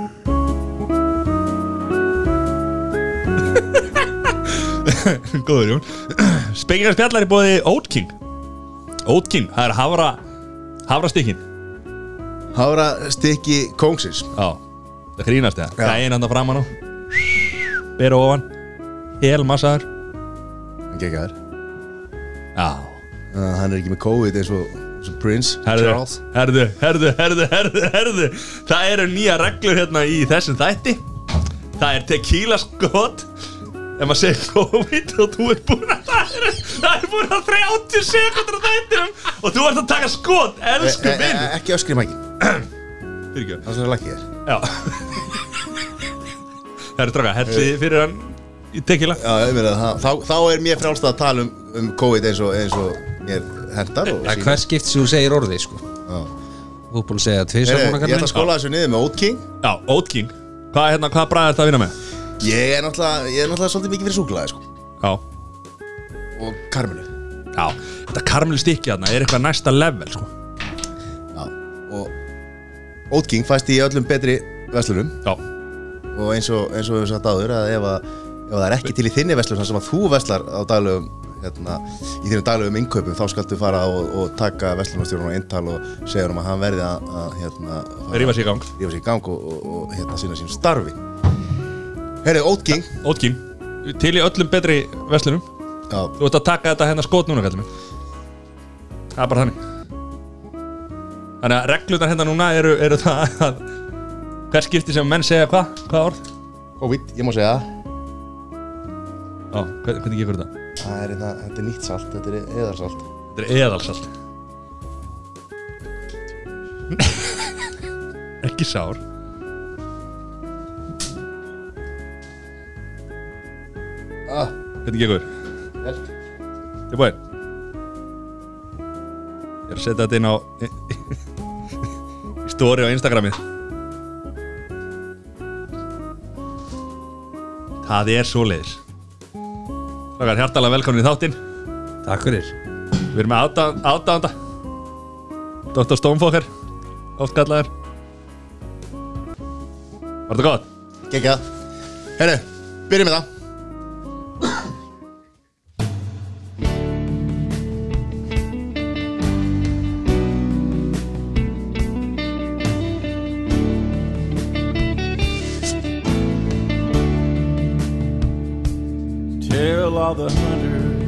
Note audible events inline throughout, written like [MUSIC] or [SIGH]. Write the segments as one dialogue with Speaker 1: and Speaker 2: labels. Speaker 1: [LAUGHS] Góður Jón [CLEARS THROAT] Spekingar spjallar er bóði Oatking Oatking, það er hafra Hafra stikkin
Speaker 2: Hára stykki kóngsins
Speaker 1: Já, það grínast það
Speaker 2: Já.
Speaker 1: Gæin hann að framan á Bera ofan Hel massaður
Speaker 2: Hann gekkaður
Speaker 1: Já
Speaker 2: uh, Hann er ekki með COVID eins og, eins og Prince
Speaker 1: Herðu,
Speaker 2: Charles
Speaker 1: herðu, herðu, herðu, herðu, herðu Það eru nýja reglur hérna í þessum þætti Það er tequila skot Ef maður segir COVID og þú ert búin að [LAUGHS] það eru Það er búin að 30 sekundur á þættinum Og þú ert að taka skot, elsku
Speaker 2: E- e-
Speaker 1: minn
Speaker 2: e- Ekki öskrim ekki
Speaker 1: Fyrirgjöf
Speaker 2: Það sem er lakið þér
Speaker 1: Já Það eru draka, helli fyrir hann í tequila
Speaker 2: Já, ég meina það Þá, þá er mér frálst að tala um, um COVID eins og, eins og mér hendar og
Speaker 3: Það er hver skipt sem þú segir orðið sko
Speaker 2: Já.
Speaker 3: Þú er búin að segja það tvisvar
Speaker 2: Heyrðu, Ég
Speaker 3: núna kallar
Speaker 2: ætla að skóla þessu niður með Oat King
Speaker 1: Já, Oat King Hvað er hérna, hvað bræði þetta að vinna með?
Speaker 2: Ég er náttúrulega, ég er náttúrulega svolítið mikið fyrir súklaði sko
Speaker 1: Já,
Speaker 2: Og karminu
Speaker 1: já Þetta karmel stikki þarna er eitthvað næsta level sko.
Speaker 2: Já Og Oat King fæst í öllum betri veslunum
Speaker 1: Já,
Speaker 2: Og eins og, eins og við höfum sagt áður að ef, að ef það er ekki til í þinni veslun þar sem að þú veslar á daglegum hérna, í þínum daglegum innkaupum þá skaltu fara og, og taka veslunarstjórun á eintal og segja honum að hann verði að, að hérna, fara-
Speaker 1: rífa sér í gang
Speaker 2: rífa sig í gang og, og, og hérna sína sín starfi Herri, Oat King
Speaker 1: Oat King Til í öllum betri veslunum
Speaker 2: Já,
Speaker 1: Þú ert að taka þetta hérna skot núna, kallum minn Það er bara þannig Þannig að reglurnar hérna núna eru, eru það að Hver skipti sem menn segja hvað? Hvað orð?
Speaker 2: COVID, ég má segja
Speaker 1: Já, hvernig, hvernig gekur þetta?
Speaker 2: Það er hérna, þetta er nýtt salt, þetta er eðarsalt
Speaker 1: Þetta er eðalsalt [LAUGHS] Ekki sár
Speaker 2: ah,
Speaker 1: Hvernig gengur?
Speaker 2: Vel.
Speaker 1: Ég búið Ég er að setja þetta inn á [LAUGHS] í Story á Instagramið Það er svoleiðis Þakkar hjartalega velkomin í þáttinn
Speaker 3: Takk fyrir
Speaker 1: Við erum með átdánda Dr. Stónfokker Oft kallaður Var þetta gott?
Speaker 2: Gekka Herri, byrjum með það
Speaker 4: Tell all the hunters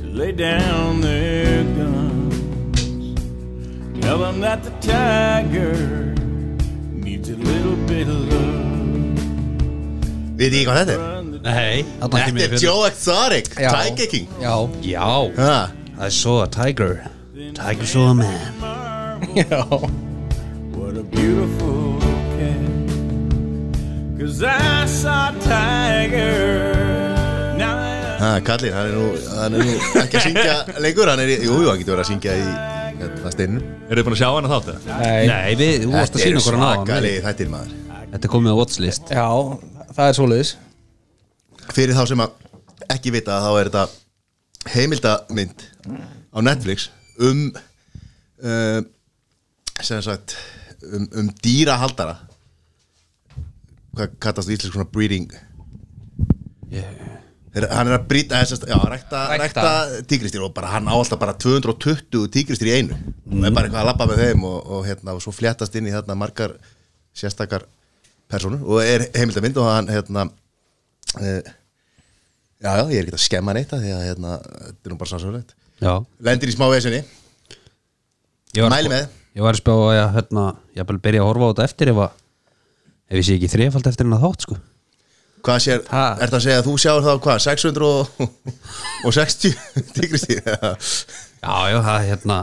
Speaker 4: to lay down their guns. Tell them that the tiger needs a little bit of love.
Speaker 2: Við þið ekki hvað þetta er?
Speaker 4: Run the
Speaker 3: Nei, þarna kemur
Speaker 2: Þetta
Speaker 3: ég
Speaker 2: er
Speaker 3: fyrir.
Speaker 2: Joe Exotic,
Speaker 3: Já.
Speaker 2: Tiger King
Speaker 3: Já, já
Speaker 2: ha.
Speaker 3: Það er svo að Tiger Tiger's so a man
Speaker 4: marvel.
Speaker 3: Já
Speaker 4: What a beautiful cat. Cause I saw a tiger. Now I
Speaker 2: ha, Kallinn, hann er nú, hann er nú ekki að syngja lengur Hann er, í- jú, jú, hann getur verið að syngja í hérna, steinu
Speaker 1: Eru þið búin að sjá hana þátt? eða?
Speaker 3: Nei, við, þú varst að sína okkur að náða
Speaker 2: svakalegi þættir maður
Speaker 3: Þetta er komið á watchlist
Speaker 5: Já, það er svoleiðis
Speaker 2: Fyrir þá sem að ekki vita þá er þetta heimildamynd á Netflix um uh, sem sagt um, um dýrahaldara hvað kallast það íslensk svona breeding Þeir, hann er að brýta þessast, já, rækta,
Speaker 3: Rækta.
Speaker 2: rækta. tígristýr og bara hann á alltaf bara 220 tígristýr í einu og er bara eitthvað að labba með þeim og, og hérna og svo fléttast inn í þarna margar sérstakar personur og er heimildamind og hann hérna uh, já, já, ég er ekki að skemma neitt af því að hérna, þetta er nú bara sannsögulegt
Speaker 3: Já
Speaker 2: lendir í smá vesinni,
Speaker 3: Ég var að
Speaker 2: Mæli
Speaker 3: spá-
Speaker 2: með.
Speaker 3: Ég var að spá að ég, hérna, ég bara byrja að horfa á þetta eftir ef að ef ég sé ekki þrefald eftir hennar þátt sko
Speaker 2: hvað sér,
Speaker 3: Ha.
Speaker 2: ha. ert að segja að þú sjáur þá hvað, [LAUGHS] 660 tígristýr
Speaker 3: Já, já, það hérna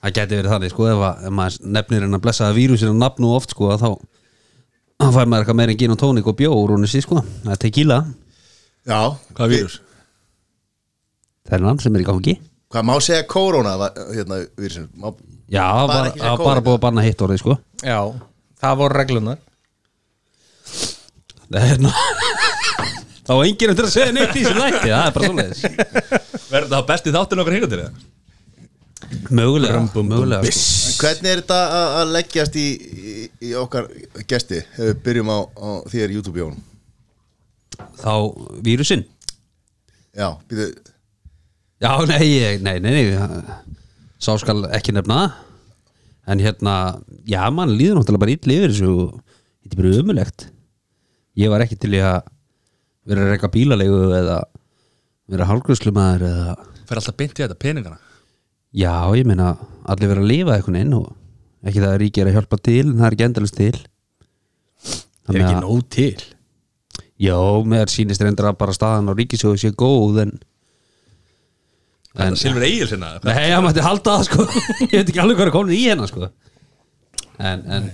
Speaker 3: það gæti verið þannig, sko, ef, að, ef maður nefnir en að blessaða vírusinu nafn og oft, sko, að þá þá fær maður eitthvað meira en gin og tónik og bjór og nýsi, sko, það er tequila
Speaker 2: [LAUGHS] já,
Speaker 1: Hvað vírus?
Speaker 3: þennan sem er í gangi
Speaker 2: hvað má segja korona hérna, vírusin, má,
Speaker 3: Já, það var,
Speaker 2: ekki segja
Speaker 3: var bara
Speaker 2: COVID.
Speaker 3: búið að banna hitt orðið, sko
Speaker 5: Já, það voru reglunar
Speaker 3: Það er hérna [LAUGHS] þá var enginn eftir að segja neitt í þessu lætti, það er bara svoleiðis
Speaker 1: Verður það besti þáttin okkar hinga til það?
Speaker 3: mögulega, mögulega sko.
Speaker 2: Hvernig er þetta að- að leggjast í, í, í okkar gesti ef við byrjum á, á þér YouTube-jón?
Speaker 3: sko. þá vírusinn
Speaker 2: Já, býðu,
Speaker 3: já, nei, ég- nei, nei, nei sá skal ekki nefna það. en hérna, já, mann líður náttúrulega bara illa yfir þessu og þetta er bara ömulegt ég var ekki til í að vera að reyka bílalegu eða vera hálfgröslumæður eða,
Speaker 1: Fer alltaf beint í þetta, peningana
Speaker 3: já, ég meina allir vera að lifa eitthvað inn og ekki það að ríki er að hjálpa til, en það er ekki endalist til
Speaker 6: er ekki nóg til
Speaker 3: Já, mér sýnist reyndar að bara staðan á ríkisjóðu sé góð en
Speaker 1: Þetta er Silfur Egil sinna
Speaker 3: Nei, hann mætti halda það sko [LAUGHS] Ég veit ekki alveg hvað er komin í hérna sko En, en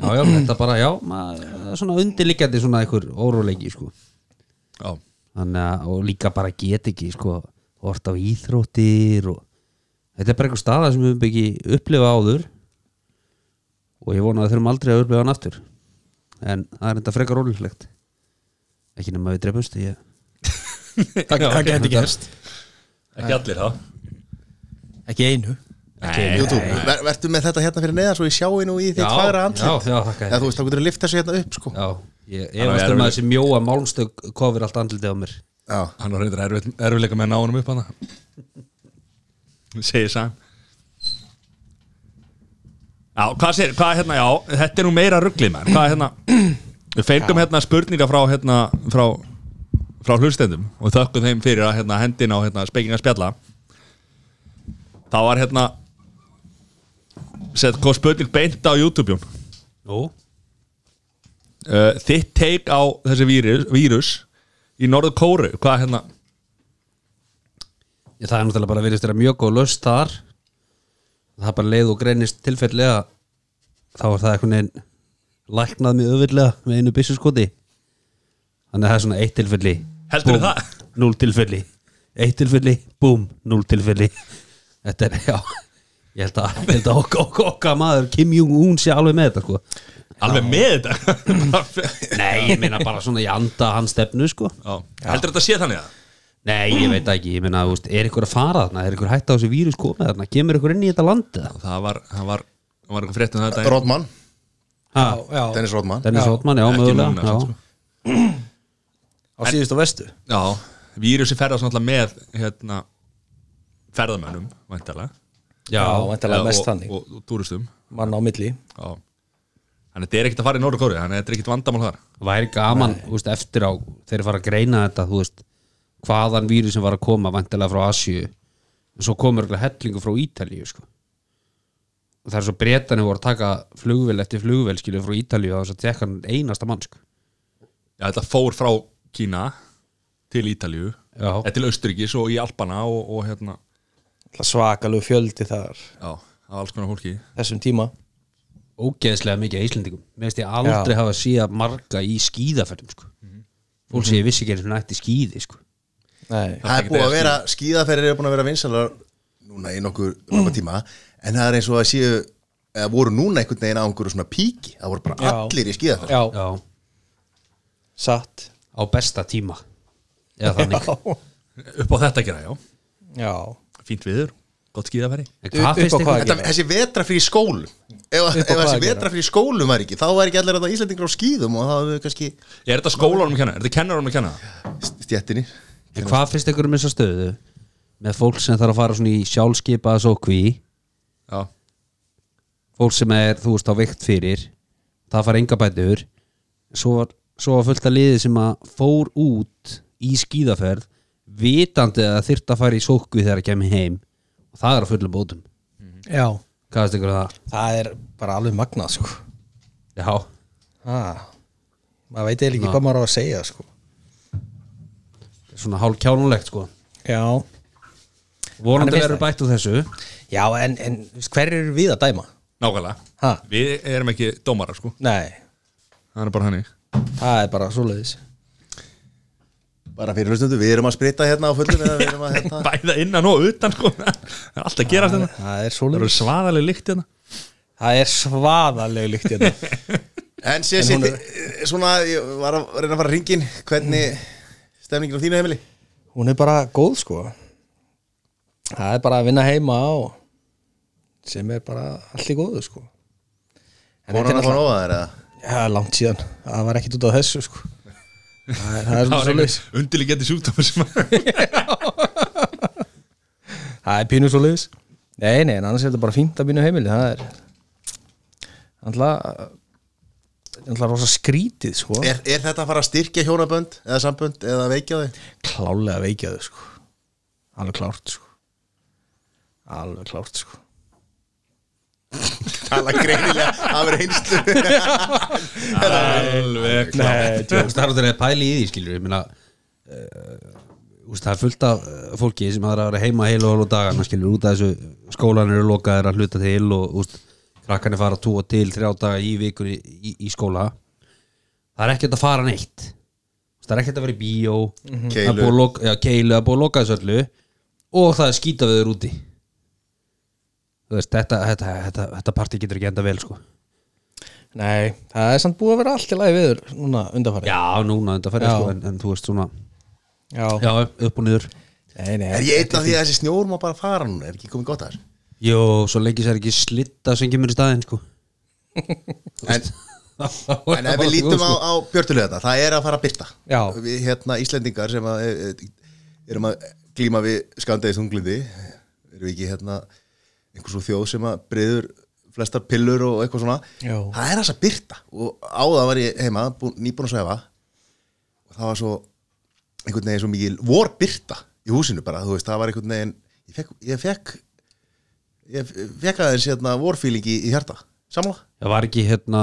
Speaker 3: Já, já, þetta bara, já maður, það er Svona undirliggjandi svona einhver óróleiki sko
Speaker 1: Já,
Speaker 3: Þannig að, og líka bara get ekki sko Hort á íþróttir og Þetta er bara einhver staða sem við höfum ekki upplifa áður Og ég vona að við þurfum aldrei að upplifa hann aftur En það er þetta frekar ólíklegt Ekki nema við drefumst ég
Speaker 6: það, það gæti gerst
Speaker 1: ekki allir þá
Speaker 6: ekki einu
Speaker 2: YouTube, ver, vertu með þetta hérna fyrir neðan svo ég sjái nú í þitt fagra andlit?
Speaker 3: Já, já, þakka
Speaker 2: Eða
Speaker 3: þér
Speaker 2: þú veist, þá getur að lifta þessu hérna upp, sko.
Speaker 3: Já, ég
Speaker 1: Þannig að
Speaker 3: efast
Speaker 1: við
Speaker 3: um
Speaker 1: erum-
Speaker 3: að þessi mjóa málmstök kofir allt andlitið á mér
Speaker 2: Já,
Speaker 1: Hann var reyndar erfið- erfiðleika með að ná honum upp hann Segir Sam Já, hvað segir, hvað er hérna, já Þetta er nú meira rugglið maður Hvað er hérna Við fengum hérna spurninga frá hérna frá, frá hlustendum og þökkum þeim fyrir að hérna hendina á hérna spekinga spjalla Það var hérna Sett hvað spurning beint á YouTube-jón
Speaker 3: Nú?
Speaker 1: uh, Þitt take á þessi vírus, vírus í Norður Kóru Hvað hérna
Speaker 3: Ég, það er náttúrulega bara virðist vera mjög góð löst þar Það er bara leið og greinist tilfellega Þá er það einhvern veginn læknað mjög öfullega með einu byssuskoti Þannig að það er svona eitt tilfelli
Speaker 1: Heldurðu
Speaker 3: búmm,
Speaker 1: það?
Speaker 3: Núll tilfelli Eitt tilfelli, búm, núll tilfelli Þetta er, já Ég held að, ég held að okka, okka, okka maður Kim Jong-un sé alveg með þetta sko
Speaker 1: Alveg með þetta Bara fe-
Speaker 3: Nei, ég meina bara svona í anda hans stefnu sko
Speaker 1: [LAUGHS] Já. Heldur þetta sé þannig að
Speaker 3: Nei, ég veit það ekki, ég meina, þú veist, er ykkur að fara þarna, er ykkur hætt á þessu vírus komið þarna, kemur ykkur inn í þetta landið?
Speaker 1: Það var, það var, það var eitthvað fréttum þetta
Speaker 2: Rodman,
Speaker 3: Ha,
Speaker 5: já,
Speaker 2: Dennis Rodman.
Speaker 3: Dennis Hotman, já,
Speaker 1: Ekki núna,
Speaker 3: mögulega,
Speaker 1: samt,
Speaker 3: já.
Speaker 1: sko.
Speaker 5: á síðust og vestu
Speaker 1: Já, vírusi ferðast náttúrulega með hérna, ferðamönnum væntalega
Speaker 5: Já, vantarlega mest
Speaker 1: og,
Speaker 5: þannig
Speaker 1: og, og túristum
Speaker 5: Mann á milli
Speaker 1: Já. Þannig þetta er ekkert að fara í Norðurkóri Þannig þetta er ekkert vandamál þar
Speaker 3: Væri gaman, þú veist, eftir á, þeir fara að greina þetta, þú veist, hvaðan vírus sem var að koma, vantilega frá Asíu, en svo komur ykkur hellingu frá Ítalíu, sko. Og það er svo breytanir voru að taka flugvél eftir flugvél, skilju, frá Ítalíu og þess að tekka hann einasta mann, sko.
Speaker 1: Já, þetta fór frá Kína til Ítalíu
Speaker 3: Já.
Speaker 1: eða til Austuríkis og í Alpana og, og hérna
Speaker 5: Náttúrulega Svakalegu fjöldi þar
Speaker 1: Já, af alls konar fólki
Speaker 5: Þessum tíma
Speaker 3: ógeðslega mikið af Íslendingum Mér finnst ég aldrei
Speaker 5: Já.
Speaker 3: hafa síða marga í skíðaferðum sko. fólk sem ég vissi ekki einu sinni að nætti skíði sko.
Speaker 5: Nei
Speaker 2: Það er búið að vera, skíðaferðir eru búin að vera vinsalar núna í nokkur nokkuð tíma en það er eins og að séu eða voru núna einhvern veginn á einhverju svona píki það voru bara
Speaker 5: Já.
Speaker 2: allir í skíðaferð
Speaker 5: Já,
Speaker 3: Já,
Speaker 5: satt
Speaker 3: á besta tíma
Speaker 5: [LAUGHS]
Speaker 3: eða þannig
Speaker 1: Upp á þetta að gera, já
Speaker 5: Já
Speaker 1: Fínt viður, gott skíðafæri
Speaker 3: En hvað
Speaker 5: Upp- upp
Speaker 3: finnst
Speaker 5: á
Speaker 3: ykkur-
Speaker 5: hvað?
Speaker 2: Þetta, þessi vetrafrí í skólum ef, ef
Speaker 5: hvað
Speaker 2: þessi
Speaker 5: að gera?
Speaker 2: vetrafrí í skólum var ekki þá var ekki allir að það Íslandingur á skíðum og það var kannski
Speaker 1: Er þetta skólanum að kenna? Er þetta kennaranum að kenna?
Speaker 2: stjettinni
Speaker 3: En hvað finnst ykkur um þessa stöðu með fólk sem þarf að fara svona í sjálfskeipa sókví,
Speaker 1: Já,
Speaker 3: fólk sem er þú veist á veikt fyrir það fara enga bætur svo var, svo var fullt að liði sem að fór út í skíðaferð vitandi að það þyrfti að fara í sókvi þegar að kemur heim og það er að fulla bótum
Speaker 5: Já
Speaker 3: hvað finnst ykkur um það?
Speaker 5: Það er bara alveg magnað sko
Speaker 3: Já,
Speaker 5: ah. Maður veit eða ekki hvað maður á að segja sko
Speaker 3: svona hálf kjánulegt sko
Speaker 5: Já Þannig
Speaker 3: Vonandi
Speaker 5: finnst
Speaker 3: verður
Speaker 5: það.
Speaker 3: bætt úr þessu
Speaker 5: Já, en, en hver eru við að dæma?
Speaker 1: nákvæmlega
Speaker 5: Ha?
Speaker 1: Við erum ekki dómarar sko
Speaker 5: Nei,
Speaker 1: Það er bara hannig
Speaker 5: það er bara svoleiðis
Speaker 2: bara fyrir hlustundu, við erum að sprita hérna á fullum eða við erum að hérna
Speaker 1: [LAUGHS] Bæða innan og utan sko [LAUGHS] Það er allt að gera þetta
Speaker 5: Það er
Speaker 1: Það eru
Speaker 5: svoleiðis
Speaker 1: svaðaleg líkt hérna
Speaker 5: Það er svaðaleg líkt hérna
Speaker 2: [LAUGHS]
Speaker 5: [LAUGHS]
Speaker 2: en sé, sé, svona, ég var að reyna að fara ringin hvernig stemningin á þínu heimili
Speaker 5: Hún er bara góð sko Það er bara að vinna heima og sem er bara allt í góðu sko En
Speaker 2: Vonar hann að fá
Speaker 5: náttúrulega-
Speaker 2: nóa þær eða?
Speaker 5: Já, langt síðan, það var ekkit út á þessu sko Það er, það er svona
Speaker 1: Það var
Speaker 5: svo leiðis
Speaker 1: einhver undirliggjandi sjúkdómar sem að [LAUGHS]
Speaker 5: Það er pínu svo leiðis Nei, nei, en annars er þetta bara fínt að mínu heimili Það er Alltaf Alltaf rosa skrítið sko
Speaker 2: Er, er þetta að fara að styrkja hjónabönd eða sambönd eða veikja þau?
Speaker 5: Klálega veikjaðu sko Alveg klárt sko Alveg klárt sko
Speaker 2: Tala greinilega, það verður einslu
Speaker 1: Alveg
Speaker 5: Nei,
Speaker 3: [LAUGHS] Þú veist, það er út að reyða pæli í því, skilur ég meina, uh, það er fullt af eh, fólki sem aðra að vera heima heil og hálf og dagana, skilur, út af þessu skólan eru lokaðir að hluta til og úst, krakkan er fara tvo til þrjá daga í vikur í, í, í skóla það er ekkert að fara neitt Þú veist, það er ekkert að vera í bíó það er
Speaker 2: Keilu.
Speaker 3: búið að loka- já, keilu, það er búið að loka þessu öllu og það er skýta við þér úti þú veist, þetta, þetta, þetta, þetta partí getur ekki enda vel sko
Speaker 5: Nei, það er samt búið að vera allt í lagi viður Núna undanfarið
Speaker 3: já, núna þetta færði
Speaker 5: Já.
Speaker 3: sko en, en þú veist svona,
Speaker 5: Já.
Speaker 3: já, upp og niður
Speaker 5: Nei, nei,
Speaker 2: Er ég einn af því að þessi snjór má bara fara núna? Er ekki komið gott að þér?
Speaker 3: Jó, svo lengi sér ekki slitta sem kemur í staðinn sko
Speaker 2: En, en ef við lítum á, á björtulegðarna, það er að fara að byrta
Speaker 5: sko. Já.
Speaker 2: Við hérna Íslendingar sem að, e, e, erum að glíma við skandeðis þunglindi erum við ekki hérna einhver svo þjóð sem að breyður flestar pillur og eitthvað svona
Speaker 5: Já.
Speaker 2: það er þess að byrta og áða var ég heima, bú, nýbúin að svefa og það var svo einhvern veginn svo mikil vorbyrta í húsinu bara, þú veist, það var einhvern veginn ég fekk, ég fekk ég fekk aðeins hérna vorfílingi í hjarta samla
Speaker 3: Það var ekki hérna,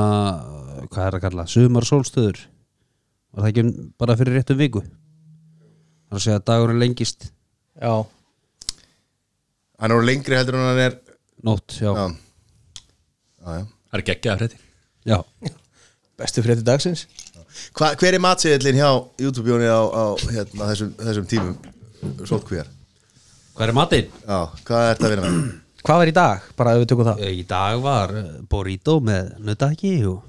Speaker 3: hvað er að kalla, sumar sólstöður Var það ekki um- bara fyrir réttum viku Það er að segja að dagurinn lengist
Speaker 5: já,
Speaker 2: hann er nú lengri heldur en hann er
Speaker 3: Nótt, já,
Speaker 2: já, já, já.
Speaker 1: Það er geggjaða fréttir
Speaker 3: já.
Speaker 5: bestu frétti dagsins
Speaker 2: Hva, hver er matsiðillin hjá YouTube-jóni á, á hérna, þessum, þessum tímum sótkvíjar
Speaker 3: Hvað er matinn?
Speaker 2: já, hvað er þetta að vinna með
Speaker 5: Hvað var í dag, bara ef við tökum það
Speaker 3: Í dag var eh, burrito með nutaki og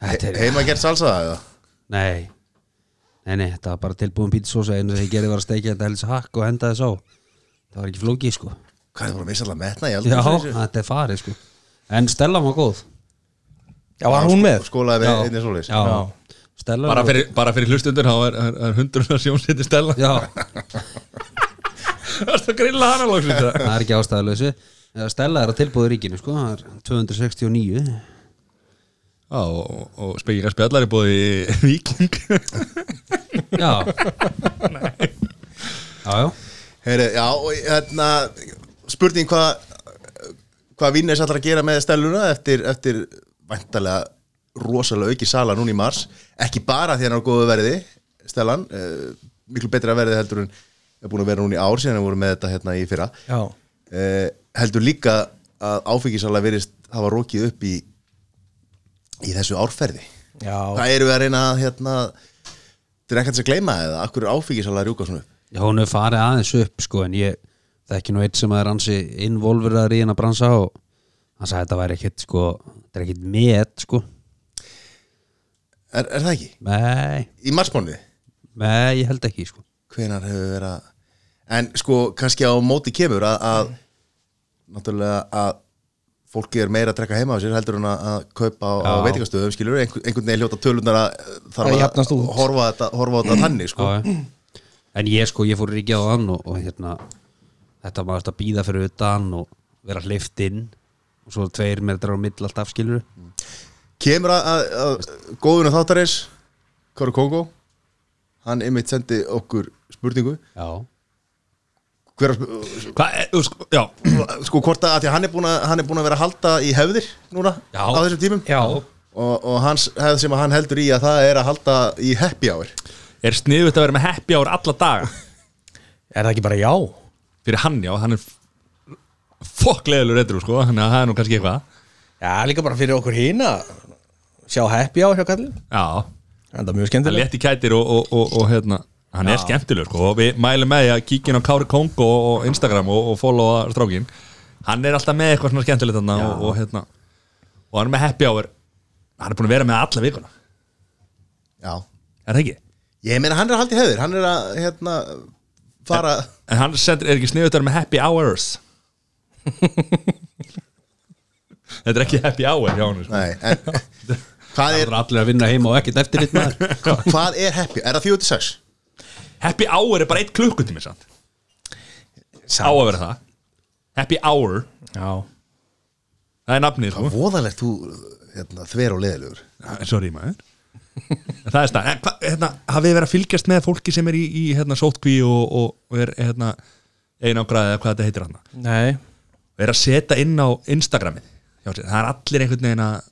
Speaker 3: Þetta er,
Speaker 2: heima gert salsa eða
Speaker 3: nei Nei, nei, þetta var bara tilbúin pítsósa einu sem ég gerði var að steikja þetta helst hakk og henda þess á Það var ekki flókið sko
Speaker 2: hvað er það bara að missa alltaf metna í
Speaker 3: Já,
Speaker 2: eldhúsi?
Speaker 3: þetta er farið sko En Stella var góð
Speaker 5: Já, var
Speaker 2: sko.
Speaker 5: hún með?
Speaker 2: skólaði með einnig svoleiðis
Speaker 3: Já, Stella
Speaker 1: Bara
Speaker 3: var-
Speaker 1: fyrir, bara fyrir hlustundur þá er, er, er hundurinn að sjónseti stella [LAUGHS]
Speaker 3: Já,
Speaker 1: Það er að grilla hana lóksins
Speaker 5: [LAUGHS]
Speaker 1: það
Speaker 3: það er ekki ástæðalösu Stella er að tilbúðu ríkinu sko Það er 269
Speaker 1: Já, og, og spekingar spjallar er búið í Viking
Speaker 3: Já [LAUGHS] Já, já
Speaker 2: Heyri, já, og hérna spurning hvað hvað vinnis ætlar að gera með steluna eftir, eftir væntalega rosalega auki sala núna í mars ekki bara því hann er á góðu verði stelan, uh, miklu betra verði heldur en er búin að vera núna í ár síðan við vorum með þetta hérna í fyrra
Speaker 5: Já,
Speaker 2: uh, heldur líka að áfengisala verist hafa rokið upp í í þessu árferði
Speaker 5: já,
Speaker 2: hvað eru við að reyna að hérna þetta er ekkert að gleyma eða akkur er áfengisala að rjúka svona upp
Speaker 3: Já, hún hefur farið aðeins upp sko en ég þekki nú eitt sem er ansi involverðar í hennar bransa og hann sagði að þetta væri ekkit sko þetta er ekkit met sko
Speaker 2: er, er það ekki?
Speaker 3: Nei,
Speaker 2: Í marsmánuði?
Speaker 3: nei, ég held ekki sko
Speaker 2: hvenar hefur verið að en sko kannski á móti kemur að, að náttúrulega að fólki er meira að drekka heima á sér heldur en að, að kaupa á, á
Speaker 3: Já.
Speaker 2: veitingastöðum skilur einhvern, einhvern veginn hljóta tölunar að eh,
Speaker 5: Að
Speaker 2: þarf
Speaker 5: jafnast út.
Speaker 2: horfa á þetta, horfa á þetta þannig sko
Speaker 3: Já, já. En ég sko, ég fór í ríkja á hann og, og hérna, þetta maður þetta býða fyrir utan og vera hleyft inn og svo tveir metrar á mill alltaf skilur
Speaker 2: kemur að, að, að góðunum þáttarins Kóru Kongo hann einmitt sendi okkur spurningu
Speaker 3: Já,
Speaker 2: hver, var sp-
Speaker 1: [LAUGHS]
Speaker 2: [CLEARS THROAT]
Speaker 1: Hvað er, þú sko, já
Speaker 2: sko hvort að, að því að hann er búin að hann er búin að vera að halda í hefðir núna
Speaker 3: Já.
Speaker 2: á þessum tímum
Speaker 5: já.
Speaker 2: og, og hans hefð sem að hann heldur í að það er að halda í happy hour
Speaker 1: Er sniðut að vera með happy hour alla daga
Speaker 5: Er það ekki bara já?
Speaker 1: Fyrir hann, já, hann er fokkleðilur reyndru, sko Þannig að það er nú kannski eitthvað
Speaker 5: Já, líka bara fyrir okkur hína Sjá happy á hjá kallin
Speaker 1: Já,
Speaker 5: Það er mjög
Speaker 1: það
Speaker 5: skemmtileg
Speaker 1: létt í kætir og, og, og, og hérna Hann er skemmtilegur, sko og Við mælum með því að kíkja inn á Kári Kongo og Instagram og, og followa strákin Hann er alltaf með eitthvað svona skemmtilegt þarna og, og hérna Og hann er með happy hour Hann er búin að vera með alla vikuna
Speaker 2: Já,
Speaker 1: Er það ekki?
Speaker 2: ég meina hann er að halda í hefðir Hann er að, hérna, fara
Speaker 1: En hann sendir, er ekki sniðut að vera með happy hours Þetta er ekki happy hour hjá sko. hann
Speaker 2: Nei, en [LAUGHS] hvað
Speaker 3: Það
Speaker 2: er,
Speaker 3: er allir að vinna heima og ekkert eftir eitt [LAUGHS] maður
Speaker 2: hvað er happy? Er það 46?
Speaker 1: Happy hour er bara eitt klukkutími sant? Á að vera það Happy hour,
Speaker 6: Já
Speaker 1: það er nafnið
Speaker 2: Hm?
Speaker 1: sko.
Speaker 2: Voðalegt þú hérna, þver og leðilegur
Speaker 1: Ah, Sorry maður En [LAUGHS] Það er stað, en hvað, hérna, hafið verið að fylgjast með fólki sem er í, í hérna, sótkví og, og, og er hérna einangraðið eða hvað þetta heitir hann
Speaker 6: Nei
Speaker 1: er að setja inn á Instagramið hjá sér. það er allir einhvern veginn að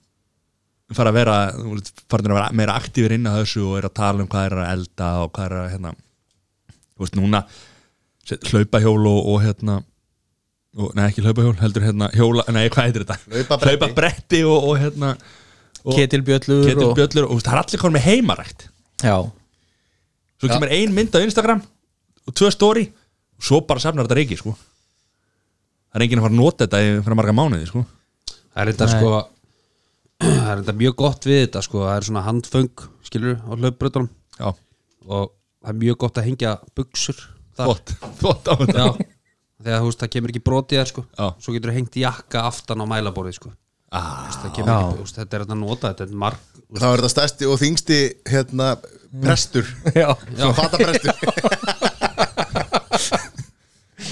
Speaker 1: fara að vera, þú veist, farin að vera meira aktífur inn að þessu og er að tala um hvað er að elda og hvað er að hérna þú veist núna set- hlaupahjól og, og hérna og, nei ekki hlaupahjól, heldur hérna hjóla, nei hvað heitir þetta?
Speaker 2: Hlaupabretti.
Speaker 1: Hlaupabretti og, og hérna og-
Speaker 6: Ketilbjöllur og-
Speaker 1: Ketilbjöllur og, og það er allir konum með heimarækt
Speaker 6: Já
Speaker 1: svo kemur ein mynd á Instagram og tvö story og svo bara safnar þetta reiki sko það er enginn að fara að nota þetta í- fyrir marga mánuði sko
Speaker 3: Það er þetta sko Það er þetta mjög gott við þetta sko Það er svona handföng, skilur, á hlaupbrötunum
Speaker 1: já,
Speaker 3: og það er mjög gott að hengja buksur þar.
Speaker 1: þvott þvott á þetta
Speaker 3: Já, þegar þú veist það kemur ekki brot í þær sko
Speaker 1: Já.
Speaker 3: Svo getur þú hengt jakka aftan á mælaborðið sko
Speaker 1: ah,
Speaker 3: Það kemur ekki, þú veist, þetta er þetta að nota, þetta er marg
Speaker 2: Þá er þetta stærsti og þingsti hérna, prestur
Speaker 6: Já
Speaker 2: Svo fata prestur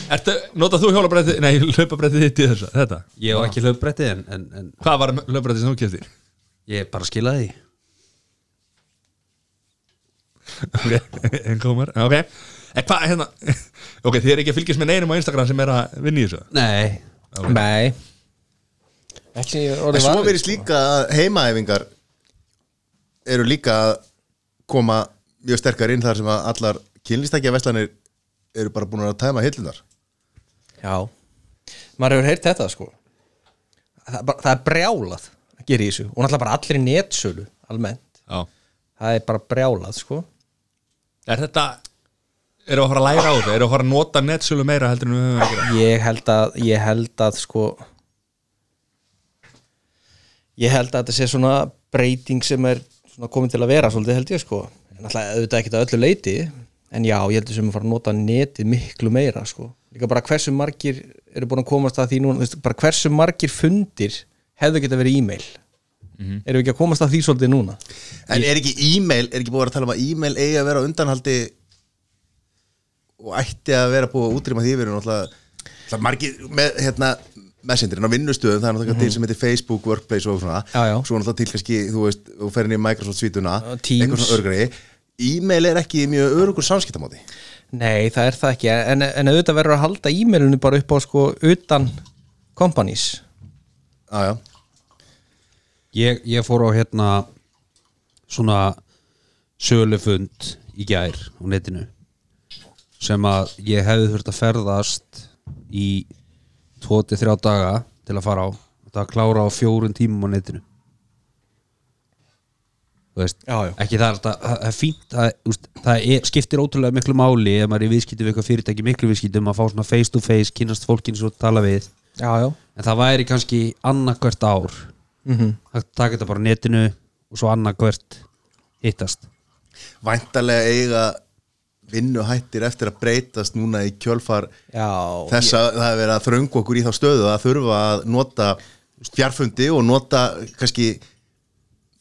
Speaker 1: Ertu, notað þú hjólabrættið, nei, hlaupabrættið þitt í þessa, þetta?
Speaker 3: Ég á ekki hlaupbrettið en, en, en
Speaker 1: Hvað var hlaupabrættið sem þú keftir?
Speaker 3: ég bara skilaði því
Speaker 1: Ok, [LAUGHS] en komar, ok En hvað, hérna, ok, þið er ekki að fylgjast með neinum á Instagram sem er að vinna í þessu
Speaker 3: Nei,
Speaker 6: Nei Ekki sem ég [LAUGHS] orðið
Speaker 2: Svo
Speaker 6: var
Speaker 2: verðist líka að heimaæfingar eru líka að koma mjög sterkar inn þar sem að allar kynlýstakja veslanir eru bara búin að tæma hillunar
Speaker 6: Já Maður hefur heyrt þetta sko Það, er bara- það er brjálað að gera í þessu og náttúrulega bara allir í netsölu almennt
Speaker 1: Já
Speaker 6: Það er bara brjálað sko
Speaker 1: Er þetta, eru að fara að læra á þetta, eru að fara að nota netsölu meira heldur en við höfum að gera
Speaker 6: ég held að ég held að sko ég held að þetta sé svona breyting sem er svona komin til að vera svolítið held ég sko en alltaf auðvitað ekkert að öllu leiti en já, ég held að sem að fara að nota netið miklu meira sko, líka bara hversu margir eru búin að komast að því núna þú veist, bara hversu margir fundir hefðu geta verið e-mail erum við ekki að komast að því svolítið núna
Speaker 2: En er ekki e-mail, er ekki búið að vera að tala um að e-mail eigi að vera á undanhaldi og ætti að vera búið að útrýma því verið náttúrulega náttúrulega margir með hérna messengerinn á vinnustöðum, það er náttúrulega til sem heitir Facebook, Workplace og svona
Speaker 6: Mhm. Já, já.
Speaker 2: svo er náttúrulega til kannski, þú veist, þú fer inn í Microsoft svítuna,
Speaker 6: Já, Teams.
Speaker 2: einhvern svona örgri e-mail er ekki mjög örugur samskiptamáti
Speaker 6: Nei, það er það ekki en, en auðvitað verður að halda e-mailinu bara upp á sko utan companies
Speaker 2: Já, já,
Speaker 3: ég, ég fór á hérna svona sölufund í gær á netinu sem að ég hefði þurft að ferðast í 23 daga til að fara á þetta að klára á fjórun tímum á netinu þú veist,
Speaker 6: Já, já.
Speaker 3: ekki það er þetta- það það er fínt, það, úst, það er, skiptir ótrúlega miklu máli ef maður er í viðskipti við eitthvað fyrirtæki miklu viðskipti um að fá svona face to face kynast fólkinu svo tala við
Speaker 6: Já, já
Speaker 3: en það væri kannski annarkvært ár mm
Speaker 2: Mhm.
Speaker 3: -hmm. það taka þetta bara á netinu og svo annarkvært hittast
Speaker 2: væntalega eiga vinnuhættir eftir að breytast núna í kjölfar
Speaker 6: Já,
Speaker 2: þess að það hefur verið að þröngu okkur í þá stöðu að þurfa að nota fjarfundi og nota kannski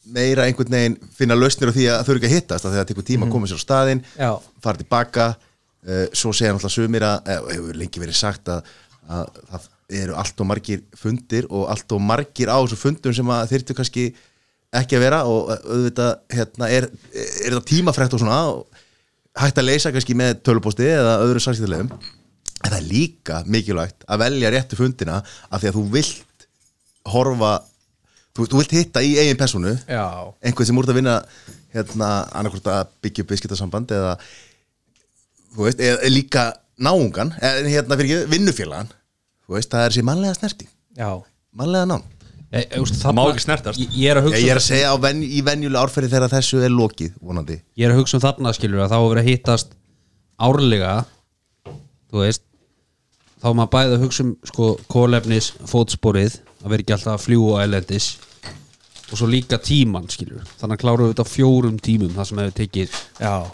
Speaker 2: meira einhvern veginn finna lausnir á því að þurfa ekki að hittast af því að það tekur tíma að koma sér á staðinn
Speaker 6: Mhm. Já.
Speaker 2: fara tilbaka uh, svo segja náttúrulega sumir að eh, hefur lengi verið sagt að, að það eru allt og margir fundir og allt og margir á þessum fundum sem að þyrftu kannski ekki að vera og eh, auðvitað hérna, er, er þetta tímafrækt og svona og hægt að leysa kannski með tölupósti eða öðru samskiptilegum en það er líka mikilvægt að velja réttu fundina af því að þú vilt horfa þú, þú vilt hitta í eigin personu
Speaker 6: Já.
Speaker 2: einhvern sem úr að vinna hérna annarkvort að byggja upp viðskiptasamband eða þú veist, eða líka náungan eða hérna fyrir ekki vinnufélagan þú veist, það er sér mannlega snerting
Speaker 6: já,
Speaker 2: mannlega nán
Speaker 3: e, e, úst, það
Speaker 1: má ekki snertast.
Speaker 3: ég, ég, er að hugsa,
Speaker 2: ég er að segja á ven, í venjulega árferði þegar þessu er lokið vonandi
Speaker 3: ég er að hugsa um þarna skilur að þá að vera að hittast árlega þú veist þá er maður bæði að hugsa um sko kólefnis fótsporið að vera ekki alltaf að fljú og elendis og svo líka tíman skilur þannig að klára þetta á fjórum tímum það sem hefur tekið
Speaker 6: já.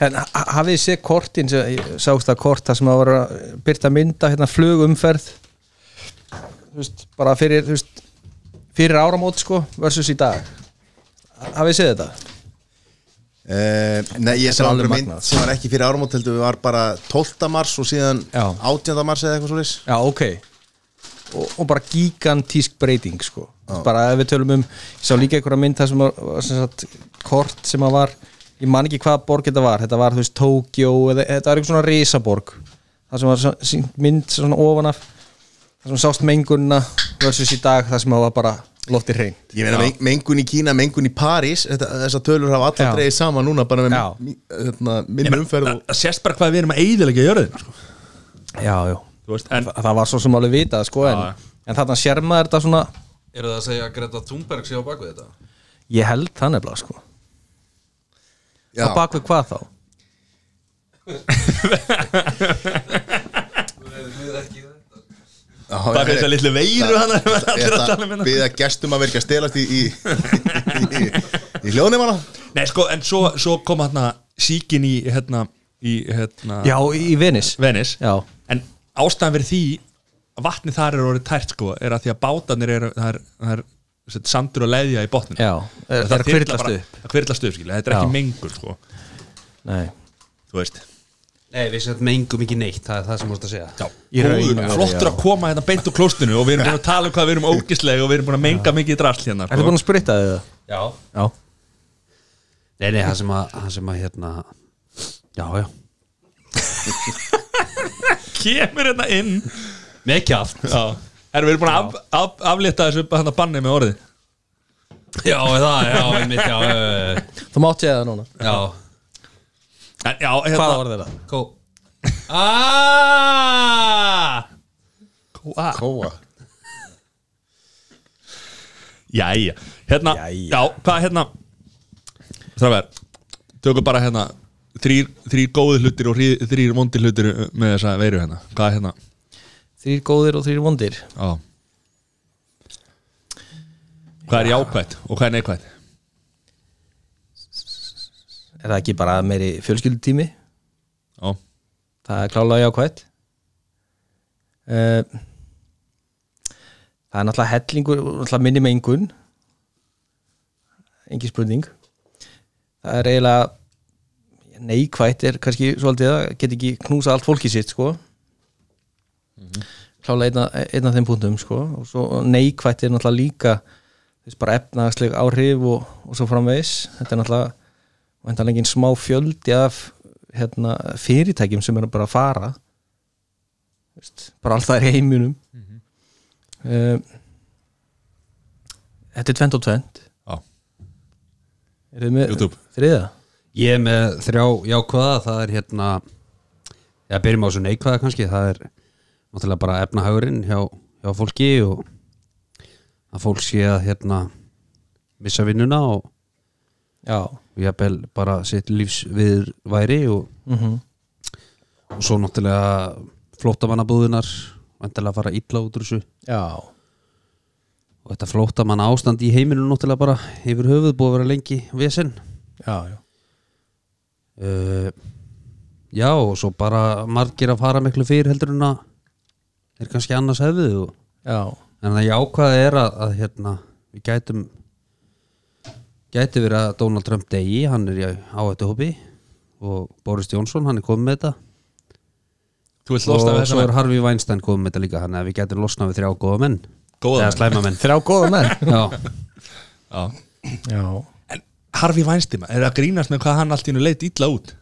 Speaker 6: En ha- ha- hafið þið séð kortin sem- ég sást það kort það sem að var að byrta mynda hérna flugumferð þú veist, bara fyrir, þú veist, fyrir áramót sko, versus í dag hafið þið séð þetta?
Speaker 2: Uh, nei, ég sá
Speaker 6: er
Speaker 2: aldrei
Speaker 6: alveg
Speaker 2: mynd
Speaker 6: magnað.
Speaker 2: sem var ekki fyrir áramót heldur við var bara 12. mars og síðan
Speaker 6: Já.
Speaker 2: 18. mars eða eitthvað svolítið
Speaker 6: Já, ok og, og bara gigantísk breyting sko. bara ef við tölum um ég sá líka einhverja mynd það sem var var sem sagt, kort sem að var ég man ekki hvaða borg þetta var, þetta var þú veist Tókjó eða þetta var einhver svona risaborg það sem var svo- sýnd mynd svona ofan af það sem sást mengunna versus í dag það sem að var bara loftið hrein
Speaker 2: Ég meina meng- mengun í Kína, mengun í París þetta, Þessar tölur hafa
Speaker 6: Já.
Speaker 2: allar dreigð saman núna bara með
Speaker 6: Já.
Speaker 2: mi- hérna, minn umferð og...
Speaker 1: Það sést bara hvað við erum að eyðilega jörðina sko.
Speaker 6: já, já.
Speaker 1: Þú veist, en
Speaker 6: það var svo sem alveg vitað sko, en,
Speaker 1: Já, já.
Speaker 6: en þarna sérmaður þetta svona
Speaker 7: Eru það að segja að Greta Thunberg sé á baku þetta?
Speaker 6: ég held það nefnilega sko.
Speaker 2: Já,
Speaker 6: á bakvið hvað þá?
Speaker 2: já,
Speaker 1: það er þess að litlu veiru hann að vera allir að tala um
Speaker 2: Þetta
Speaker 1: hérna
Speaker 2: við að gestum að verka stelast í, í, í, í, í hljónum hana
Speaker 1: Nei, sko, en svo, svo kom hann síkin í hérna, í hérna
Speaker 6: já, í Venis
Speaker 1: Venice
Speaker 6: Já.
Speaker 1: En ástæðan fyrir því að vatni þar er orðið tært sko er að því að bátarnir eru það er, það er sem sagt, sandur og leðja í botninu
Speaker 6: Já,
Speaker 1: Og
Speaker 6: er-
Speaker 1: það
Speaker 6: er að hvirflast
Speaker 1: bara-
Speaker 6: upp.
Speaker 1: Það hvirlast upp, skilja, þetta er
Speaker 6: Já.
Speaker 1: ekki mengur sko
Speaker 6: nei
Speaker 1: Þú veist
Speaker 3: Nei, við sem mengum ekki neitt, það er það sem þú vorst að segja
Speaker 1: Já,
Speaker 6: Í raun og
Speaker 1: góður,
Speaker 6: veru,
Speaker 1: flottur
Speaker 6: já.
Speaker 1: að koma hérna beint úr klóstinu og við erum búin að tala um hvað við erum ógislega og við erum búin að menga mikið í drasl hérna
Speaker 6: Ertu
Speaker 1: sko.
Speaker 6: búin að spritta þig það?
Speaker 3: Já
Speaker 6: Já
Speaker 3: Nei, nei, það sem að, það sem að hérna Já, já
Speaker 1: Kemur hérna inn
Speaker 3: Mikið aft
Speaker 1: Já, erum við búin að af, af, aflétta þessu upp að hann að banni með orði
Speaker 3: Já, það, já, einmitt, já, já,
Speaker 6: Þú mátt ég það núna
Speaker 3: já
Speaker 1: En já, hérna
Speaker 6: Hvaða var þetta?
Speaker 3: Kó
Speaker 1: Ah! Kóa.
Speaker 3: Aaaaaa
Speaker 2: Kóa
Speaker 1: Jæja, hérna,
Speaker 6: Jæja.
Speaker 1: já, hvað hérna Þrafver, tökum bara hérna Þrýr, þrýr góði hlutir og þrýr, þrýr vondi hlutir uh, með þessa veiru hérna Hvað hérna,
Speaker 6: Þrýr góðir og þrýr vondir
Speaker 1: á Hvað er jákvætt og hvað er neikvætt?
Speaker 6: Er það ekki bara meiri fjölskyldutími?
Speaker 1: Já,
Speaker 6: Það er klálega jákvætt Eh, Það er náttúrulega hellingur náttúrulega minni mengun Engi spurning Það er eiginlega neikvætt er kannski svolítið að geta ekki knúsa allt fólki sitt sko klálega einn af- einn af þeim punktum sko. og svo neikvætt er náttúrulega líka þú veist, bara efnaðarsleg áhrif og, og svo framvegis þetta er náttúrulega vantanlega engin smá fjöldi af hérna, fyrirtækjum sem eru bara að fara Þú veist, bara alltaf er heiminum mm Þetta er tvent og tvent
Speaker 1: já,
Speaker 6: Er þið með
Speaker 1: YouTube.
Speaker 6: þriða?
Speaker 3: Ég er með þrjá jákvæða, það er hérna Já, byrjum á þessu neikvæða kannski Það er náttúrulega bara efnahagurinn hjá, hjá fólki og að fólk sé að hérna missa vinnuna og,
Speaker 6: Já,
Speaker 3: og jafnvel bara sitt lífs við væri og,
Speaker 6: Mhm.
Speaker 3: og svo náttúrulega flóttamannabúðunar vandilega að fara illa út úr þessu
Speaker 6: já
Speaker 3: og þetta flóttamanna ástand í heiminu náttúrulega bara yfir höfuð búið að vera lengi vesinn
Speaker 6: Já, já
Speaker 3: uh, Já og svo bara margir að fara miklu fyrir heldur en að er kannski annars hefðið og,
Speaker 6: Já,
Speaker 3: en það jákvæða er að, að hérna, við gætum gæti verið að Donald Trump degi, hann er í áhættuhópi og Boris Jónsson, hann er komið með þetta
Speaker 1: þú vilt losna við
Speaker 3: og svo
Speaker 1: þessa
Speaker 3: er
Speaker 1: menn
Speaker 3: Harvey Weinstein komið með þetta líka þannig að við gætum losnað við þrjá góða menn
Speaker 1: Góða
Speaker 3: eða
Speaker 1: menn.
Speaker 3: slæma menn
Speaker 6: þrjá góða menn
Speaker 3: Já,
Speaker 1: Já.
Speaker 6: Já
Speaker 1: En Harfi Vænstima, er að grínast með hvað hann allt í hennu leit illa út?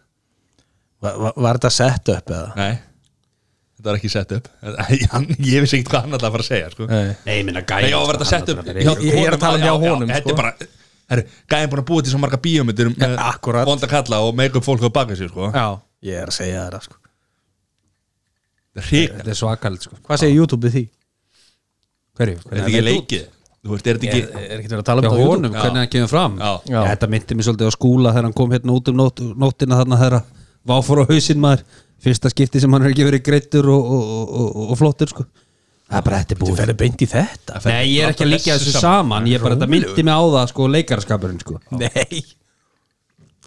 Speaker 6: Var, var, var þetta sett upp eða?
Speaker 1: Nei, þetta var ekki sett upp [LAUGHS] Hann- Ég vissi ekkert hvað hann alltaf var að segja sko.
Speaker 6: Nei
Speaker 3: nei, minna
Speaker 1: Nei,
Speaker 3: gæja
Speaker 1: já, var þetta sett upp
Speaker 6: Ég- ég er að tala um hjá honum,
Speaker 1: Þetta er
Speaker 6: sko.
Speaker 1: bara, herru, gæðin búin að búa til svo marga bíómyndir um eh,
Speaker 6: akkurat.
Speaker 1: vonda kalla og make up fólk á baka sér, sko
Speaker 6: Já, ég er að segja þér það sko
Speaker 1: Rík,
Speaker 3: Þetta er svakalit sko
Speaker 6: Hvað segir YouTube við því?
Speaker 3: Hverju?
Speaker 1: er þetta ekki leikið? Þú veist, er þetta ekki
Speaker 6: Er ekki verið að tala um
Speaker 3: Já,
Speaker 6: þetta á
Speaker 3: honum,
Speaker 1: Já.
Speaker 3: hvernig hann kemur fram
Speaker 1: Já.
Speaker 6: Já.
Speaker 3: Þetta myndi mér svolítið á skúla þegar hann kom hérna út um nótt, nóttina þarna þegar að váfór á hausinn maður fyrsta skipti sem hann er ekki verið greittur og, og, og, og, og flottur sko Það er bara þetta er
Speaker 6: Þú
Speaker 3: búið
Speaker 6: ferði beint í þetta
Speaker 3: Nei, ég er ekki að líka þessu saman Ég er bara þetta myndi mig á það sko leikarskapurinn sko
Speaker 6: Nei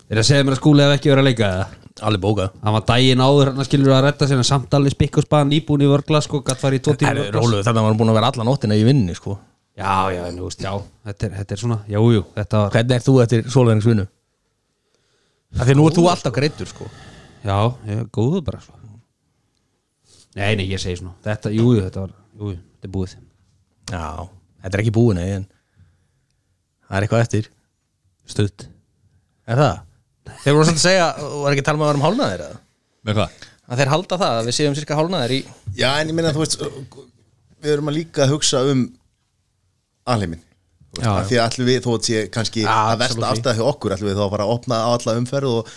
Speaker 3: Er að segja mér að skúli hef ekki verið að leika það
Speaker 6: Alveg bókað
Speaker 3: Hann var daginn áður hann skilur að redda sér en samt alveg spikk og spaðan íbúin í vörglas sko, gatt farið í tvo tíma
Speaker 6: Herru, róluðu, þetta var hann búin að vera alla nóttina í vinninni sko.
Speaker 3: Já, já, en þú veist, já Þetta er, þetta er svona, já, jú, þetta var
Speaker 6: Hvernig er þú eftir sólverðingsvinnu? Þegar nú ert þú alltaf greittur sko.
Speaker 3: Já, ég er góður bara svo Nei, nei, ég segi svona Þetta, jú, jú, þetta var, jú, jú, þetta er búið
Speaker 6: Já, þetta er ekki búin nei, en það er eitthvað eftir
Speaker 3: Stutt
Speaker 6: Er það? Þeir voru svolítið að segja, var ekki að tala með að vera um hálnaðir eða?
Speaker 1: Með hvað?
Speaker 6: Að þeir halda það, að við séum cirka hálnaðir í
Speaker 2: Já, en ég minna, þú veist við erum að líka að hugsa um alheimin
Speaker 6: Já,
Speaker 2: af því að allir við, þó að sé kannski
Speaker 6: Ja,
Speaker 2: að versta
Speaker 6: absolutely.
Speaker 2: afstæða hjá okkur, allir við þá að fara að opna á alla umferð og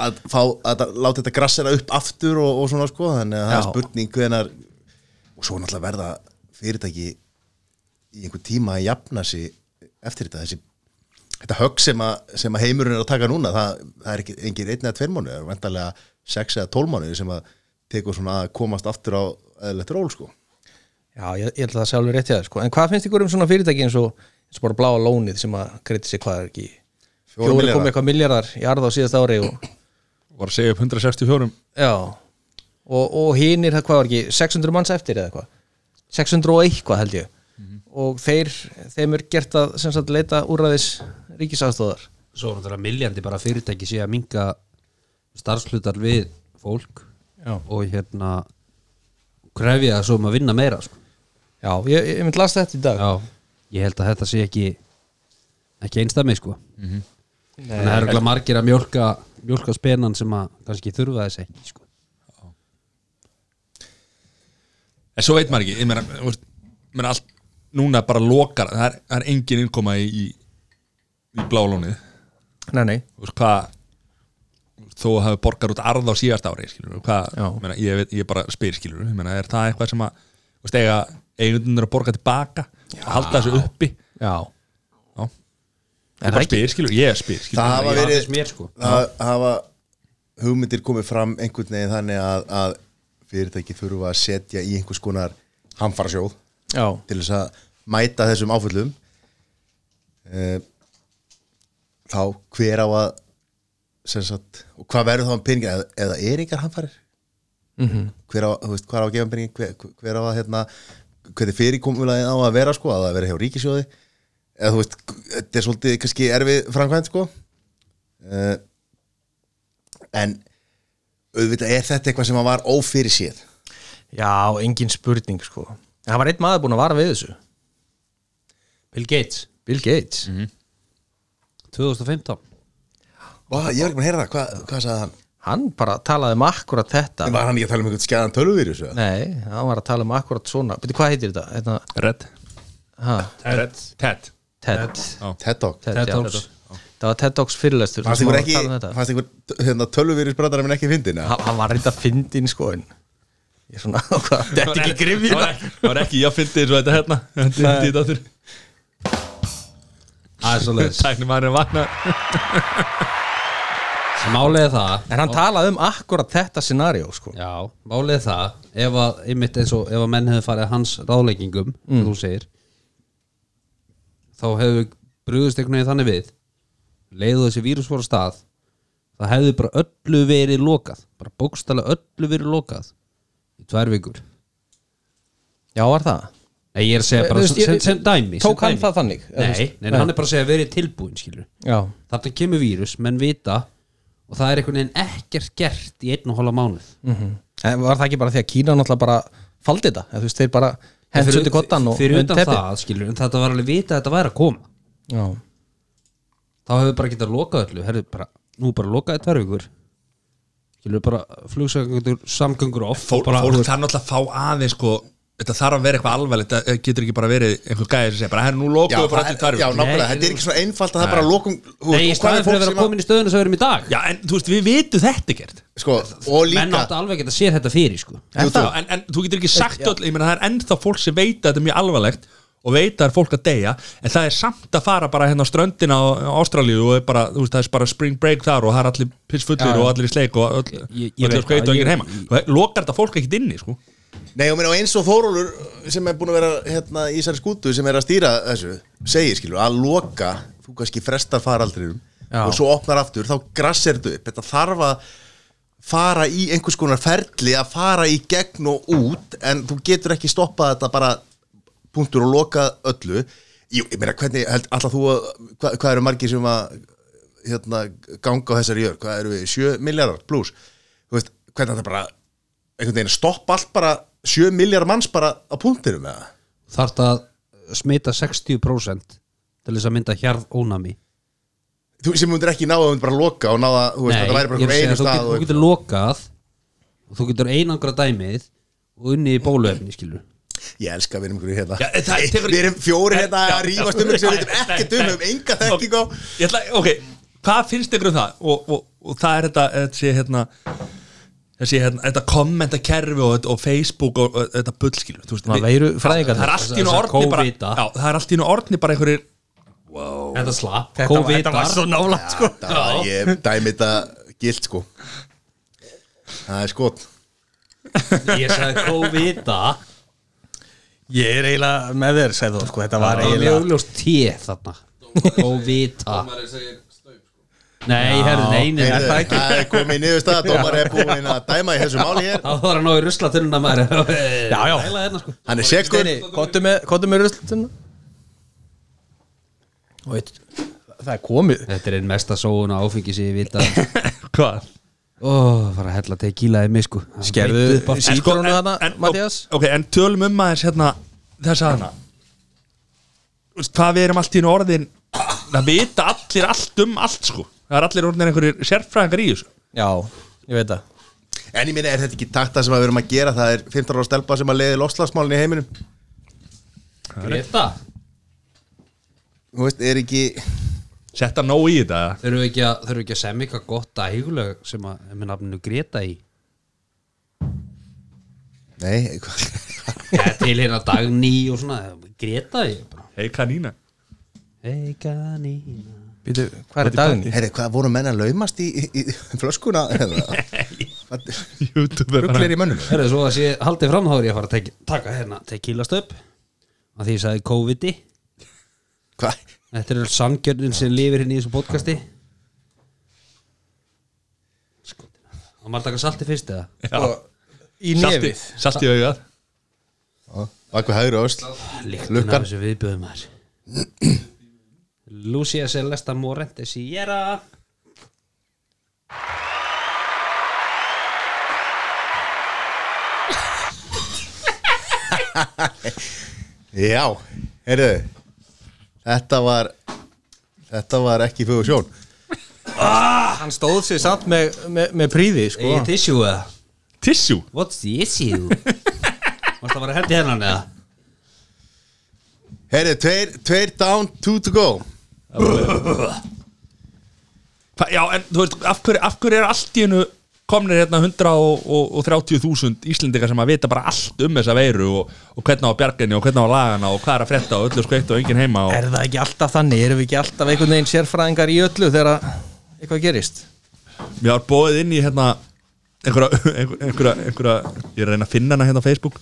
Speaker 2: að fá, að láta þetta grassera upp aftur og, og svona sko, þannig að það er
Speaker 6: Já.
Speaker 2: spurning hvenar, og svo náttúrulega verða fyrirtæki í einhver tíma að jafna sig eftir þetta, þessi þetta högg sem, að- sem að heimurinn er að taka núna það, það er ekki engin einn eða tveir mánu það er vantarlega sex eða tól mánu sem að tekur svona að komast aftur á eðlilegt ról sko
Speaker 6: Já, ég, ég held að það sé alveg rétt hjá þér sko. En hvað finnst ykkur um svona fyrirtæki eins og, eins og bara bláa lónið sem að greiti sig hvað er ekki
Speaker 2: Fjóra
Speaker 6: Fjóri
Speaker 2: milljarða.
Speaker 6: komið eitthvað miljardar í arða á síðast ári og,
Speaker 1: Var að segja upp 164
Speaker 6: Já Og, og hinir, það hvað var ekki, 600 manns eftir eða eitthvað 600 og eitthvað held ég Og þeir, þeim er gert að sem sagt leita úrræðis ríkisafstóðar
Speaker 3: Svo er náttúrulega miljandi bara að fyrirtæki sé að minga starfslutar við fólk
Speaker 6: Já.
Speaker 3: og hérna krefja það svo um að vinna meira sko.
Speaker 6: Já, ég, ég mynd lasta þetta í dag
Speaker 3: Já, ég held að þetta sé ekki ekki einstami sko þannig að það eru örugglega margir að mjólka mjólka spenan sem að kannski þurfa þess ekki sko.
Speaker 1: En svo veit maður ekki, ég meina, þú veist, ég meina allt núna bara lokar, það er, það er engin innkoma í, í, í blálónið,
Speaker 6: Nei, nei
Speaker 1: þú veist hvað þó að hafi borgar út arð á síðast ári skilur, hvað,
Speaker 6: Já.
Speaker 1: ég meina, ég, veit, ég bara spyr skilur, ég meina, er það eitthvað sem að þú veist, eiga eigundunar að borga tilbaka að halda þessu uppi
Speaker 6: Já
Speaker 1: Já. ég bara spyr skilur, ég spyr skilur
Speaker 2: það hafa
Speaker 3: Já,
Speaker 2: verið
Speaker 3: finnst mér, sko.
Speaker 2: það hafa hugmyndir komið fram einhvern veginn þannig að, að fyrirtæki þurfa að setja í einhvers konar hamfarasjóð
Speaker 6: Já,
Speaker 2: til þess að mæta þessum áföllum Eh, þá hver á að sem sagt, og hvað verður þá um peningin eða, eða er ykkar hamfarir -hmm. hver á, þú veist, hvað á að gefa um peningin hver, hver á að, hérna, hvernig fyrirkomulagið á að vera sko, að það vera hjá ríkisjóði eða þú veist, þetta er svolítið kannski erfið framkvæmt sko uh, en auðvitað er þetta eitthvað sem að var ófyrir séð
Speaker 6: Já, engin spurning sko En það var einn maður búin að vara við þessu
Speaker 3: Bill Gates
Speaker 6: Bill Gates
Speaker 3: 2015
Speaker 2: Vá, ég var ekki búin að heyra það, hvað, hvað sagði hann?
Speaker 6: Hann bara talaði um akkurat þetta
Speaker 2: Var hann ekki að tala um einhvern skæðan tölvuvírus? eða?
Speaker 6: Nei, hann var að tala um akkurat svona Byrju, hvað heitir þetta? Hérna,
Speaker 1: Red,
Speaker 6: ha,
Speaker 1: Red, Ted
Speaker 6: TED TED,
Speaker 2: TED Talk
Speaker 6: já,
Speaker 3: TED Talks.
Speaker 6: Það var TED Talks fyrirlestur
Speaker 2: Fannst
Speaker 6: þar sem
Speaker 2: ykkur
Speaker 6: hann
Speaker 2: ekki,
Speaker 6: var að tala um þetta.
Speaker 2: fannst ykkur hérna, tölvuvírus brandar minn ekki fyndin? eða?
Speaker 6: Hann- Hann var reynda að fyndi inn sko en Ég svona, [LAUGHS] hvað, þetta er ekki grifið
Speaker 1: það var ekki- það var ekki, ég fyndi eins og þetta hérna þetta er þetta aftur
Speaker 6: [LAUGHS]
Speaker 3: aðeins
Speaker 1: tæknum maðurinn vaknar
Speaker 3: Málið er það
Speaker 6: En hann talaði um akkurat þetta scenario sko
Speaker 3: Já, málið er það ef að, einmitt eins og ef að menn hefur farið að hans ráðleggingum, mm. þú segir þá hefur brugðust einhvern veginn þannig við leiðu þessi vírus voru af stað það hefði bara öllu verið lokað bara bókstala öllu verið lokað í tvær vikur
Speaker 6: Já, var það?
Speaker 3: Nei, ég er að segja bara
Speaker 6: Eh, Þú veist,
Speaker 3: sem,
Speaker 6: ég-
Speaker 3: sem, sem dæmi
Speaker 6: Tók
Speaker 3: sem
Speaker 6: hann
Speaker 3: dæmi.
Speaker 6: það þannig? Eða þú
Speaker 3: Nei,
Speaker 6: veist?
Speaker 3: nei, nei, hann er bara að segja verið tilbúin skilur
Speaker 6: Já,
Speaker 3: þarna kemur vírus, menn vita og það er einhvern veginn ekkert gert í einn og hóla mánuð
Speaker 6: Mhm. En var það ekki bara því að Kína náttúrulega bara faldi þetta, eða þú veist, þeir bara hendur undir kottan og
Speaker 3: fyrir utan
Speaker 6: teppi?
Speaker 3: það skilur, en þetta var alveg vita að þetta væri að koma
Speaker 6: Já,
Speaker 3: þá hefur bara getað lokað öllu Herri, bara, nú bara lokaði tvær vikur skilur bara flugsagangur samgöngur off
Speaker 1: Fólk,
Speaker 3: og bara,
Speaker 1: fólk
Speaker 3: þú veist,
Speaker 1: þarf náttúrulega að fá aðeins sko, þetta þarf að vera eitthvað alvarlegt þetta getur ekki bara verið einhver gæði sem segja bara, herru, nú
Speaker 2: Já,
Speaker 1: lokuðu bara
Speaker 2: það
Speaker 1: allir
Speaker 2: er- já,
Speaker 1: tverfum
Speaker 2: nákvæmlega,
Speaker 3: Nei,
Speaker 2: þetta er ekki svona einfalt að það bara lokum
Speaker 1: um
Speaker 2: hú,
Speaker 3: nei, í staðin fyrir að vera komin í stöðuna sem við erum í dag
Speaker 1: Já, en þú veist, við vitum þetta ekkert
Speaker 2: sko, og
Speaker 3: menn
Speaker 2: líka,
Speaker 3: átt alveg geta séð þetta fyrir sko.
Speaker 1: Jú, þú, en, en þú getur ekki sagt öll, ég meina það er ennþá fólk sem veit að þetta er mjög alvarlegt og veit að það er fólk að deyja en það er samt að fara bara hérna á ströndina á á Ástralíu og er bara, þú veist, það er bara spring break þar og það er allir pissfullir og allir í sleik og öll,
Speaker 3: Ég- ég
Speaker 1: öll
Speaker 3: veit
Speaker 1: er skveit og
Speaker 3: það,
Speaker 1: enginn
Speaker 3: ég-
Speaker 1: heima og lokar þetta fólk ekkit inni, sko
Speaker 2: nei, og, meina, og eins og Þórólur sem er búin að vera hérna í Ísari skútu sem er að stýra þessu, segir skilur, að loka þú kannski frestar faraldriðum
Speaker 6: Já.
Speaker 2: og svo opnar aftur, þá grassir þetta upp þetta þarf að fara í einhvers konar ferli að fara í gegn og út en þú getur ekki stoppað þetta bara punktur og loka öllu Jú, ég meina hvernig, held, alltaf þú að hva, hvað eru margir sem að hérna, ganga á þessari jörg, hvað eru við 7 miljardar pluss, þú veist hvernig þetta bara, einhvern veginn stoppa allt bara 7 miljardar manns bara á punktinum með það
Speaker 3: þarft að smita 60% til þess að mynda hjarð ónami
Speaker 2: þú sem myndir ekki ná að þú myndir bara loka og ná að þú veist, þetta væri bara
Speaker 3: ég er að
Speaker 2: einhver einu
Speaker 3: segja, þú,
Speaker 2: stað
Speaker 3: getur, þú
Speaker 2: og,
Speaker 3: getur lokað og þú getur einangra dæmið og unni í bóluefni skilur
Speaker 2: ég elska að við erum ykkur hérna
Speaker 1: Já, en það- tekur-
Speaker 2: við erum fjóri hérna
Speaker 1: Já,
Speaker 2: að rífast um
Speaker 1: já.
Speaker 2: ykkur sem við veitum ekkert um,
Speaker 1: Nei,
Speaker 2: um
Speaker 1: nei.
Speaker 2: enga þekking á
Speaker 1: Ég ætla, ok, hvað finnst ykkur um það og, og, og það er þetta, þetta sé hérna þessi hérna, þetta kommentakerfi og, og Facebook og, og þetta bullskilu þú veist,
Speaker 6: Svona
Speaker 1: við-
Speaker 6: veiru fræðingar.
Speaker 1: það er allt í nú
Speaker 3: Þessar
Speaker 1: orðni bara
Speaker 3: COVID-a.
Speaker 1: já, það er allt í nú orðni bara einhverjir
Speaker 3: Þetta slapp
Speaker 1: þetta var- þetta var svo nálægt sko
Speaker 2: það var ég dæmi þetta gilt sko það er skot
Speaker 3: Ég sagði COVID
Speaker 6: Ég er eiginlega með þér, segðu þú, sko, þetta var
Speaker 3: Það er
Speaker 6: eiginlega
Speaker 3: lögljós tíð þarna COVID
Speaker 8: Dómari segir staup sko.
Speaker 3: Nei, herðu, neini
Speaker 2: Heyrðu, það er komið í niðurstað dómar er búin að dæma í þessu máli hér
Speaker 3: Þá þarf hann á í ruslatunna maður Já,
Speaker 6: já.
Speaker 3: [LAUGHS] Æla hérna sko
Speaker 2: hann er sekkur
Speaker 6: Steini, kottu með, kottu með ruslutuna Og eitt Það er komið
Speaker 3: Þetta er einn mesta sóun og áfengi sem ég vita
Speaker 1: hvað?
Speaker 3: Ó, fara að hella tequila í mig sko Það
Speaker 6: Skerðu
Speaker 3: beint upp af-
Speaker 1: En sko,
Speaker 6: sítrónu
Speaker 1: en-
Speaker 6: þarna,
Speaker 1: en-
Speaker 6: Mattias
Speaker 1: ok, en tölum um aðeins hérna þess að hana Þú veist, hvað við erum allt í einu orðin það vita allir allt um allt sko það er allir orðin einhverjir sérfræðingar í þessu
Speaker 6: Já, ég veit það
Speaker 2: en ég minna er þetta ekki takta sem að við erum að gera það er 15 ára stelpa sem að leiði loslagsmálin í heiminum
Speaker 3: Greta
Speaker 2: þú veist er ekki
Speaker 1: setta nóg í þetta eða?
Speaker 3: Þurfum við ekki að, þurfum við ekki að semja eitthvað gott að higuleg sem að, er með nafninu Greta í
Speaker 2: nei hvað
Speaker 3: Já, til hérna Dagný og svona Greta í bara
Speaker 1: hei kanína
Speaker 3: Hey Ganína
Speaker 6: Býtu, hvað er dagni?
Speaker 2: Herri, hvað voru menn að laumast í, í, í flöskuna? [LAUGHS]
Speaker 1: YouTube er bara
Speaker 2: Rugglir í mönnum?
Speaker 3: Herðu, svo að sé haldið fram þá er ég að fara að tek, taka hérna tequila stöp að því ég sagði COVID-i
Speaker 2: Hvað?
Speaker 3: Þetta er öll sangjörnin sem lifir hérna í þessu podcasti Skotina Það Sko, maður taka salti fyrst eða?
Speaker 6: Í
Speaker 1: salti,
Speaker 6: nefið
Speaker 1: salti í augað
Speaker 2: Vakku hægri ösl
Speaker 3: Líktin af
Speaker 2: Lukkan.
Speaker 3: þessu viðbjöðum þær Lucia Celesta Morente Sierra
Speaker 2: Já, heyrðu Þetta var Þetta var ekki fyrir sjón
Speaker 6: Hann stóð sér samt með, með, með príði, sko
Speaker 3: Egið tissue eða?
Speaker 1: tissue
Speaker 3: What's the issue? Varst það bara að hendi hennan eða?
Speaker 2: Heyrðu, tveir, tveir down, two to go
Speaker 1: Hva, já en þú veist af hverju, af hverju er allt í hennu komnir hérna 130.000 Íslendingar sem að vita bara allt um þessa veiru og, og hvernig á bjarginni og hvernig á lagana og hvað er að frétta og öllu skveitt og enginn heima og
Speaker 6: Er það ekki alltaf þannig? Erum við ekki alltaf einhvern veginn sérfræðingar í öllu þegar að eitthvað gerist?
Speaker 1: mér var bóðið inn í hérna einhverja, einhverja, einhverja, einhverja ég er að reyna að finna hana hérna á Facebook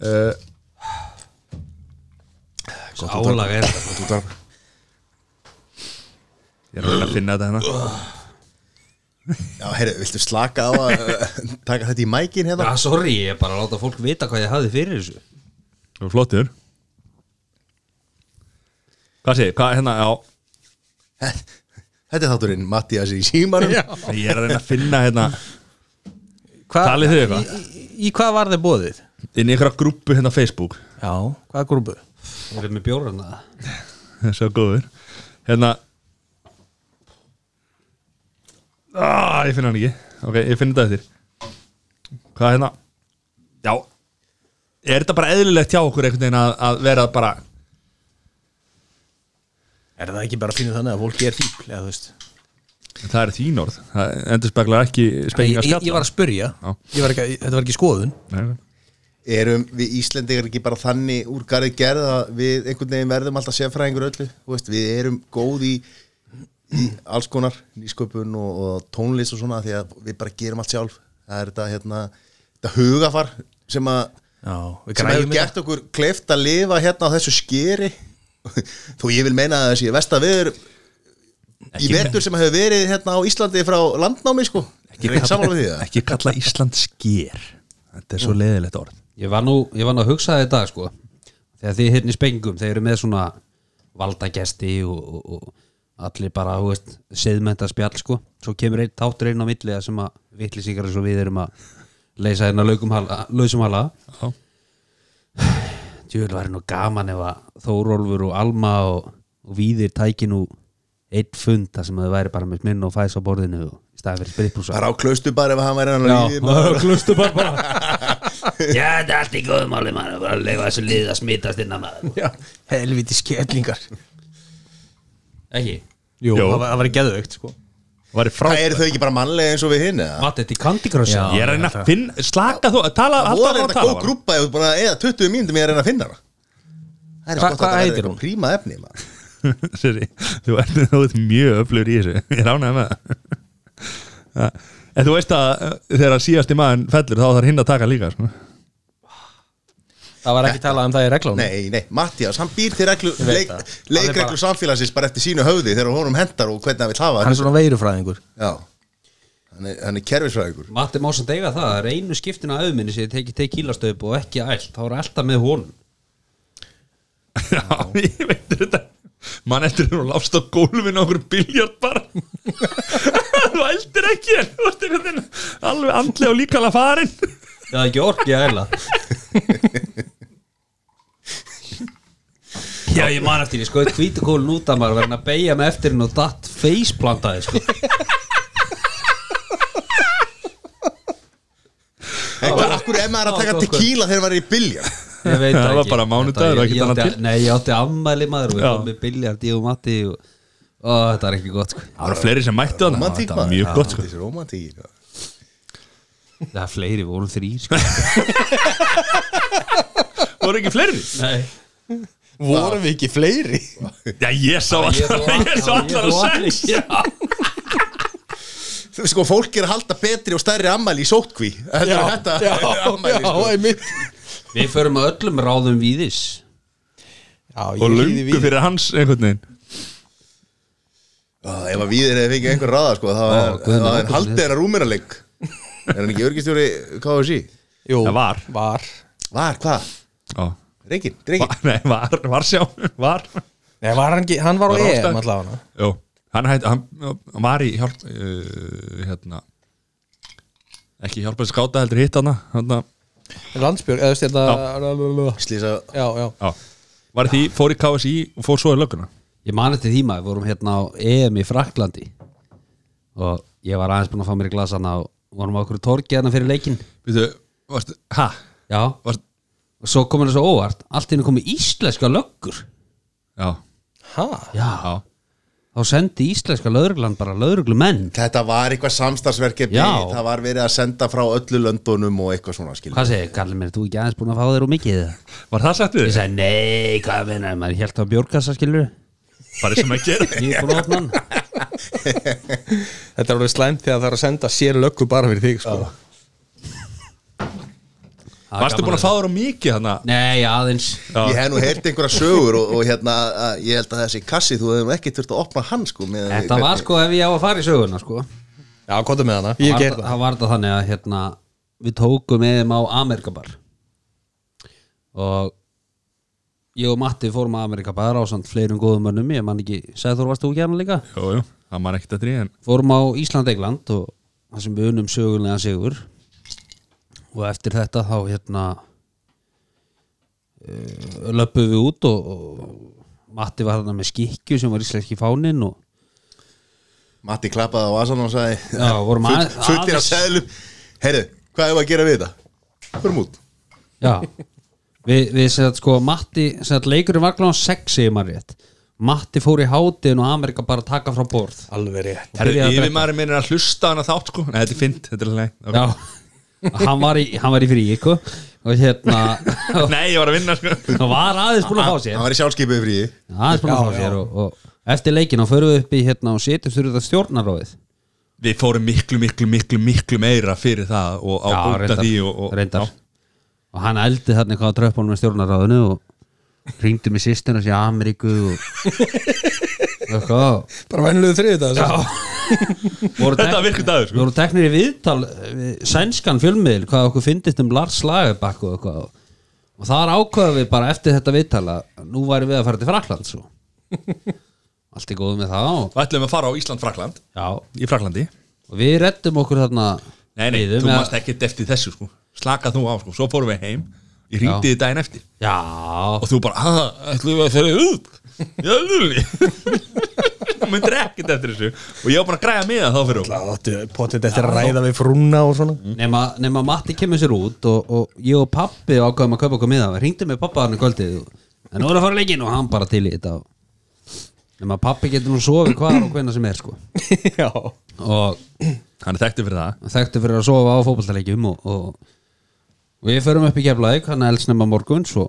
Speaker 1: uh,
Speaker 3: Álag er þetta
Speaker 1: ég er að reyna að finna þetta hérna
Speaker 2: Já, heyrðu, viltu slaka á að [LAUGHS] eh, taka þetta í mækin
Speaker 3: Já,
Speaker 2: hérna?
Speaker 3: sorry, ég er bara að láta fólk vita hvað ég hafði fyrir þessu
Speaker 1: og flottur hvað sé, hvað hérna, já
Speaker 2: Þetta er þátturinn Mattias í símanum
Speaker 1: ég er að reyna að finna hérna
Speaker 6: Hva,
Speaker 1: Talið þið eitthvað?
Speaker 6: Í, í, í hvað var þið bóðið?
Speaker 1: inn í einhverja grúpu hérna á Facebook
Speaker 6: Já, hvað grúbu?
Speaker 3: Erum við bjórana?
Speaker 1: svo góður hérna ah, ég finn hann ekki ok, ég finn þetta eftir hvað hérna já, er þetta bara eðlilegt hjá okkur einhvern veginn að, að vera bara
Speaker 6: Er það ekki bara að finna þannig að fólki er fíl, eða þú veist?
Speaker 1: það er þín orð, það endur speklar ekki
Speaker 6: Ég,
Speaker 1: spekinga
Speaker 6: ég, ég var að spurja,
Speaker 1: Já.
Speaker 6: ég var ekki, að- þetta var ekki skoðun
Speaker 1: skjalla
Speaker 2: Erum við Íslendingar ekki bara þannig úr garði gerð að við einhvern veginn verðum alltaf sérfræðingur öllu? Þú Veist, við erum góð í, í alls konar nýsköpun og, og tónlist og svona því að við bara gerum allt sjálf. Það er þetta, hérna, þetta hugafar sem, að,
Speaker 6: Já, við
Speaker 2: sem hefur
Speaker 6: græjum þetta
Speaker 2: gert okkur kleift að lifa hérna á þessu skeri [LAUGHS] þó ég vil meina að þessi vest að viður í vetur sem hefur verið hérna á Íslandi frá landnámi sko ekki saman við því það
Speaker 1: ekki kalla Ísland sker Þetta er svo leiðilegt orð
Speaker 3: Ég var nú, ég var nú að hugsa það í dag sko þegar þið hérna í spengum, þeir eru með svona valdagesti og, og, og allir bara, þú veist, seðmenta spjall sko, svo kemur einn tátur einn á milli þar sem að vitlisíkar eins og við erum að leysa hérna lausum hala, lausum hala.
Speaker 1: Já.
Speaker 3: Djúvel var nú gaman ef að Þórólfur og Alma og, og Víðir tæki nú einn fund þar sem þau væri bara með minn og fæs á borðinu og í staðið fyrir spritbrúsa
Speaker 2: bara á klaustu bara ef hann væri
Speaker 1: [LAUGHS]
Speaker 2: hann
Speaker 3: Já,
Speaker 2: að líði bara
Speaker 3: klustu bara Já, þetta er allt í góðum áli maður bara að leifa þessu lið að smitast innan maður
Speaker 6: [LAUGHS] Já, helviti skellingar
Speaker 3: Ekki?
Speaker 6: Jú,
Speaker 1: Jú.
Speaker 6: það var- það var geðveikt sko
Speaker 1: Væri frá-
Speaker 2: það eru þau ekki bara mannlega eins og við hinn eða
Speaker 3: Vat, þetta er Candy Crush
Speaker 6: Já.
Speaker 1: Ég er að reyna að finna Slaka þú Tala
Speaker 2: voru
Speaker 1: áfram að
Speaker 2: þetta góð
Speaker 1: bara.
Speaker 2: grúpa ef þú búin að eða 20 mínútum ég er að reyna að finna hana það er
Speaker 6: Hva-
Speaker 2: gott
Speaker 6: hvað
Speaker 2: að það er
Speaker 6: heitir
Speaker 2: eitthvað
Speaker 6: hún?
Speaker 2: príma efni maður.
Speaker 1: [LAUGHS] Sirri, þú ert, þú ert mjög öflur í þessu Ég ránaði með það [LAUGHS] Ja. En þú veist að uh, þegar síðasti maður fellur þá þarf hinn að taka líka sko. [LAUGHS]
Speaker 6: Það var ekki talað um það í reglunum
Speaker 2: nei, nei, Mattias, hann býr til reglu,
Speaker 6: veit
Speaker 2: leik,
Speaker 6: það. Hann er
Speaker 2: leikreglu
Speaker 6: bara-
Speaker 2: samfélagsins bara eftir sínu höfði þegar honum hendar og hvernig hann vil hafa
Speaker 6: Hann er svona veirufræðingur
Speaker 2: já, hann er, hann er kerfisfræðingur
Speaker 3: Matti má samt eiga það, það er einu skiptin að auðminni sem ég teki tekilastöp og ekki ælt þá er alltaf með honum
Speaker 1: Já, ég veit þetta Man eftir þegar hún láfst á gólfinu á okkur biljart bara [LAUGHS] Þú eldir ekki en þú ert einhvern veginn alveg andlega og líkala [LAUGHS] farin
Speaker 3: Já, ekki orki að æla Já, ég man eftir, ég skoði hvítukólin út að maður verðin að beigja með eftir henn og datt faceplantaði sko.
Speaker 2: en hvað, okkur ef maður er að
Speaker 3: Já,
Speaker 2: taka
Speaker 3: okkur.
Speaker 2: tequila þegar maður er í bylja
Speaker 3: Ég
Speaker 1: [LAUGHS]
Speaker 3: veit
Speaker 1: Það var
Speaker 3: ekki.
Speaker 1: bara mánudagur,
Speaker 3: Þetta-
Speaker 1: ekkert
Speaker 3: ég átti-
Speaker 1: annað til.
Speaker 3: Nei, ég átti ammæli maður og ég
Speaker 1: Já.
Speaker 3: kom með biljart í og mati og ó, þetta er ekki gott sko.
Speaker 1: Það voru fleiri sem mættu þannig
Speaker 2: romantík
Speaker 1: var
Speaker 2: maður
Speaker 1: mjög gott sko.
Speaker 2: þessi romantík já.
Speaker 3: Það er fleiri, við vorum þrýr sko.
Speaker 1: [LAUGHS] Voru ekki fleiri?
Speaker 3: Nei
Speaker 5: Vorum við ekki fleiri?
Speaker 1: Já, ég sá allar [LAUGHS] Ég sá allar og sex
Speaker 2: Þú veist, [LAUGHS] sko, fólk er að halda betri og stærri ammæli í sótkví Þetta er þetta
Speaker 5: já,
Speaker 2: [LAUGHS] ammæli,
Speaker 5: já,
Speaker 2: sko.
Speaker 5: einmitt
Speaker 3: Við förum að öllum ráðum víðis
Speaker 5: já, ég
Speaker 1: Og
Speaker 5: hlýði
Speaker 1: lungu
Speaker 5: við.
Speaker 1: fyrir hans einhvern veginn
Speaker 2: Já, Ah, Ef að við erum fengið einhver ráða, sko, þá
Speaker 3: Ó,
Speaker 2: er-
Speaker 3: guð minn,
Speaker 2: þá er
Speaker 3: ákvörðun
Speaker 2: haldið hennar rúminarleik Er hann ekki örgistjóri KFC?
Speaker 5: Jú,
Speaker 1: Það var.
Speaker 5: var.
Speaker 2: Var, hvað?
Speaker 1: Ó.
Speaker 2: Reykinn, Reykinn
Speaker 1: Va- Nei, var, var sjá Var
Speaker 5: Nei, var hann ekki, hann var á
Speaker 1: Var ástæða?
Speaker 5: EM allavega
Speaker 1: Jó, hann, hætt, hann, hann var í hjálp uh, hérna ekki hjálpa þessi skáta heldur hitt hana, hana
Speaker 5: Landsbjörg, eða
Speaker 6: hérna-
Speaker 5: stjórna
Speaker 2: Slýsa
Speaker 5: Já, já,
Speaker 1: á, var í því, fór í KSI og fór svo í lögguna
Speaker 3: Ég man eftir því maður, við vorum hérna á EM í Fraklandi og ég var aðeins búinn að fá mér í glasana og vorum á okkur torgi hérna fyrir leikin
Speaker 1: Býtu, varstu, ha?
Speaker 3: Já, og
Speaker 1: Varstu,
Speaker 3: svo komur þessu óvart allt inni komið íslenska löggur
Speaker 1: já,
Speaker 5: ha?
Speaker 3: Já,
Speaker 1: já
Speaker 3: þá sendi íslenska lögreglan bara lögreglumenn
Speaker 2: Þetta var eitthvað samstagsverkefni
Speaker 3: Já.
Speaker 2: Það var verið að senda frá öllu löndunum og eitthvað svona skil
Speaker 3: Hvað segir, Karli mér, þú ekki aðeins búinn að fá þér og mikið það?
Speaker 1: Var það sagt við
Speaker 3: Ég
Speaker 1: þig?
Speaker 3: sagði, nei, hvað meina, maður held á bjórkassa skilur
Speaker 1: Bara sem að [LAUGHS] gera
Speaker 3: Ég er búin að opna hann
Speaker 5: Þetta er alveg slæmt þegar það er að senda sér löggu bara fyrir þig sko.
Speaker 3: Það er
Speaker 1: Varstu
Speaker 3: gaman
Speaker 1: búin að fá þér á mikið hana?
Speaker 3: Nei, aðeins
Speaker 2: Ég hef nú heyrt einhverja sögur og, og hérna, að, ég held að þessi kassi, þú hefur nú ekki þurft að opna hann sko með-
Speaker 3: Þetta var sko ef ég á að fara í söguna sko
Speaker 5: Já, kóta með hana Ég
Speaker 3: Var-
Speaker 5: ger það
Speaker 3: Það var þetta þannig að hérna Við tókum EM á Amerikabar Og Ég og Matti fórum að Amerikabar á samt fleirum góðum mönnum Ég man ekki, sagði þú varst þú ekki hérna líka
Speaker 1: Jú, jú, það maður ekkert að því en
Speaker 3: Fórum á Ísland-Egland og það sem við unum sögulega sigur Og eftir þetta þá hérna uh, Löppum við út og, og Matti var þarna með skikju sem var íslenski fáninn og
Speaker 2: Matti klappaði á vasan og sagði
Speaker 3: Já, vorum
Speaker 2: Full-
Speaker 3: að-
Speaker 2: Fullir að
Speaker 3: aðeins-
Speaker 2: seglum Heyrðu, hvað hefur að gera við þetta? Förum út
Speaker 3: Já Við, við sem sagt sko Matti sem sagt leikurinn var gláðan 6 segir maður rétt Matti fór í hátiðin og Amerika bara að taka frá borð
Speaker 5: Alveg rétt
Speaker 1: Herri,
Speaker 3: Byrjaði að drekka.
Speaker 1: yfirmaður minn er að hlusta á hana þátt sko Nei, þetta er fint, þetta er leið okay.
Speaker 3: Já Hann var í, hann var í frí ykkur og hérna og
Speaker 1: Nei, ég var að vinna sko
Speaker 3: og var aðeins búin að fá sér
Speaker 2: Hann var í sjálfskeipu yfir í
Speaker 3: aðeins búin að fá sér og, og eftir leikin og förum við upp í hérna og setjum þurfið þetta stjórnaróðið
Speaker 1: Við fórum miklu, miklu, miklu, miklu meira fyrir það og á bóta því og, og,
Speaker 3: reyndar. og hann eldi þarna eitthvað á tröppunum með stjórnaráðinu og, ringdu með sýstuna sér Ameríku og
Speaker 1: [LAUGHS]
Speaker 3: eitthvað
Speaker 6: bara venluðu þriðið það
Speaker 5: sko.
Speaker 3: voru
Speaker 1: Þetta
Speaker 3: tek-
Speaker 1: virkur dagur
Speaker 3: við
Speaker 1: sko.
Speaker 3: voru teknir í viðtal eh, við sænskan fjölmiðil hvað okkur fyndist um Lars Lagerbakk og eitthvað og þar ákvaðum við bara eftir þetta viðtal að nú væri við að fara til
Speaker 1: [LAUGHS]
Speaker 3: Frakland svo allt er góð með það og,
Speaker 1: Við ætlum að fara á Ísland-Frakland
Speaker 3: já,
Speaker 1: Í Fraklandi
Speaker 3: og við rettum okkur þarna
Speaker 1: Nei, nei,
Speaker 3: niður
Speaker 1: þú
Speaker 3: með að-
Speaker 1: mást ekkert eftir þessu sko Slaka þú á sko, svo fórum við heim Ég ringdi þið daginn eftir
Speaker 3: já,
Speaker 1: Og þú bara, aða, ætlum við að fyrir út [LAUGHS] Já, lúli [LAUGHS] Þú myndir ekkert eftir þessu Og ég var bara að græja með það þá fyrir hún
Speaker 6: Það áttu potið eftir að ræða við frúna og
Speaker 5: [LAUGHS]
Speaker 6: svona
Speaker 3: nema, nema Matti kemur sér út og, og ég og pappi ákvaðum að kaupa okkur miða við ringdum með pappa hann í kvöldið og- en nú er að fara leikinn og hann bara til í þetta og- nema pappi getur nú sofið hvar og hvenna sem er sko
Speaker 6: Já
Speaker 3: og
Speaker 1: Hann er þekktið fyrir það
Speaker 3: þekktu fyrir að sofa á fótballtaleikjum og, og, og við förum upp í Keflavík hann elsnum að morgun svo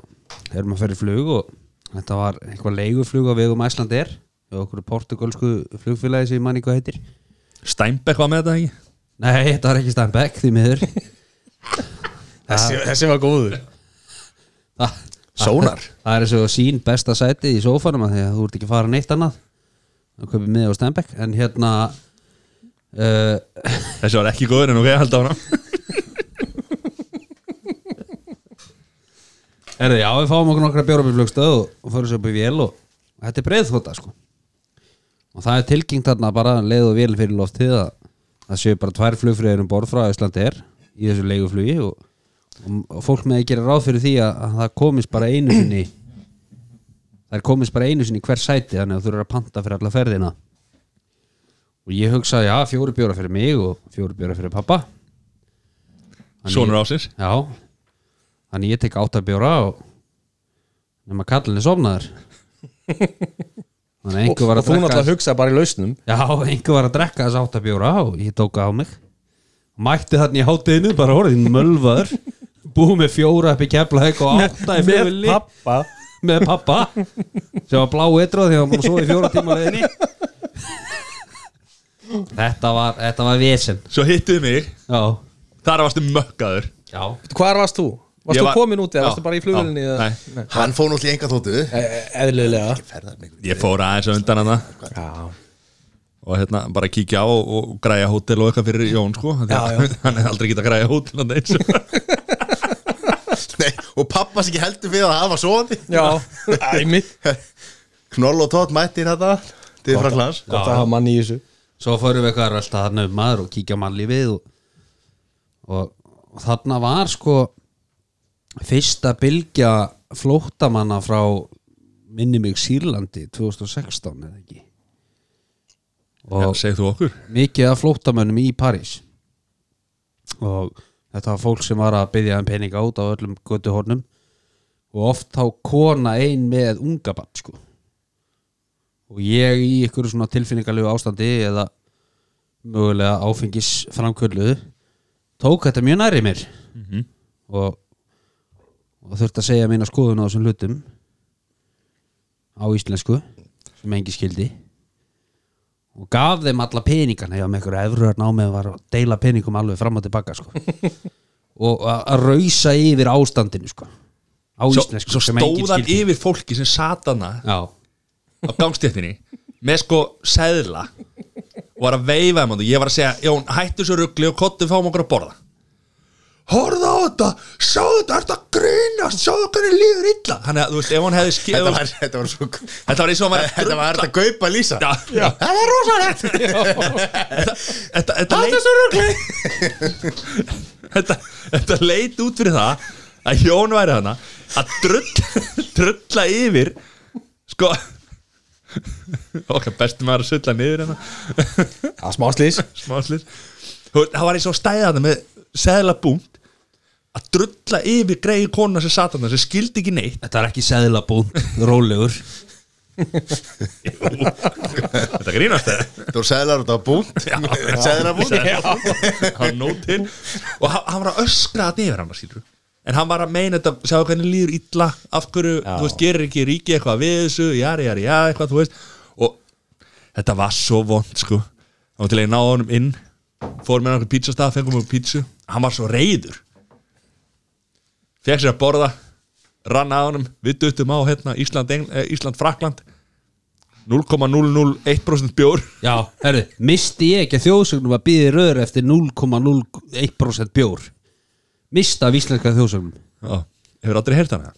Speaker 3: erum að fyrir flug og þetta var eitthvað leiguflug á vegum Æslandir við okkur portugalsku flugfélagi sem ég manni hvað heitir
Speaker 1: Steinbeck var með þetta ekki
Speaker 3: Nei, þetta var ekki Steinbeck því miður
Speaker 6: Þessi, þessi var góður
Speaker 3: Þa-
Speaker 2: Sónar.
Speaker 3: Það er eins og sín besta sæti í sófanum að því að þú ert ekki að fara neitt annað að köpum miða á Steinbeck en hérna uh,
Speaker 1: Þessi var ekki góður en ok, held áfram
Speaker 3: Erði, já, við fáum okkur nokkra bjóra upp í flugstöð og, og fórum svo upp í vél og og þetta er breið þóta sko og það er tilkynnt þarna bara leið og vél fyrir loftið að það séu bara tvær flugfröður um borð frá Íslandi er í þessu leiguflugi og, og, og fólk með að gera ráð fyrir því að, að það komist bara einu sinni það er komist bara einu sinni í hver sæti þannig að þú eru að panta fyrir alla ferðina og ég hugsaði, já, fjóri bjóra fyrir mig og fjóri bjóra fyrir pappa Þannig-
Speaker 1: Sónur ásins
Speaker 3: Já Þannig ég tek átta bjóra og nema kallin er sofnaður Þannig að
Speaker 6: Og,
Speaker 3: einhver var
Speaker 6: og
Speaker 3: að
Speaker 6: þú
Speaker 3: drekka
Speaker 6: náttúrulega hugsaði bara í lausnum
Speaker 3: Já, einhver var að drekka þess átta bjóra og ég tóka á mig Mætti þannig í hátteginu, bara orðin mölvaður Búið með fjóra upp í keflaug og átta í flugvili
Speaker 6: pappa
Speaker 3: með pappa sem var blá eitthvað því að maður svo í fjóra tíma á
Speaker 6: [LAUGHS]
Speaker 3: leiðinni Þetta var, þetta var vesen
Speaker 1: Svo hittuðu mig,
Speaker 3: Já,
Speaker 1: þar varstu mökkaður
Speaker 3: já
Speaker 6: Hvar varst þú? Varst
Speaker 1: Ég
Speaker 6: þú
Speaker 1: var-
Speaker 6: komin út
Speaker 1: Já,
Speaker 6: eða varstu bara í flugulni?
Speaker 1: já, nei.
Speaker 2: Hann fór náttúrulega í enga þóttu
Speaker 6: Eðlilega
Speaker 2: Ferðar mig
Speaker 1: Ég fór aðeins á undan hana
Speaker 6: Já
Speaker 1: og hérna bara kíkja á og, og græja hótel og eitthvað fyrir Jón sko já,
Speaker 6: Já, já.
Speaker 1: [LAUGHS] hann er aldrei getað að græja hótel hann eins
Speaker 2: Nei, og pappa sem ekki heldur við að hann var svoandi
Speaker 6: Já [LAUGHS] Æmi
Speaker 2: Knoll og tótt mættir þetta Til Franklands
Speaker 6: Gott að hafa manni í þessu
Speaker 3: svo fórum við eitthvað að rölda þarna um maður og kíkja á mannlífið og, og, og þarna var sko fyrsta bylgja flóttamanna frá minni mig Sýrlandi 2016 eða ekki
Speaker 1: [LAUGHS]
Speaker 3: og
Speaker 1: segir þú okkur
Speaker 3: mikið af flóttamönnum í París og þetta var fólk sem var að byggja um peninga út á öllum göttuhornum og oft þá kona ein með unga barn sko og ég í ykkur svona tilfinningalegu ástandi eða mögulega áfengis framkvöluðu tók þetta mjög nærri mér
Speaker 1: Mhm.
Speaker 3: og, og þurfti að segja mína skoðun á þessum hlutum á íslensku sem engi skildi og gaf þeim alla peningana ég var með einhverju efruðar námið var að deila peningum alveg fram og tilbaka sko.
Speaker 1: [LAUGHS]
Speaker 3: og að að rausa yfir ástandinu sko. á
Speaker 1: svo,
Speaker 3: íslensku
Speaker 1: svo
Speaker 3: sem enginn
Speaker 1: stóðan
Speaker 3: skildi.
Speaker 1: yfir fólki sem satana
Speaker 3: Já,
Speaker 1: á gangstéttinni með sko seðla og var að veifa þeim á þetta ég var að segja, Jón, hættu svo ruggli og kottu fáum okkur að borða Horða á þetta, sjáðu þetta, ertu að grínast, sjáðu hvernig líður illa Þannig að, þú veist, ef hann hefði skil
Speaker 2: Þetta var, þetta var svo
Speaker 1: Þetta var eins og hann var að
Speaker 2: Þetta var þetta gaupa lýsa
Speaker 1: Já, já.
Speaker 2: Það er rosalegt
Speaker 1: Þetta- Þetta þetta leit [LAUGHS] Þetta Þetta leit út fyrir það að Jón væri hana að drull, [LAUGHS] drulla yfir sko [LAUGHS] okkar besti maður að sulla niður hérna, [LAUGHS] hana
Speaker 6: Já, smá slís
Speaker 1: smáslir það var eins og stæðana með seðla búnt að drulla yfir greiði konuna sem satan það sem skildi ekki neitt
Speaker 3: þetta er ekki seðlabúnt,
Speaker 1: [LAUGHS]
Speaker 3: rólegur
Speaker 1: þetta grínast það
Speaker 2: Þú voru sæðlar út á búnt Sæðlar á búnt
Speaker 1: hann nóg til og hann, hann var að öskra þetta yfir hann skilur en hann var að meina þetta, sjá hvernig líður illa af hverju, þú veist, gerir ekki ríki eitthvað við þessu, jari, jari, já, eitthvað, þú veist og þetta var svo vond sko, hann var til að ég náða honum inn fór með hann okkur pítsastað, fengum okkur pítsu hann var svo reyður fekk sér að borða rann að honum, við duttum á hérna, Ísland, Engl, eh, Ísland Frakland 0,001% bjór
Speaker 3: Já, herðu, misti ég ekki að þjóðsögnum að býði röður eftir 0,01% bjór Mista af íslenska þjóðsögnum
Speaker 1: Já, hefur aldrei heyrt hana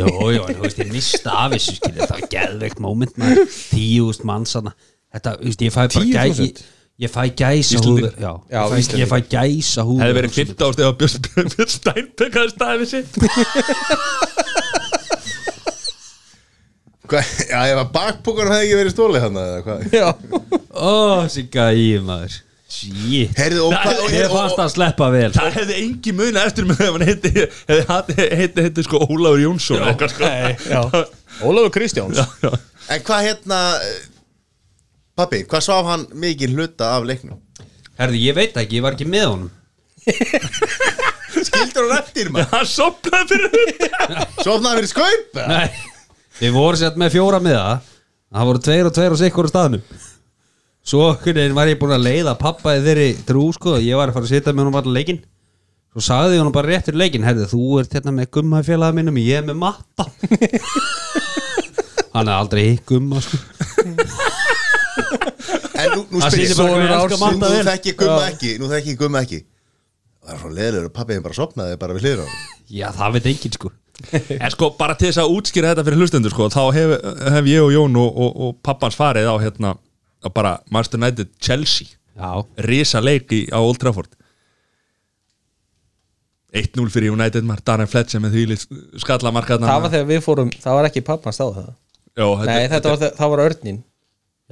Speaker 3: Jó, jó, en þú veist, ég mista af þessu skilja Það var geðveikt moment maður Tíúst mannsana Þetta, þú veist, ég fæ bara gæ ég,
Speaker 5: 10.000?
Speaker 3: ég fæ gæsa húð
Speaker 1: Íslendingar.
Speaker 3: Já,
Speaker 5: Já,
Speaker 3: ég, fæ, ég fæ gæsa húð
Speaker 1: hefði verið 15 ást eða Björn Björn Steinbeck hafði staðið við sitt
Speaker 2: Hva, já, ef að bakpokanum hefði ekki verið stólið hann eða hvað
Speaker 6: [LAUGHS]
Speaker 5: Já,
Speaker 3: Ó, þessi gæi maður Shit
Speaker 2: Heyrðu, og hvað og-
Speaker 3: Ég fannst að sleppa vel
Speaker 1: það hefði engi muna eftir með ef hann heiti hefði heiti, heiti, heiti sko Ólafur Jónsson eða eitthvað sko
Speaker 5: já. Ólafur Kristjáns
Speaker 2: En hvað hérna eh, Pabbi, hvað svaf hann mikið hluta af leiknum?
Speaker 3: Herðu, ég veit ekki, ég var ekki með honum
Speaker 2: Skildur hann eftir maður?
Speaker 1: hann sopnaði fyrir þetta
Speaker 2: Svofnaði hann fyrir skaup? eða?
Speaker 3: Nei, við vorum sett með fjóra með það Það voru tveir og tveir og sikkur á staðnum Svo hvernig var ég búin að leiða pappa í þeirri trú sko Ég var að fara að sitja með honum allan leikinn Svo sagði ég honum bara rétt fyrir leikinn Herði, þú ert hérna með gummafélaga mínum Ég er með matta Hann er aldrei hitt gumma sko
Speaker 2: En nú, nú
Speaker 3: Það
Speaker 2: spyr ég
Speaker 3: sýnir bara hvernig
Speaker 2: Nú-
Speaker 3: elskar Matta
Speaker 2: Nú
Speaker 3: vel.
Speaker 2: þekki ég gumma ekki Nú þekki ég gumma ekki Það er svo leðilegur að pabbi bara sopnaði bara við hliður á hann
Speaker 3: Já, það veit enginn sko
Speaker 1: en sko bara til þess að útskýra þetta fyrir hlustendur sko þá hef, hef ég og Jón og, og, og pappans farið á hérna á bara Master United Chelsea
Speaker 3: Já,
Speaker 1: risa leik í, á Old Trafford 1-0 fyrir United maður Darren Fletcher með því skallamarkaðna
Speaker 5: Það var þegar við fórum, það var ekki pappans þá það Nei, þetta var, það var örninn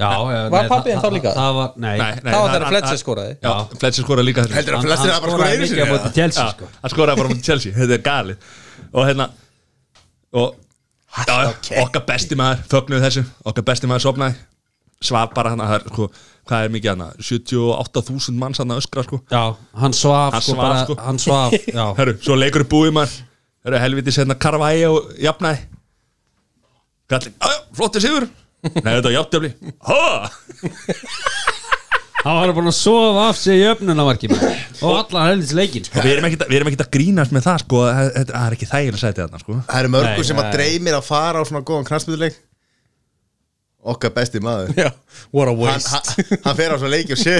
Speaker 3: já, já
Speaker 5: Var
Speaker 3: nei,
Speaker 5: pabbi þinn
Speaker 3: það-
Speaker 5: þá líka?
Speaker 3: Það var, nei,
Speaker 5: Það var þegar Fletcher skoraði
Speaker 1: Já, Fletcher skoraði líka þessu
Speaker 2: Heldur að
Speaker 3: Hann-
Speaker 2: flestir
Speaker 3: hann
Speaker 2: hafa bara skoraði
Speaker 3: skoraði
Speaker 2: einu
Speaker 3: mikið á
Speaker 2: sinni
Speaker 3: móti Chelsea
Speaker 1: Já,
Speaker 3: sko
Speaker 1: hann skoraði bara mútið Chelsea, þetta er gali og hérna og já, já, okkar besti maður fögnuð þessu, okkar besti maður sopnaði svaf bara hann að sko, hvað er mikið hann 78.000 manns hann að öskra sko
Speaker 3: Já, hann svaf
Speaker 1: Hann
Speaker 3: sko
Speaker 1: svaf,
Speaker 3: bara
Speaker 1: sko.
Speaker 3: Hann svaf, já
Speaker 1: [LAUGHS] Herru, svo leikur upp búið maður Herru, helviti setna karvægi og jafnæði Kallin, aðja, flottir sigur Nei, þetta er jafntefli Ha!
Speaker 2: [LAUGHS]
Speaker 3: Hann var búin að sofa af sig í öfnunamarki og allan helvits leikinn sko.
Speaker 1: Og við erum ekkit að- við erum ekkit að grínast með það sko að að- að Það er ekki þægilega sætið þarna sko
Speaker 2: Það eru
Speaker 3: Nei,
Speaker 2: mörgur sem
Speaker 3: nei.
Speaker 2: að dreymir að fara á svona góðan knarspilduleik Okkar besti maður
Speaker 5: Já, what a
Speaker 2: Hann,
Speaker 5: waste
Speaker 2: hann, hann fer á svona leiki og sé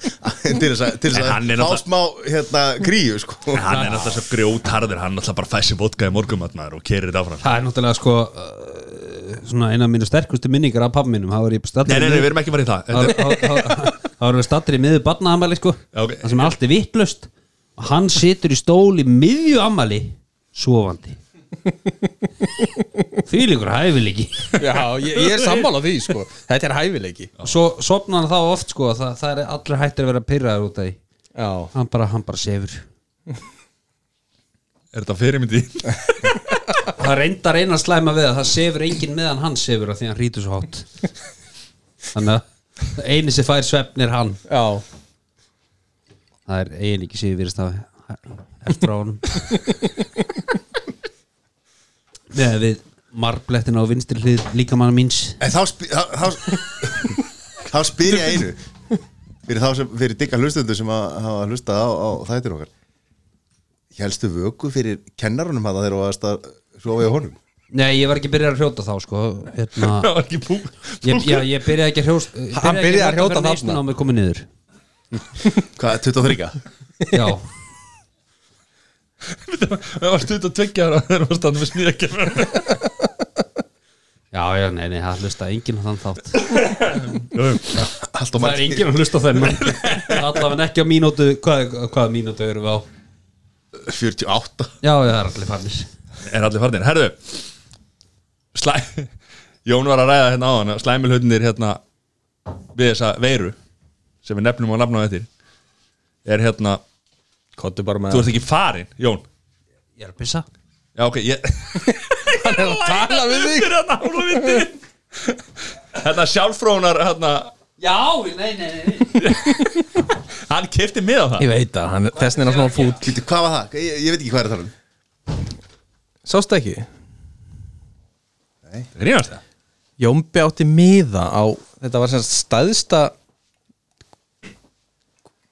Speaker 2: [LAUGHS] til þess að, til þess
Speaker 1: En hann er
Speaker 2: að fá
Speaker 1: náttúrulega-
Speaker 2: smá hérna, kríu sko.
Speaker 1: En Hann er alltaf svo grjótarður, hann alltaf bara fæsir vodka í morgumatnaður og kerir þetta áfram
Speaker 3: Það er náttúrulega sko uh, svona eina af mínu sterkustu minningar af pappa mínum Það var ég
Speaker 1: Nei,
Speaker 3: stattur
Speaker 1: nei, nei, við erum ekki farið í það Þetta er-
Speaker 3: Það var við stattur í miður barnaamæli sko
Speaker 1: Já, ok.
Speaker 3: Það sem allt er vittlust og hann situr í stóli miðju amæli sofandi Því líkur hæfileiki
Speaker 5: Já, ég, ég er sammála því sko Þetta er hæfileiki
Speaker 3: og svo sopnar hann þá oft sko það, það er allir hættir að vera pyrraður út af því
Speaker 5: Já,
Speaker 3: hann bara, hann bara sefur
Speaker 1: Er þetta fyrirmyndi?
Speaker 3: Það reyndar eina slæma við að það sefur enginn meðan hann sefur af því að hann rítur svo hátt Þannig að eini sem fær svefnir hann
Speaker 5: já
Speaker 3: Það er eigin ekki síður virðist af eftir á honum Með við marblettina á vinstri hlið líkamann míns
Speaker 2: En þá, sp þá, þá, þá spyr ég einu fyrir, þá sem, fyrir digga hlustundu sem að hafa hlustað á, á þættir okkar Hélstu vöku fyrir kennarunum hann þegar þú varst að sofa í honum?
Speaker 3: Nei, ég var ekki byrjað að hrjóta þá sko
Speaker 1: Það
Speaker 3: hérna,
Speaker 1: var ekki bú
Speaker 3: ég, já, ég byrjaði ekki að hrjóta
Speaker 5: Hann byrjaði að hrjóta þarna.
Speaker 3: þarna á mig komið niður
Speaker 2: Hvað, 23?
Speaker 3: Já,
Speaker 1: Það var stutt að tveggja ára þegar var standað með smíðakefur
Speaker 3: já, já, nei, nei, það hlusta enginn á þann þátt
Speaker 2: Allt og
Speaker 3: Það er
Speaker 2: margir
Speaker 3: enginn að hlusta á
Speaker 8: [LAUGHS]
Speaker 3: þennan Allavega ekki á mínútu Hvað, hvað mínútu erum við á?
Speaker 2: 48
Speaker 3: Já, já, það er allir farnir
Speaker 1: Er allir farnir, herðu Slæ [LAUGHS] Jón var að ræða hérna á hann Slæmilhutinir hérna Við þessa veiru Sem við nefnum og nafnum eftir Er hérna
Speaker 5: Kottu bara með
Speaker 1: Þú ert ekki farin, Jón
Speaker 3: Ég er að pissa
Speaker 1: Já, ok, ég
Speaker 5: Hann er að tala við þig
Speaker 1: Fyrir að nála við þig Hérna sjálfrónar, hérna
Speaker 3: Já, nei, nei, nei
Speaker 1: Hann kefti með á það
Speaker 5: Ég veit að hann, þessin er hann svona fúll
Speaker 2: Býttu, hvað var það? Ég, ég veit ekki hvað er það um
Speaker 5: Sástu ekki?
Speaker 1: Grínast það?
Speaker 5: Jómbi átti miða á Þetta var sem sagt staðsta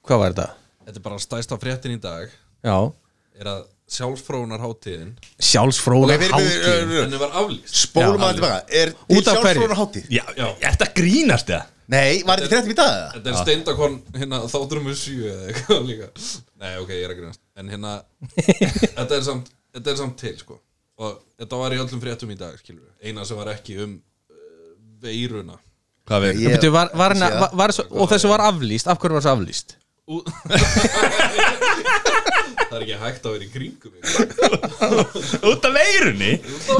Speaker 5: Hvað var þetta?
Speaker 8: Þetta er bara stæsta fréttin í dag
Speaker 5: Já,
Speaker 8: er að sjálfsfrónar hátíðin
Speaker 6: Sjálfsfróna
Speaker 2: Ok, fyrir- fyrir-
Speaker 6: hátíð
Speaker 2: fyrir-
Speaker 8: henni var aflýst
Speaker 2: Spólum að tilbaka Er til
Speaker 6: Út af hverju?
Speaker 2: sjálfsfrónar hátíð?
Speaker 1: Já, já. Ertu að grínast eða?
Speaker 2: Nei, var þetta fréttum í dag? eða?
Speaker 3: Ah.
Speaker 8: Þetta er steindakorn hérna þáttur um sjö eða eitthvað líka Nei, ok, ég er að grínast En hérna,
Speaker 3: [LAUGHS]
Speaker 8: þetta er samt, þetta er samt til sko Og þetta var í öllum fréttum í dag, skilur við Eina sem var ekki um uh, veiruna
Speaker 1: Hvað við?
Speaker 2: Ég-
Speaker 6: Bíddu, var, var,
Speaker 2: Ég sé
Speaker 6: hana,
Speaker 2: það.
Speaker 6: var, var, svo- Og þessu var aflýst, af hverju var þessu aflýst?
Speaker 8: Ú- Það er ekki hægt að vera í kringum ykkur.
Speaker 1: Út af veirunni?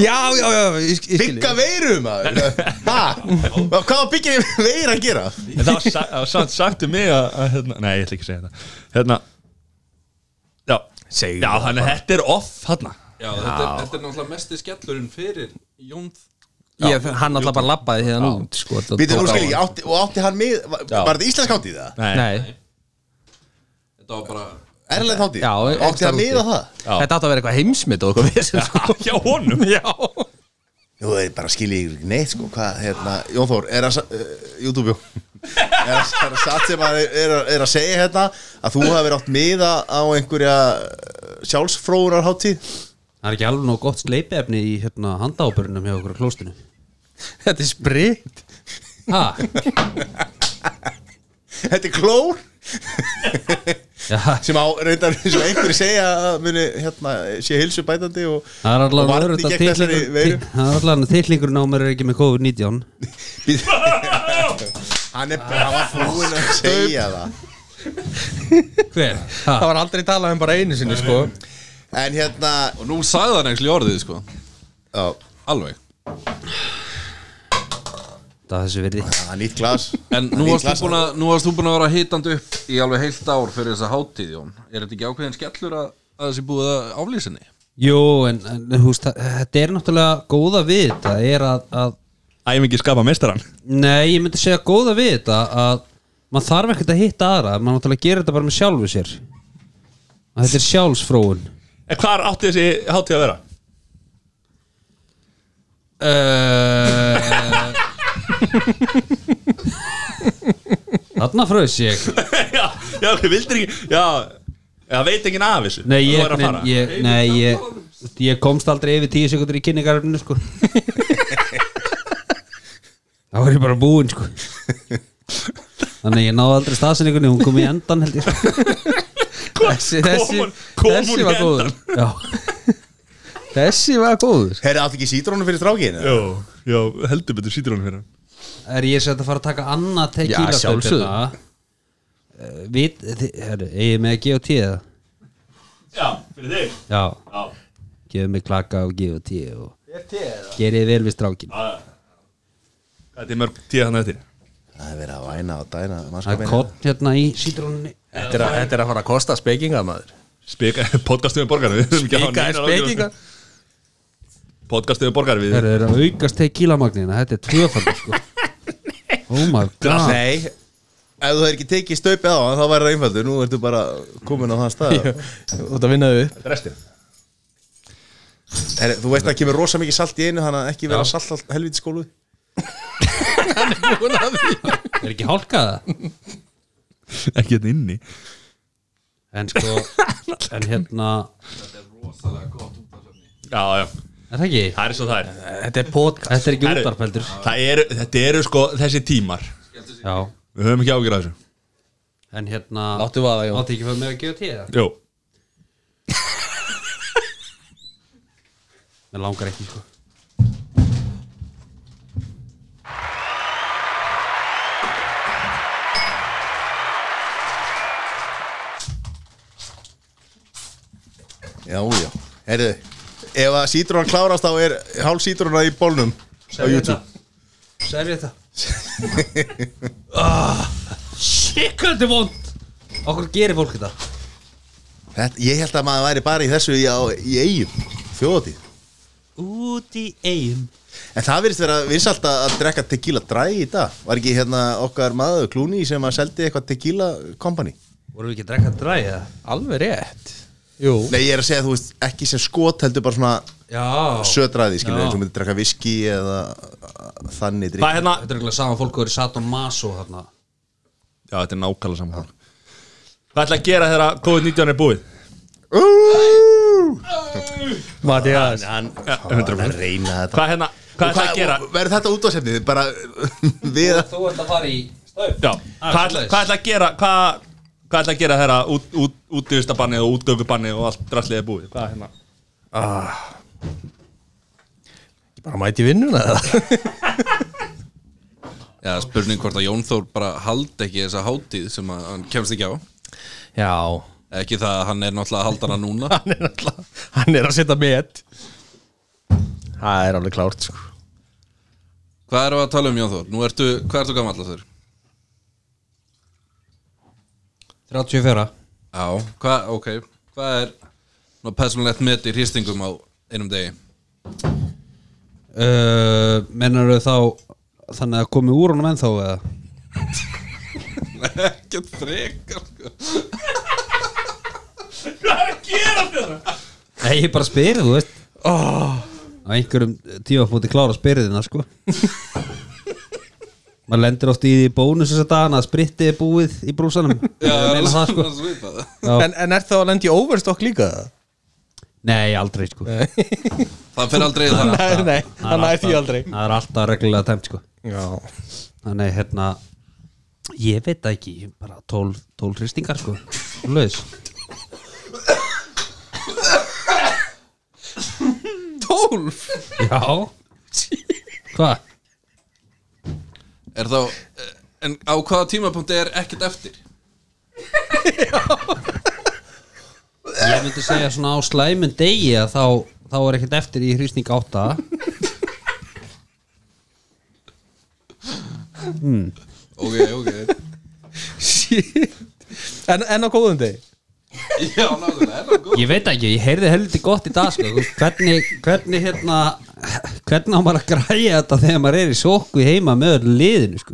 Speaker 6: Já, já, já, ég, sk- ég skil
Speaker 2: Bygga veiru maður Hva? Hvað var byggja veira að gera?
Speaker 1: En það var sa- það var samt sagt um mig að, að hérna, Nei, ég ætla ekki að segja þetta Hérna Já,
Speaker 6: Segðu
Speaker 1: já þannig að þetta er off hérna
Speaker 8: Já, þetta er, þetta er náttúrulega mesti skellurinn fyrir Jón
Speaker 6: ég, Hann alltaf bara labbaði hérna út sko, þetta
Speaker 2: Býtum nú
Speaker 6: tók á
Speaker 2: skil ég,
Speaker 6: hann.
Speaker 2: átti, og átti hann mið Var var þetta íslensk hátíð það?
Speaker 1: Nei,
Speaker 6: Nei,
Speaker 8: Þetta var bara
Speaker 2: Erlend hátíð?
Speaker 6: Já,
Speaker 2: átti
Speaker 6: extra
Speaker 2: hann mið
Speaker 6: úti.
Speaker 2: að það?
Speaker 1: Já.
Speaker 6: þetta átti að vera eitthvað heimsmynd og eitthvað vesen sko.
Speaker 1: hjá honum
Speaker 6: Já
Speaker 2: Nú, þeir bara skil ég ekki neitt sko Hvað, hérna, Jón Þór, er að sa- eh, YouTube, jú [LAUGHS] Er að- er að satt sem að er, er, að- er að segja hérna Að þú hafi átt miða á einhverja eh, Sjálfsfróðunar hátíð
Speaker 3: Það er ekki alveg nóg gott sleipefni í hérna, handaábyrunum hjá okkur á klóstinu
Speaker 6: Þetta er spritt
Speaker 3: Ha?
Speaker 2: Þetta er klór
Speaker 3: Já,
Speaker 2: sem á reyndar eins og einhverju segja að muni hérna sé hilsu bætandi og,
Speaker 3: það er
Speaker 2: og
Speaker 3: allavega
Speaker 2: varni
Speaker 3: öruggt að
Speaker 2: gegn þessari
Speaker 3: titlingur-
Speaker 2: veiru
Speaker 3: ti- Það er allavega tillingurinn á mér er ekki með COVID-19
Speaker 2: [LAUGHS] hann er bara, hann var búinn að segja það
Speaker 3: Hver? Ha?
Speaker 6: Það var aldrei talað um bara einu sinni sko
Speaker 2: en hérna
Speaker 8: Og nú sagði hann eitthvað orðið, sko
Speaker 2: ó,
Speaker 8: Alveg
Speaker 3: Það er þessu verði
Speaker 2: það er nýtt glas
Speaker 8: En nú varst, þú búin að, nú varst þú búin að vera hitandi upp í alveg heilt ár fyrir þessa hátíð, Jón. Er þetta ekki ákveðin skellur að, að þessi búið að aflýsinni?
Speaker 3: Jú, en, en húst, þetta er náttúrulega góða við þetta er að, að
Speaker 1: Æmingi skapa meistaran
Speaker 3: Nei, ég myndi segja góða við þetta að maður þarf ekkert að hitta aðra maður náttúrulega gerir þetta bara með sjálfu sér að þetta er sjálfsfróun
Speaker 1: En hvar átti þessi hátíð að vera? [LAUGHS]
Speaker 3: Eh. Þarna fröðs ég
Speaker 1: já, já, ok, vildir ekki Já, já veit ekki af þessu
Speaker 3: Nei,
Speaker 1: Þú
Speaker 3: ég,
Speaker 1: er að
Speaker 3: nei,
Speaker 1: fara.
Speaker 3: ég, nei, ég, ég komst aldrei yfir tíu sekundur í kynningaröfninu sko Það var ég bara búinn sko Þannig að ég náði aldrei staðsynningunni hún kom í endan held ég
Speaker 1: [LAUGHS]
Speaker 3: sko.
Speaker 6: Þessi, þessi,
Speaker 1: hún- kom hún
Speaker 6: þessi
Speaker 1: í
Speaker 6: var góður
Speaker 1: endan?
Speaker 6: Já Þessi var góður
Speaker 2: herri átti ekki sítrónu fyrir strákinu
Speaker 1: Jó, jó, heldur betur sítrónu fyrir hann hérna.
Speaker 3: Er ég sett að fara að taka annað
Speaker 6: Já,
Speaker 3: tequila Eh,
Speaker 6: sjálfsögðu.
Speaker 3: Vit, þið- herru, eigið með að gefa tíða
Speaker 1: Já, fyrir þig
Speaker 3: Já,
Speaker 1: Já,
Speaker 3: gefið mig klaka og gefa tíða og Gerið vel við strákin
Speaker 1: já Þetta er mörg tíð hann eftir
Speaker 2: það er verið að væna og dæna um
Speaker 3: Það er
Speaker 2: mannskapinn.
Speaker 3: kott hérna í sítrónunni
Speaker 6: Þetta er, að, þetta er að fara að kosta spekinga maður
Speaker 1: Spika, [LAUGHS] um podcastu með borgar
Speaker 6: Spika er spekinga
Speaker 1: Podcastu með borgar um við
Speaker 3: Það er að aukast tequila magnina, þetta er tvöfaldur
Speaker 1: [LAUGHS]
Speaker 3: sko. Oh my god
Speaker 2: nei ef þú hefur ekki tekið staupið á hann þá væri það einfaldur nú ertu bara komin á þann
Speaker 3: [LAUGHS]
Speaker 2: stað
Speaker 6: Þú ert að vinna þau upp
Speaker 1: Restin
Speaker 2: herri, þú veist að það kemur rosa mikið salt í einu hann að ekki vera salt allt helvítið skólu
Speaker 3: Er ekki hálkaða?
Speaker 1: [LAUGHS] Ekki hérna inni
Speaker 3: En
Speaker 1: [LAUGHS]
Speaker 3: sko, en hérna
Speaker 1: Já, já,
Speaker 3: Er það ekki?
Speaker 1: það er svo það er
Speaker 6: Þetta er podcast
Speaker 3: Þetta er ekki
Speaker 1: Herru,
Speaker 3: útarpeldur
Speaker 1: það eru, Þetta eru sko þessi tímar
Speaker 3: Já,
Speaker 1: Við höfum ekki ágjur að þessu
Speaker 3: en hérna
Speaker 6: Láttu vaða Jón
Speaker 3: Láttu ekki fyrir mig að gefa tíða
Speaker 1: Jó,
Speaker 3: Mér langar ekki sko
Speaker 2: Já, já, heyrðu Ef að sítrón klárast þá er hálf sítrona í bólnum á YouTube
Speaker 3: Særi þetta ah, Shit, hvað þetta er vond Okkur gerir fólk þetta
Speaker 2: Þetta, Ég held að maður væri bara í þessu í, á, í eigum, þjóðatíð
Speaker 3: Út í eigum
Speaker 2: En það virðist vera vinsalt að að drekka tequila dræ í dag Var ekki hérna okkar maður Clooney sem að seldi eitthvað tequila company
Speaker 3: Vorum við ekki að drekka dræja?
Speaker 6: Alveg rétt Jú
Speaker 2: Nei, ég er að segja, þú veist, ekki sem skot heldur bara svona
Speaker 3: Já
Speaker 2: södraði, skilur
Speaker 3: Já.
Speaker 2: eins og myndi drekka viski eða uh, þannig drikk
Speaker 1: það er hérna
Speaker 3: Þetta er ekki saman fólk Hvað er satt á maso þarna
Speaker 1: Já, þetta er nákvæmlega saman Hvað ætla að gera þegar að COVID-19 er búið?
Speaker 2: Úúúú
Speaker 5: Mattias
Speaker 2: hann, hann, hann reyna þetta
Speaker 1: Hvað hérna, hvað er það að gera?
Speaker 2: verður þetta útvarsefnið bara [LAUGHS] við að
Speaker 3: Þú ert að fara í stöð
Speaker 1: Já, hvað ætla- hvað ætla að gera hvað, hvað ætla að gera þeirra út, út, útdýrstabanni og útgöngubanni og allt drastlið er búið hvað, hérna?
Speaker 5: Bara mæti vinnuna eða?
Speaker 8: Já, spurning hvort að Jón Þór bara haldi ekki þessa hátíð sem að hann kemst ekki á
Speaker 5: Já
Speaker 8: Ekki það að hann er náttúrulega að halda hana núna
Speaker 5: Hann er alltaf Hann er að setja met Það er alveg klárt sko
Speaker 8: Hvað erum við að tala um Jón Þór? Nú ertu, hvað ertu gamall að þér?
Speaker 3: 34
Speaker 8: Já, hvað, ok Hvað er ná, persónlegt met í hristingum á einum degi?
Speaker 3: uh, Mennar þau þá Þannig að komi úr honum ennþá eða
Speaker 8: Ekkert frekar sko.
Speaker 3: Nei, ég bara spyrir, þú veist Ah. Á einhverjum tímafóti klára spyrirðina, sko Maður lendir oft í því bónus þess að dagana að spritti er búið í brúsanum
Speaker 8: Já,
Speaker 3: Ég meina það, sko.
Speaker 8: svipað
Speaker 5: en, en er það að lendi í overstock líka?
Speaker 3: Nei, aldrei, sko Nei,
Speaker 8: Það fer aldrei í það
Speaker 5: Nei, nei, hann er því aldrei
Speaker 3: Það er alltaf reglulega tæmt, sko
Speaker 5: Já
Speaker 3: Þannig, hérna Ég veit það ekki, bara tól, tól hristingar, sko Laus
Speaker 5: Tólf
Speaker 3: Já Hvað?
Speaker 8: Er þá, eh, en á hvaða tímapunkti er ekkert eftir?
Speaker 3: Ég myndi segja svona á slæmum degi að þá, þá er ekkert eftir í hrýsning 8
Speaker 8: Ok, ok
Speaker 5: Shit En, en á góðum deg
Speaker 8: [LAUGHS] Já, náttúrulega, er það góð
Speaker 3: Ég veit ekki, ég heyrði helviti gott í dag sko. Þú veist, hvernig, hvernig hérna hvernig á maður að græja þetta þegar maður er í sóku heima með öllu liðinu sko.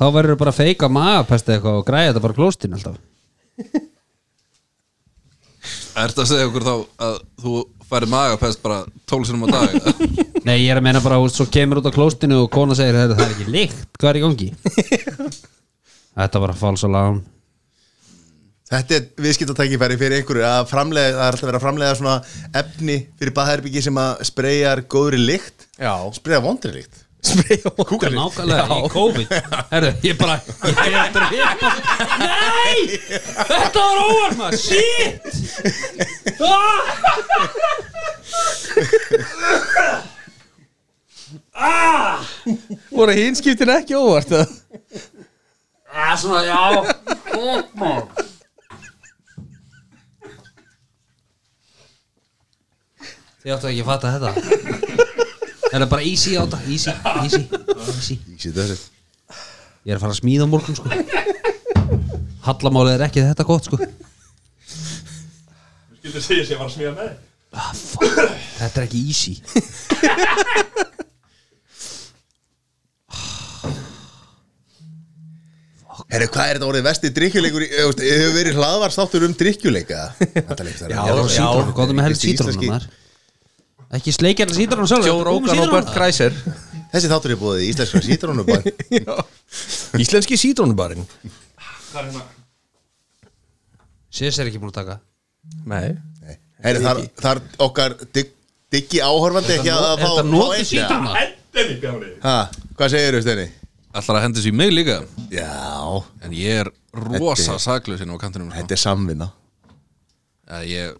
Speaker 3: þá verður bara að feika magapest eitthvað og græja þetta bara á klóstinu alltaf
Speaker 8: Ertu að segja okkur þá að þú færi magapest bara 12 sinum á dag? eða? [LAUGHS]
Speaker 3: Nei, ég er að meina bara, þú veist, svo kemur út á klóstinu og kona segir þetta, það er ekki líkt, hvað er í gangi? þetta var að falsa lán
Speaker 2: Þetta er viðskiptatækifæri fyrir einhverju að framlega, það er alltaf verið að framlega svona efni fyrir baðherbyggi sem að spreyjar góðri lykt,
Speaker 5: Já
Speaker 2: spreyja vondri lykt
Speaker 5: Spray og
Speaker 3: Kúkar Nákvæmlega í COVID Herru, ég bara ég er eftir að hitta Nei, þetta var óvart maður Shit ah!
Speaker 5: Voru hinskiptin ekki óvart eða?
Speaker 3: ah, Svona, já Ómar Þið áttu ekki að fatta þetta Það er bara easy á þetta Easy, easy, easy
Speaker 2: Ég sé þessi.
Speaker 3: Ég er að fara að smíða á morgun sko Hallamálið er ekki þetta gott sko
Speaker 1: skildur segja sem ég var að smíða með
Speaker 3: Ah, Þetta er ekki easy
Speaker 2: Herru, hvað er þetta orðið vesti drikkjuleikur í- eh, þú veist, hefur verið hlaðvarstáttur um drikkjuleika
Speaker 3: Já, já, sítrónu, góðum með helst sítrónu maður Ekki sleikjarni sítrónu sjálf
Speaker 5: Joe Rogan og Bert Kreiser
Speaker 2: Þessi þáttur er búið í íslenska sítrónu Þetta
Speaker 5: Íslenski sítrónubarinn
Speaker 3: Sés er ekki búin að taka
Speaker 5: Nei
Speaker 2: Herru, þar, þar okkar digg, diggi áhorfandi ekki að að fá
Speaker 3: Þetta
Speaker 2: fá
Speaker 3: noti
Speaker 2: einn-
Speaker 3: sítrónu
Speaker 1: Hérna-
Speaker 2: Ha, Hvað segirðu, Steini?
Speaker 8: Ætlar að hendi sér í mig líka
Speaker 2: Já,
Speaker 8: En ég er rosa saklaus inn á kantinum sko.
Speaker 2: þetta er samvinna
Speaker 8: að ég,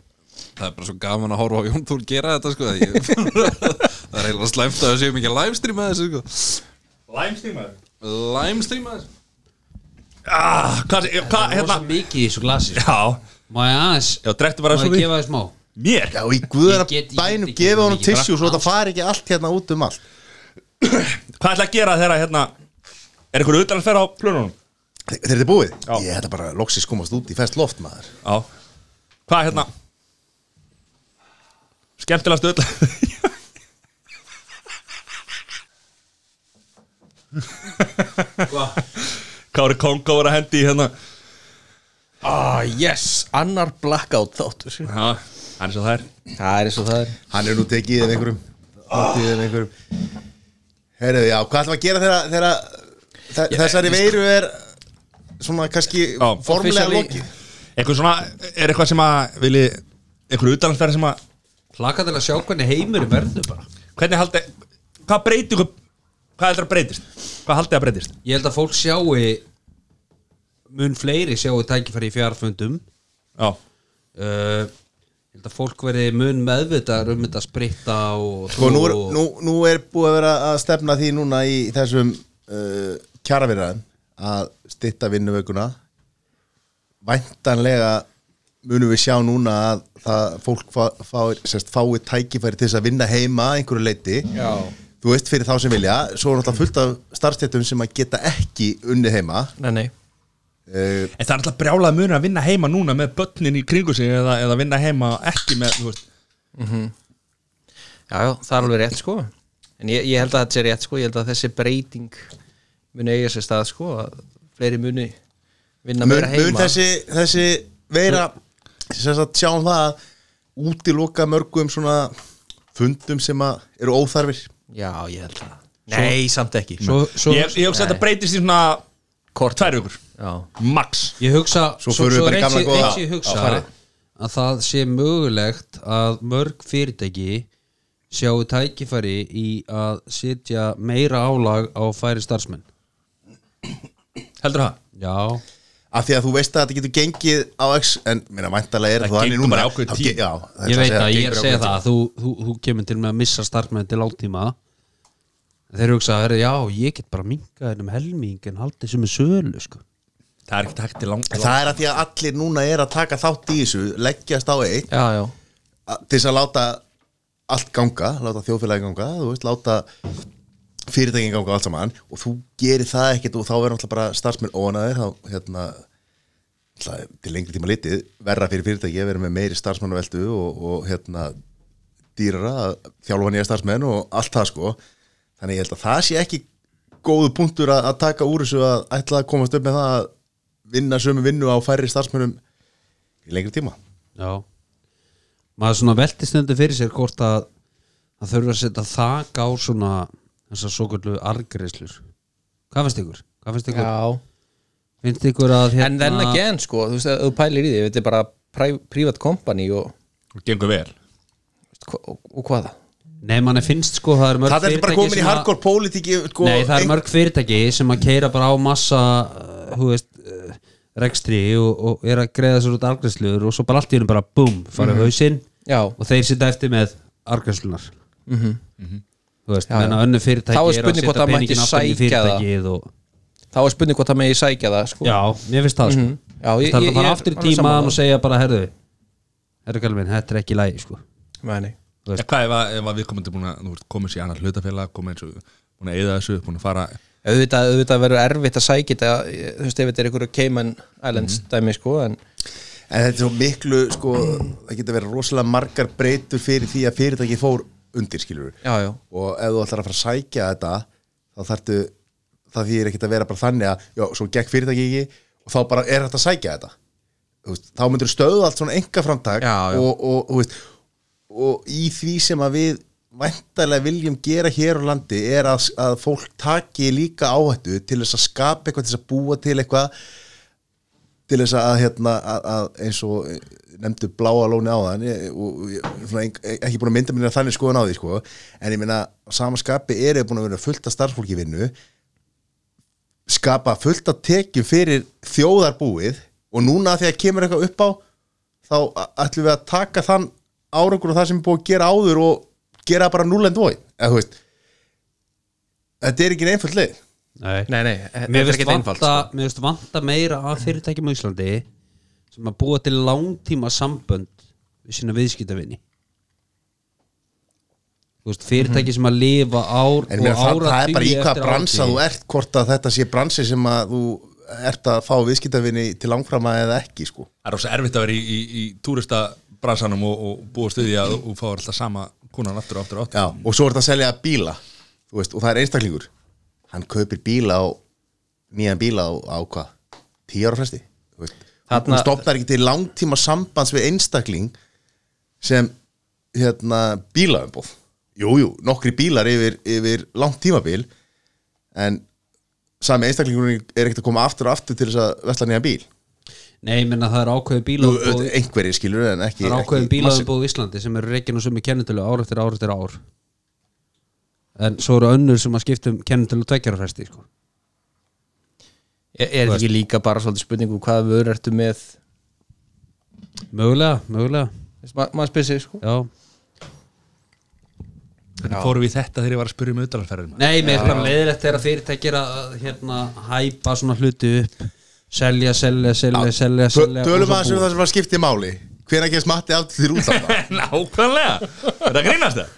Speaker 8: það er bara svo gaman að horfa á Jón Þór gera þetta sko, að ég, [LAUGHS] það er eiginlega slæmt að það séum ekki að livestreama þessu sko.
Speaker 1: Læmstímaður
Speaker 8: livestreama þessu
Speaker 1: ah, Hvað, eh, hvað,
Speaker 3: Hérna
Speaker 1: hérna
Speaker 3: mikið í þessu glasi sko.
Speaker 1: Já,
Speaker 3: Má ég aðeins
Speaker 1: já, drektu bara
Speaker 3: Má
Speaker 1: svo
Speaker 3: ég
Speaker 1: því
Speaker 3: gefa þér smá
Speaker 1: Mér
Speaker 2: Já, í guðana
Speaker 3: Ég get- ég get
Speaker 2: bænum
Speaker 3: ekki-
Speaker 2: gefa honum
Speaker 3: ég get ekki
Speaker 2: tissjú svo
Speaker 3: drakk
Speaker 2: þetta fari ekki allt hérna út um allt
Speaker 1: Hvað ætla að gera þeirra, hérna Er einhverju utan að ferra á plönunum?
Speaker 2: Þeir þeir eru búið?
Speaker 1: Já.
Speaker 2: Ég ætla bara að loksins komast út í fest loft maður
Speaker 1: Já Hvað, hérna Skemmtilegast öll Kári Kongo var að hendi í hérna
Speaker 5: Ah, yes, annar blackout þáttur
Speaker 1: Já, það er svo það er
Speaker 5: Það er eins og það er
Speaker 2: Hann er nú tekið af einhverjum Þáttið af einhverjum Herðu, já, hvað ætlum að gera þegar, þegar þe- þessari veiru er svona kannski
Speaker 1: Já.
Speaker 2: formlega
Speaker 5: Officially-
Speaker 2: lokið
Speaker 1: Eitthvað svona, er eitthvað sem að vilji einhverju utalansferð sem að
Speaker 3: Plaka til að sjá hvernig heimur verður bara
Speaker 1: hvernig haldi, hvað breyti ykkur hvað heldur að breytist, hvað haldið að breytist
Speaker 3: Ég held að fólk sjáu mun fleiri sjáu tækifæri í fjarfundum
Speaker 1: já,
Speaker 3: uh, Ég held að fólk verði mun meðvitaðar um þetta spritta og
Speaker 2: Sko nú er,
Speaker 3: og-
Speaker 2: nú, nú er búið að vera að stefna því núna í þessum uh, kjaraverðan að stytta vinnuvökuna væntanlega munum við sjá núna að það fólk fá, fá, sérst, fái tækifæri til þess að vinna heima að einhverju leiti Já. þú veist fyrir þá sem vilja svo er náttúrulega fullt af starfstættum sem að geta ekki unnið heima
Speaker 5: Nei, nei
Speaker 2: uh,
Speaker 1: en það er alltaf brjálað munur að vinna heima núna með börnin í kringu sig eða, eða vinna heima ekki með, þú veist
Speaker 5: Já, já, það er alveg rétt sko En ég, ég held að þetta sé rétt sko Ég held að þessi breyting muni eiga sér stað sko að fleiri muni vinna
Speaker 2: mun,
Speaker 5: meira heima
Speaker 2: mun þessi, þessi veira sem sagt sjáum það að útiloka mörgum svona fundum sem að eru óþarfir
Speaker 5: Já, ég held að Nei, samt ekki
Speaker 3: svo, svo,
Speaker 1: ég, ég hugsa að þetta breytist í svona
Speaker 5: Kort.
Speaker 1: tvær vikur,
Speaker 5: Já,
Speaker 1: max
Speaker 3: Ég hugsa
Speaker 2: Svo förum við bara í
Speaker 3: eins
Speaker 2: gamla
Speaker 3: ég-
Speaker 2: góða.
Speaker 3: eins ég hugsa
Speaker 2: Já, farið.
Speaker 3: að það sé mögulegt að mörg fyrirtæki sjáu tækifæri í að setja meira álag á færi starfsmenn
Speaker 1: heldur það
Speaker 3: Já,
Speaker 2: af því að þú veist að þetta getur gengið á X en minna væntalega er
Speaker 1: Það
Speaker 2: það þannig
Speaker 1: gengur
Speaker 2: núna
Speaker 1: bara í ákveðin
Speaker 2: Þá
Speaker 1: tíma.
Speaker 2: ge- já, það ætla
Speaker 3: ég veit að ég
Speaker 2: gengur í
Speaker 3: er að segja
Speaker 2: ákveðin
Speaker 3: það að þú, þú, þú kemur til með að missa starfsmenn til langtíma þeir hugsa að já, ég get bara minkað hennum helming en haldið sem er sölu sko.
Speaker 1: það er ekkert hægt í langt
Speaker 2: tíma. það er að því að allir núna er að taka þátt í þessu leggjast á eitt
Speaker 5: já, já
Speaker 2: að- til þess að láta allt ganga láta þjóðfélagi ganga, þú veist, láta fyrirtækin ganga og allt saman og þú gerir það ekkert og þá verður náttúrulega bara starfsmenn óanæðir þá hérna náttúrulega til lengri tíma litið verra fyrir fyrirtæki að vera með meiri starfsmannaveldu og, og hérna dýrara að þjálfa nýja starfsmenn og allt það sko þannig ég held að það sé ekki góðu punktur að, að taka úr þessu að ætla að komast upp með það að vinna sömu vinnu á færri starfsmennum í lengri tíma
Speaker 3: já maður svona velti stundu fyrir sér hvort að það þurfa að setja þak á svona þessar svo kvöldu argreislur hvað finnst ykkur? Hvað finnst ykkur?
Speaker 5: Já,
Speaker 3: finnst ykkur að
Speaker 5: en
Speaker 3: hérna
Speaker 5: then again sko Þú veist að þú pælir í því Þetta er bara pri- private company og,
Speaker 1: og gengur vel
Speaker 5: og, og, og hvaða
Speaker 3: nei, manni finnst sko það er mörg
Speaker 2: það er bara
Speaker 3: fyrirtæki
Speaker 2: komin í
Speaker 3: sem að-
Speaker 2: hardcore pólitíki sko,
Speaker 3: Nei, það er
Speaker 5: e-
Speaker 2: ein-
Speaker 3: mörg fyrirtæki sem að keira bara á massa uh, hú veist, uh, rekstri og, og er að greiða sér út argræsluður og svo bara allt í hennu bara búm, fara
Speaker 5: Mhm.
Speaker 3: mm hausinn
Speaker 5: Já.
Speaker 3: og þeir sitja eftir með argræslunar mm -hmm. þú veist, menna önnu
Speaker 5: Mhm.
Speaker 3: fyrirtæki
Speaker 5: Þá er
Speaker 3: að
Speaker 5: spurning hvort
Speaker 3: setja
Speaker 5: það mætti
Speaker 3: peninginn aftur inn í
Speaker 5: sækja það.
Speaker 3: fyrirtækið og,
Speaker 5: Þá er spurning hvort það megi sækja það sko
Speaker 3: Já, mér finnst það sko.
Speaker 5: Mhm. Já, ég-
Speaker 3: Það
Speaker 5: ég-
Speaker 3: er að fara
Speaker 5: ég er
Speaker 3: aftur í
Speaker 5: alveg sammála.
Speaker 3: tímaðan og segja bara, herðu herðu kallum minn, þetta er ekki í lagi sko.
Speaker 5: Nei, nei
Speaker 1: Ja, hvað ef, að- ef að við komandi búin að þú veist, komið sér í annar hlutafélag, komið eins og búin að eyða þessu, búin að fara
Speaker 5: auðvitað, auðvitað verður erfitt að sækja þetta þú veist, ef þetta er einhverju Cayman Islands dæmi, sko, en
Speaker 2: En þetta er svo miklu, sko, það getur verið rosalega margar breytur fyrir því að fyrirtæki fór undir, skilur
Speaker 5: já, já,
Speaker 2: Og ef þú ætlar að fara að sækja þetta, þá þarftu, það þýðir ekkert að vera bara þannig að, já, svo gekk fyrirtæki ekki og þá bara er þetta að sækja þetta. Þú Veist, þá myndir stöðu allt svona enga framtak
Speaker 5: Já, já.
Speaker 2: Og, og, þú veist, og í því sem að við væntarlega viljum gera hér á landi er að, að fólk taki líka áhættu til þess að skapa eitthvað, til þess að búa til eitthvað til þess að, hérna, að, að eins og eh, nefndu bláa lóni á þann og ég- svona, eng- ekki búin að mynda minna þannig skoðan á því sko. en ég meina á sama skapi er ég búin að vera fullt af starfsfólki í vinnu skapa fullt af tekjum fyrir þjóðarbúið og núna þegar kemur eitthvað upp á þá a- ætlum við að taka þann árangur og það sem er búið að gera áður og gera bara núlend vói eða þú veist þetta er ekki einn einföld leið
Speaker 3: Nei,
Speaker 5: nei, nei, þetta
Speaker 3: mér
Speaker 5: er
Speaker 3: finnst
Speaker 5: ekki einfalt
Speaker 3: vanta,
Speaker 5: sko.
Speaker 3: mér finnst vanta meira að fyrirtækjum á Íslandi sem að búa til langtíma sambönd við sína viðskiptavinni Þú veist, fyrirtæki sem að lifa ár
Speaker 2: Mhm. En mér,
Speaker 3: og
Speaker 2: það,
Speaker 3: ára
Speaker 2: það er bara í hvaða bransa þú ert hvort að þetta sé bransi sem að þú ert að fá viðskiptavinni til langframa eða ekki sko.
Speaker 1: Það er rosa erfitt að vera í, í, í túristabransanum og, og búa stuði að þú fáir alltaf sama kunan aftur og aftur og aftur
Speaker 2: Já, og svo er þetta að selja bíla þú veist, og það er einstaklingur hann kaupir bíla á nýjan bíla á, á hvað, tíu ára fresti þú veist,
Speaker 5: Þarna-
Speaker 2: hún stopnar ekki til langtíma sambands við einstakling sem hérna, bílaumboð jújú, jú, nokkri bílar yfir, yfir langt tímabil en sami einstaklingur er ekkert að koma aftur og aftur til þess að vesla nýjan bíl
Speaker 3: Nei, menna það er ákveðið
Speaker 2: Jú,
Speaker 3: bílaðbúð
Speaker 2: auðvitað einhverjir skilur en ekki
Speaker 3: Það er ákveðið
Speaker 2: ekki massi-
Speaker 3: bílaðbúð í Íslandi sem eru reikin og sumi kennitölu ár eftir ár eftir ár En svo eru önnur sem að skipta um kennitölu tveggjar fresti sko.
Speaker 6: Er er þetta ekki líka bara svolítið spurningu hvaða vörur ertu með
Speaker 3: Mögulega, mögulega
Speaker 6: Þess, ma maður spyrir sig sko
Speaker 3: Já.
Speaker 1: Hvernig fórum við í þetta þegar ég var að spyrja um auðdalarferðin
Speaker 3: Nei, mér er bara leiðilegt þegar fyrirtækir að að, hérna hæpa svona hluti upp selja, selja, selja, selja,
Speaker 2: Tö-
Speaker 3: selja og
Speaker 2: Tölum aðeins um
Speaker 3: svo búa.
Speaker 2: það sem var skiptið máli Hvenær kemst Matti aftur út af það?
Speaker 1: [LAUGHS] Nákvæmlega, þetta er að grínast það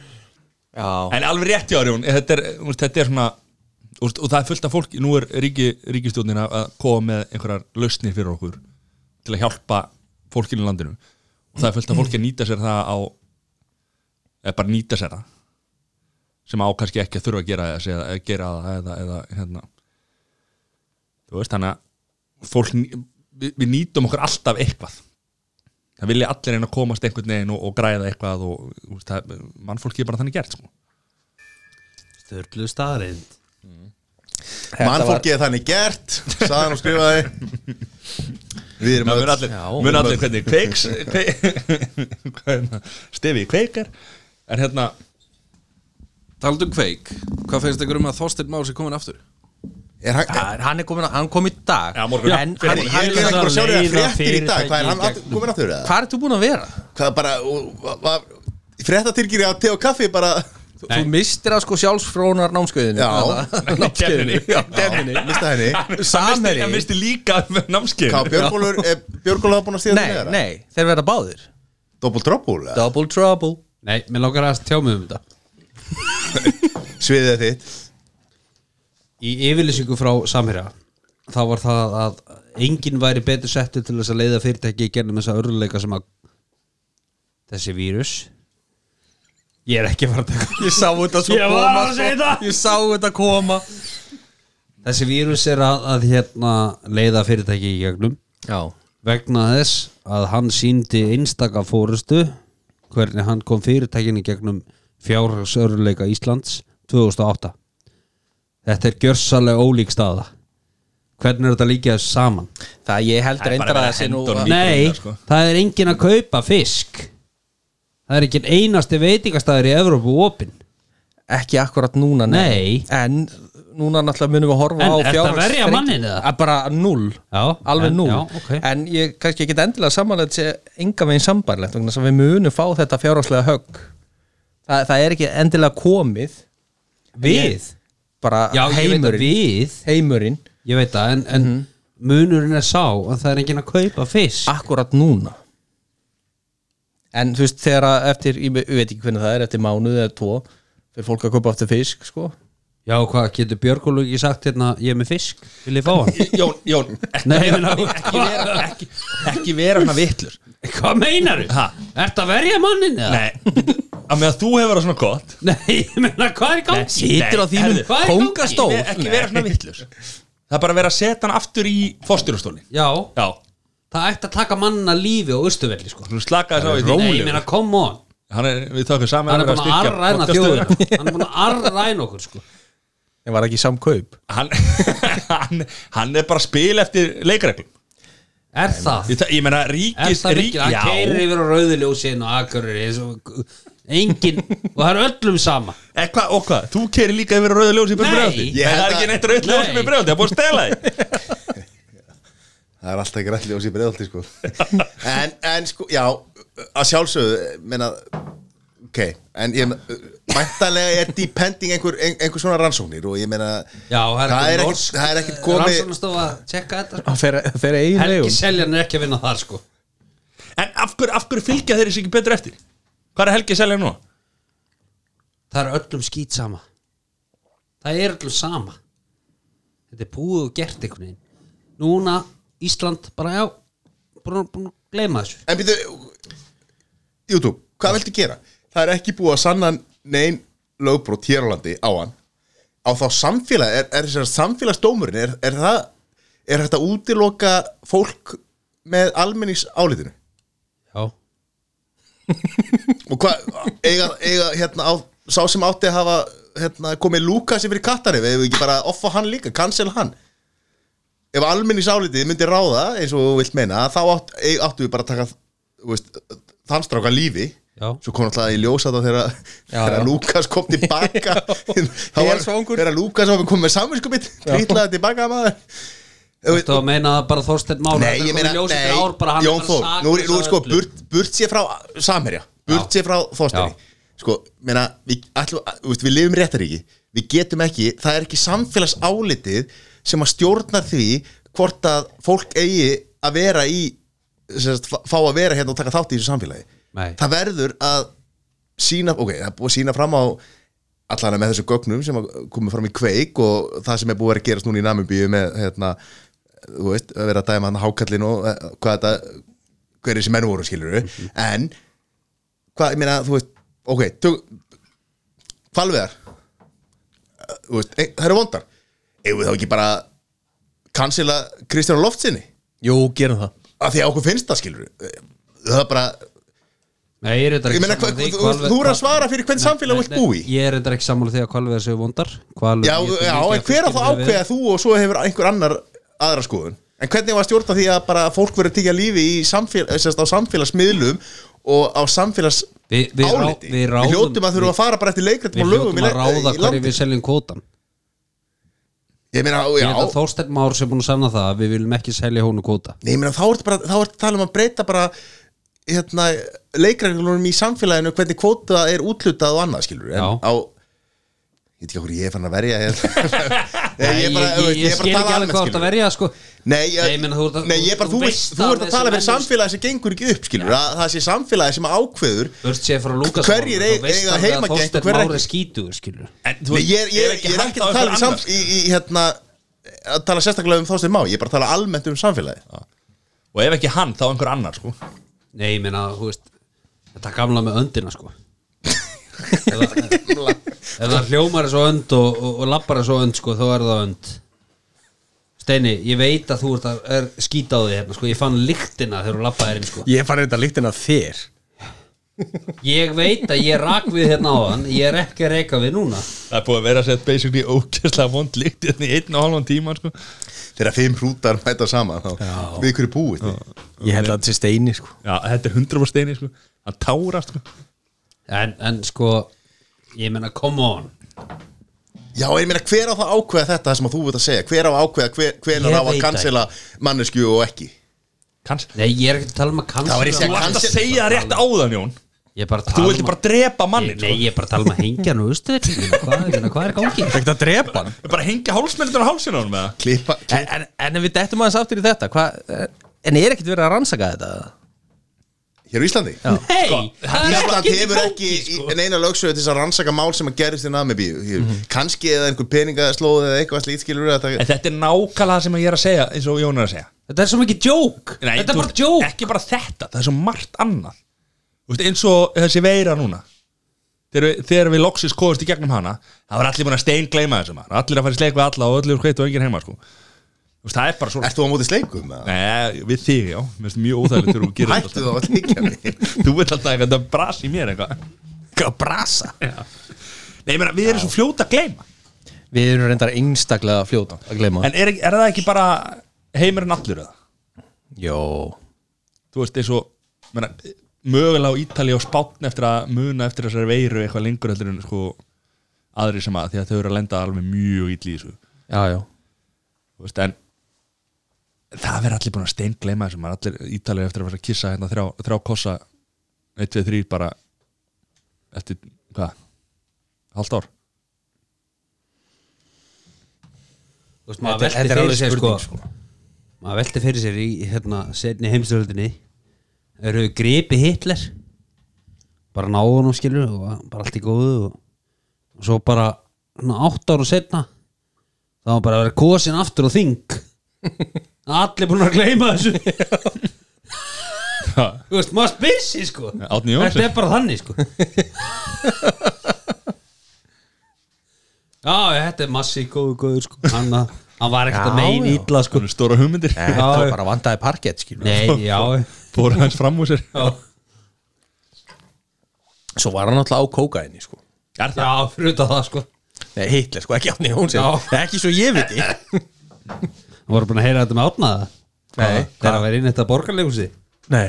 Speaker 5: já,
Speaker 1: En alveg rétt hjá Rjón, þetta er, eh, þú veist, þetta er svona þú veist, og það er fullt af fólki, nú er ríki, ríkistjónin að að koma með einhverjar lausnir fyrir okkur til að hjálpa fólkinu í landinu og það er fullt af fólki að nýta sér það á eða bara nýta sér það sem á kannski ekki að þurfa að gera þessi eða eða gera það eða, eða hérna þú veist, þannig að fólk, ný- við, við nýtum okkur alltaf eitthvað það vilja allir einn að komast einhvern veginn og, og græða eitthvað og þú veist, það, mannfólki er bara þannig gert sko.
Speaker 3: Sturlu staðrind
Speaker 2: Mannfólkið er þannig gert Saðan og skrifaði Við erum
Speaker 1: Það mun
Speaker 2: öll-
Speaker 1: allir, mun allir hvernig kveiks hvað er það? [LAUGHS] Stefi kveikar En hérna,
Speaker 8: Talandi um kveik, hvað finnst ykkur um að Þorsteinn Már sé komin aftur?
Speaker 2: Er hann
Speaker 6: Það er- Hann er komin, að- hann kom í dag
Speaker 1: Já, morgun.
Speaker 6: En
Speaker 1: Fyrir
Speaker 6: hann,
Speaker 2: Ég er
Speaker 6: hann,
Speaker 2: ekki bara að sjá þér að
Speaker 3: leiða
Speaker 2: fréttir í dag Hvað er hann
Speaker 3: fyrirtæki í
Speaker 2: aftur- kominn aftur eða?
Speaker 6: hvað ertu búin að vera?
Speaker 2: Hvað bara og- va- va- Fréttatilkynning að te og kaffi bara
Speaker 6: Þú, þú mistir að sko sjálfsfrónar námskeiðinu [LAUGHS]
Speaker 2: Já.
Speaker 1: kemninni
Speaker 2: Definni Mista henni
Speaker 6: Samherji
Speaker 1: Ég misti líka námskeið
Speaker 2: Hvað Björgólfur Björgólfur hafa búin að stíða
Speaker 6: Nei, nei, þeir verða báðir
Speaker 2: Double trouble eða?
Speaker 6: Double trouble
Speaker 3: Nei, mér langar að tjá mig um þetta
Speaker 2: Sviðið þitt
Speaker 3: Í yfirlýsingu frá Samherja þá var það að enginn væri betur settur til þess að leiða fyrirtæki í gennum þessa örðuleika sem að þessi vírus Ég er ekki að fara að taka
Speaker 6: Ég sá þetta svo
Speaker 3: Ég var
Speaker 6: koma
Speaker 3: að
Speaker 6: sko.
Speaker 3: segja það.
Speaker 6: Ég sá þetta koma
Speaker 3: Þessi vírus er að, að hérna leiða fyrirtæki í gegnum
Speaker 6: Já
Speaker 3: vegna þess að hann síndi einstaka fórustu hvernig hann kom fyrirtækinni gegnum fjárhagsöruleika Íslands 2008 Þetta er gjörsalega ólík staða Hvernig er þetta líkja þessu saman?
Speaker 6: Það ég held
Speaker 1: er bara
Speaker 6: reyndar að
Speaker 1: verið að
Speaker 6: það sé nú
Speaker 1: henda honum í-
Speaker 3: Nei,
Speaker 1: líka, sko.
Speaker 3: það er enginn að kaupa fisk Það er ekki einasti veitingastæður í Evrópu opinn
Speaker 6: ekki akkurat núna
Speaker 3: Nei.
Speaker 6: En núna náttúrulega munum við horfa
Speaker 3: En
Speaker 6: á
Speaker 3: ertu að
Speaker 6: fjárhags-
Speaker 3: verja manninn eða?
Speaker 6: Að Bara null
Speaker 3: Já,
Speaker 6: Alveg
Speaker 3: en-
Speaker 6: null
Speaker 3: já, ok.
Speaker 6: En ég kannski ekki endilega samanlega sé enga veginn sambarlegt vegna þess að við munum fá þetta fjárhagslega högg Þa, Það er ekki endilega komið
Speaker 3: Við?
Speaker 6: bara
Speaker 3: Já, ég veit að
Speaker 6: heimurinn
Speaker 3: við
Speaker 6: heimurinn
Speaker 3: Ég veit að, en, en
Speaker 1: Mhm.
Speaker 3: munurinn er sá að það er enginn að kaupa fisk
Speaker 1: Ah.
Speaker 6: akkurat núna en þú veist þegar að eftir ég ve- ég veit ekki hvernig það er, eftir mánuð eða tvo fyrir fólk að kaupa aftur fisk sko
Speaker 3: Já, hvað getur Björgólu ekki sagt hérna ég er með fisk, vil ég fá hann?
Speaker 1: [LAUGHS] Jón, Jón,
Speaker 3: Nei, ég meina,
Speaker 1: ekki vera ekki,
Speaker 6: ekki vera svona vitlur
Speaker 3: hvað meinar þú?
Speaker 1: Ha?
Speaker 3: Ertu að verja mannin eða?
Speaker 1: Nei, að með að þú hefur það svona gott
Speaker 3: [LAUGHS] Nei, ég meina, hvað er í gangi?
Speaker 1: Situr á þínum
Speaker 3: Hvað er í gangi?
Speaker 6: kóngastól.
Speaker 1: Ekki- Ekki vera svona vittlur Það er bara að vera að setja hann aftur í fórstjórastóli
Speaker 3: Já,
Speaker 1: Já,
Speaker 3: það ætti að taka mannin að lífi og austuvelli, sko
Speaker 1: þú slaka þess á í
Speaker 3: Nei, ég meina, come on
Speaker 1: Hann er, við tökum saman
Speaker 3: Hann er
Speaker 1: að
Speaker 3: búin að
Speaker 1: vera
Speaker 3: arræna
Speaker 1: podcastið.
Speaker 3: þjóðina Hann er búin að arræna okkur, sko
Speaker 6: ég var ekki í samkaup
Speaker 1: hann, [LAUGHS] hann, hann er bara að spila eftir leikreglum
Speaker 3: Er það?
Speaker 1: Ég, ta- ég meina,
Speaker 3: Er
Speaker 1: ríkis
Speaker 3: það
Speaker 1: rík-
Speaker 3: ekki? Hann
Speaker 1: Já.
Speaker 3: keirir yfir á rauðiljósin og akkurir Engin, og það er öllum sama
Speaker 1: Eh, hva, og hvað, þú keri líka yfir á rauðu ljósi í Brjóðandi?
Speaker 3: Nei.
Speaker 1: Nei, það er
Speaker 2: Ég held
Speaker 1: ekki
Speaker 2: að-
Speaker 1: neitt rauðu ljósi
Speaker 3: Nei.
Speaker 1: í Brjóðandi, það er búin að stela því
Speaker 2: Það er alltaf grænt ljós í breiðaldi sko [LAUGHS] en, en sko, já að sjálfsögðu, eh, meina ok, en ég mæntanlega er depending einhver, ein, einhver svona rannsóknir og ég meina
Speaker 3: Já, það er
Speaker 2: það er ekkit,
Speaker 3: ekki norsk
Speaker 2: það er ekkit komið
Speaker 3: Rannsóknastofa að tjekka þetta, sko
Speaker 6: þeir eigin
Speaker 3: Helgi
Speaker 6: legum
Speaker 3: Seljan er ekki að vinna þar sko
Speaker 1: En af hverju, af hverju fylgja þeirri sig ekki betur eftir? Hvað er Helgi að selja nú?
Speaker 3: Það er öllum skýt sama Það er öllum sama Þetta er búið og gert einhvern veginn Núna Ísland bara já Búin búin að gleyma þessu
Speaker 2: en byrju, YouTube, hvað viltu gera? Það er ekki búið að sanna nein lögbrot hér á landi á hann á þá samfélag, er, er þessar samfélagsdómurinn er, er það, er þetta útiloka fólk með almennings álitinu?
Speaker 3: Já
Speaker 2: Og hvað, eiga, eiga hérna á, sá sem átti að hafa hérna, komið Lúkasi fyrir Katari, við hefum ekki bara offa hann líka, cancel hann ef almenni sálitið myndi ráða eins og þú vilt meina þá átt, ei- áttu við bara að taka þú veist, þann stráka lífi
Speaker 3: Já.
Speaker 2: svo kom alltaf í ljós að það þegar, þegar Lukas kom tilbaka þá var
Speaker 5: Svangur.
Speaker 2: þegar Lukas var komið með samvinskupið trýtlaði tilbaka maður Þú veist-
Speaker 3: Þú meina að bara Þorsteinn Mára
Speaker 2: Nei, ég meina, nei,
Speaker 3: ár, bara, hann er
Speaker 2: Jón
Speaker 3: bara
Speaker 2: Þór,
Speaker 3: saklaus
Speaker 2: nú, er- nú er
Speaker 3: af
Speaker 2: sko
Speaker 3: öllu.
Speaker 2: burt, burt sér frá Samherja, burt sér frá
Speaker 3: Já.
Speaker 2: Þorsteini Sko, meina, við, allu, veist, við lifum réttaríki Við getum ekki, það er ekki samfélagsálitið sem að stjórnar því hvort að fólk eigi að vera í sem sagt, fá að vera hérna og taka þátt í þessu samfélagi
Speaker 3: Nei.
Speaker 2: Það verður að sína, ok, það er búið að sína fram á allan með þessu gögnum sem komið fram í kveik og það sem er búið að vera að gerast núna í Namibíu með, hérna, þú veist, að vera að dæma hann hákallin og eh, hvað þetta hver þessi menn voru, skilur en, hvað, ég meina, þú veist ok, tök hvalveðar Eh, þú veist, eh, það eru vondar eigum við þá ekki bara cancela Kristján Loftsinni,
Speaker 5: Jú, gerum það
Speaker 2: af því að okkur finnst það, skilur það er bara,
Speaker 3: Nei, ég er þetta
Speaker 2: ég
Speaker 3: ekki
Speaker 2: meina, hva, þú,
Speaker 3: sammála því,
Speaker 2: þú,
Speaker 3: Hvalver-
Speaker 2: þú er að svara fyrir hvern samfélag
Speaker 3: Nei,
Speaker 2: vilt
Speaker 3: nei,
Speaker 2: búi
Speaker 3: Ég er þetta ekki sammála því að hvalveðar séu vondar Hvalveðar
Speaker 2: Já,
Speaker 3: getur
Speaker 2: já, en hver að
Speaker 3: mikið fólki
Speaker 2: þá
Speaker 3: verið
Speaker 2: ákveða þú og svo hefur einhver annar aðra skoðun En hvernig var stjórna því að bara fólk verið að tekja lífi í samfél, eh, sérst, á samfélagsmiðlum og á samfélags
Speaker 3: Við- við rá-
Speaker 2: áliti
Speaker 3: við ráðum-
Speaker 2: hljótum að þurfa að fara bara eftir leikrættum
Speaker 3: Við
Speaker 2: og lögum
Speaker 3: hljótum að ráða hverju við seljum kvótan
Speaker 2: Ég meina, já,
Speaker 3: Ég er þetta Þorsteinn Már sem er búin að samna það að við viljum ekki selja hónu kvóta
Speaker 2: Nei, ég meina, þá ertu bara, þá ertu að tala um að breyta bara hérna, leikreglunum í samfélaginu hvernig kvóta er útlutað og annað, skilur
Speaker 3: Já.
Speaker 2: en á ég veit ekki okkur ég [LAUGHS] er fann að verja hérna. Nei, ég, er bara,
Speaker 3: Nei, ég, ég, ég
Speaker 2: er bara
Speaker 3: skil
Speaker 2: tala
Speaker 3: ekki alveg
Speaker 2: almennt,
Speaker 3: hvað þetta
Speaker 2: skilurðu.
Speaker 3: verja sko.
Speaker 2: Nei, ég,
Speaker 3: Nei, ég meina, þú ert að-
Speaker 2: nei, ég er bara,
Speaker 3: þú
Speaker 2: þú, veist,
Speaker 3: veist
Speaker 2: þú ert
Speaker 3: að
Speaker 2: að
Speaker 3: þessi
Speaker 2: tala fyrir
Speaker 3: menn-
Speaker 2: samfélagi sem gengur ekki upp, skilur, að það sé samfélagi sem ákveður
Speaker 3: Börst sé frá Lúkas
Speaker 2: Hverjir eig- eiga heimageng og
Speaker 3: Þorsteinn
Speaker 2: hver
Speaker 3: Már
Speaker 2: ekki?
Speaker 3: er skítugur skilur
Speaker 1: En þú
Speaker 2: Nei, ég, er- ég, er-
Speaker 1: ekki
Speaker 2: ég er
Speaker 1: hægt á
Speaker 2: ekki að
Speaker 1: einhver
Speaker 2: tala í, sam,
Speaker 1: annar.
Speaker 2: í, í hérna, að tala sérstaklega um þóstir má, ég er bara að tala almennt um samfélagi
Speaker 1: Og ef ekki hann, þá einhver annar sko
Speaker 3: Nei, ég meina, þú veist Þetta gamla með öndina sko Ef það hljómar er svo önd og, og, og lappar er svo önd sko, þá er það önd Steini, ég veit að þú ert að er skýta á því hérna sko, ég fann lyktina þegar þú lappaði erinn sko
Speaker 5: Ég fann þetta líktin að þér
Speaker 3: Ég veit að ég rak við hérna á hann, ég er ekki að reka við núna
Speaker 1: Það er búið að vera að setja basically ókesslega vond líkt í einn og halvan tíma sko.
Speaker 2: þegar fimm hrútar mæta saman þá, við hverju búið já.
Speaker 5: Ég held að þetta sé steini sko
Speaker 1: Já, þetta er 100% steini sko. Hann tárast sko.
Speaker 3: En, en sko, ég meina, come on
Speaker 2: Já, ég meina, hver á það að ákveða þetta sem að þú veit að segja? Hver á að ákveða hver, hvenar
Speaker 3: Ég
Speaker 2: á að
Speaker 3: veit
Speaker 2: cancela mannesku og ekki?
Speaker 1: Kanns...
Speaker 3: Nei, ég er ekki að tala um að kannsla
Speaker 2: var ég að
Speaker 1: Þú
Speaker 2: segja-
Speaker 1: ætti að segja það rétt áðan Jón
Speaker 3: Ég er bara að
Speaker 1: Þú
Speaker 3: tala
Speaker 1: vildi
Speaker 3: um
Speaker 1: bara
Speaker 3: að-
Speaker 1: drepa mannin
Speaker 3: Nei,
Speaker 1: sko.
Speaker 3: ég er bara að tala um að hengja hann og austur Hvað ég meina, hvað er gangið?
Speaker 5: Ekkert að drepa hann
Speaker 1: Bara hengja hálsmennir á hálsinn á hann með það
Speaker 2: Klippa,
Speaker 5: En, en, en ef við dettum aðeins aftur í þetta hva, En er ekkert verið að rannsaka þetta? eða?
Speaker 2: hér á Íslandi?
Speaker 3: Hei,
Speaker 1: Sko,
Speaker 3: það er
Speaker 2: Ísland
Speaker 3: ekki
Speaker 2: hefur ekki sko. neina lögsögu til þess að rannsaka mál sem að gerist í Namibíu mm -hmm. kannski eða einhver peningaslóð eða eitthvað slítskilur
Speaker 1: En þetta er nákvæmlega það sem ég er að segja eins og Jón er að segja
Speaker 3: Þetta er svo mikið djók
Speaker 1: Nei,
Speaker 3: Þetta er
Speaker 1: þú-
Speaker 3: bara djók
Speaker 1: Ekki bara þetta, það er svo margt annað Þú veist, eins og þessi veira núna Þegar við, þegar við loksist kóðast í gegnum hana Það var allir búin að stein gleyma þessu maður Allir að fara í sleik við alla og öllu er hvitt og enginn heima sko. Þú veist, Það er bara svona
Speaker 2: Ert þú á móti sleikum? eða?
Speaker 1: Nei, við þig, já, mér finnst mjög óþægilegt þegar þú gerir þetta
Speaker 2: Hættu þá að
Speaker 1: [LAUGHS]
Speaker 2: líka mig
Speaker 1: alltaf. Þú veit alltaf eitthvað bras í mér eitthvað Eitthvað brasa já. Nei, ég meina, við erum svo fljóta að gleyma
Speaker 5: Við erum reyndar einstaklega fljóta að gleyma
Speaker 1: En er, ekki- er það ekki bara heimurinn allur eða?
Speaker 5: Jó
Speaker 1: Þú veist, eins og meina, mögulega á Ítali og spátn eftir að muna eftir þessari veiru eitthvað lengur heldur en sko aðri sem að því að þau eru að lenda alveg mjög ítli í þessu
Speaker 5: Já, já
Speaker 1: Þú veist, en það verður allir búin að stein gleyma þessum allir ítalir eftir að vera að kissa hérna þrjá, þrjá kossa 1, 2, 3 bara eftir, hvað? halvt ár?
Speaker 3: Þú veist, maður
Speaker 5: Þetta- þetta
Speaker 3: velti
Speaker 5: er
Speaker 3: fyrir
Speaker 5: alveg
Speaker 3: sér sko
Speaker 5: spurning,
Speaker 3: Maður velti fyrir sér í hérna setni heimstöldinni Eru þau gripi Hitler Bara náðun og skilur og var bara allt í góðu og, og svo bara svona, átt ára setna þá var bara að vera kosin aftur
Speaker 5: [LAUGHS]
Speaker 3: og þing Allir búin að gleyma þessu Þú veist, maður spyrsi sko
Speaker 1: Árni Johnsen.
Speaker 3: Þetta er bara
Speaker 5: [LAUGHS]
Speaker 3: þannig sko Já, þetta er massi góðu góður sko Hann, að- hann var ekkert að
Speaker 5: Já,
Speaker 3: meina
Speaker 5: já.
Speaker 3: ítla sko
Speaker 1: Hún er stóra hugmyndir
Speaker 5: Nei,
Speaker 1: [LAUGHS]
Speaker 5: Það bara vandaði parkett skilur
Speaker 3: Nei, já,
Speaker 5: [LAUGHS]
Speaker 1: fór hans fram úr sér
Speaker 3: já
Speaker 5: Svo var hann alltaf á kókaini sko
Speaker 1: Er
Speaker 3: Já, fyrir utan það sko
Speaker 5: Nei, Hitler sko, ekki Átni Jónsson
Speaker 3: Já.
Speaker 5: Ekki svo ég viti
Speaker 3: Það [LAUGHS] voru búin að heyra þetta með átnaða Nei Þegar hann væri inn í þetta borgarleikusi
Speaker 6: Nei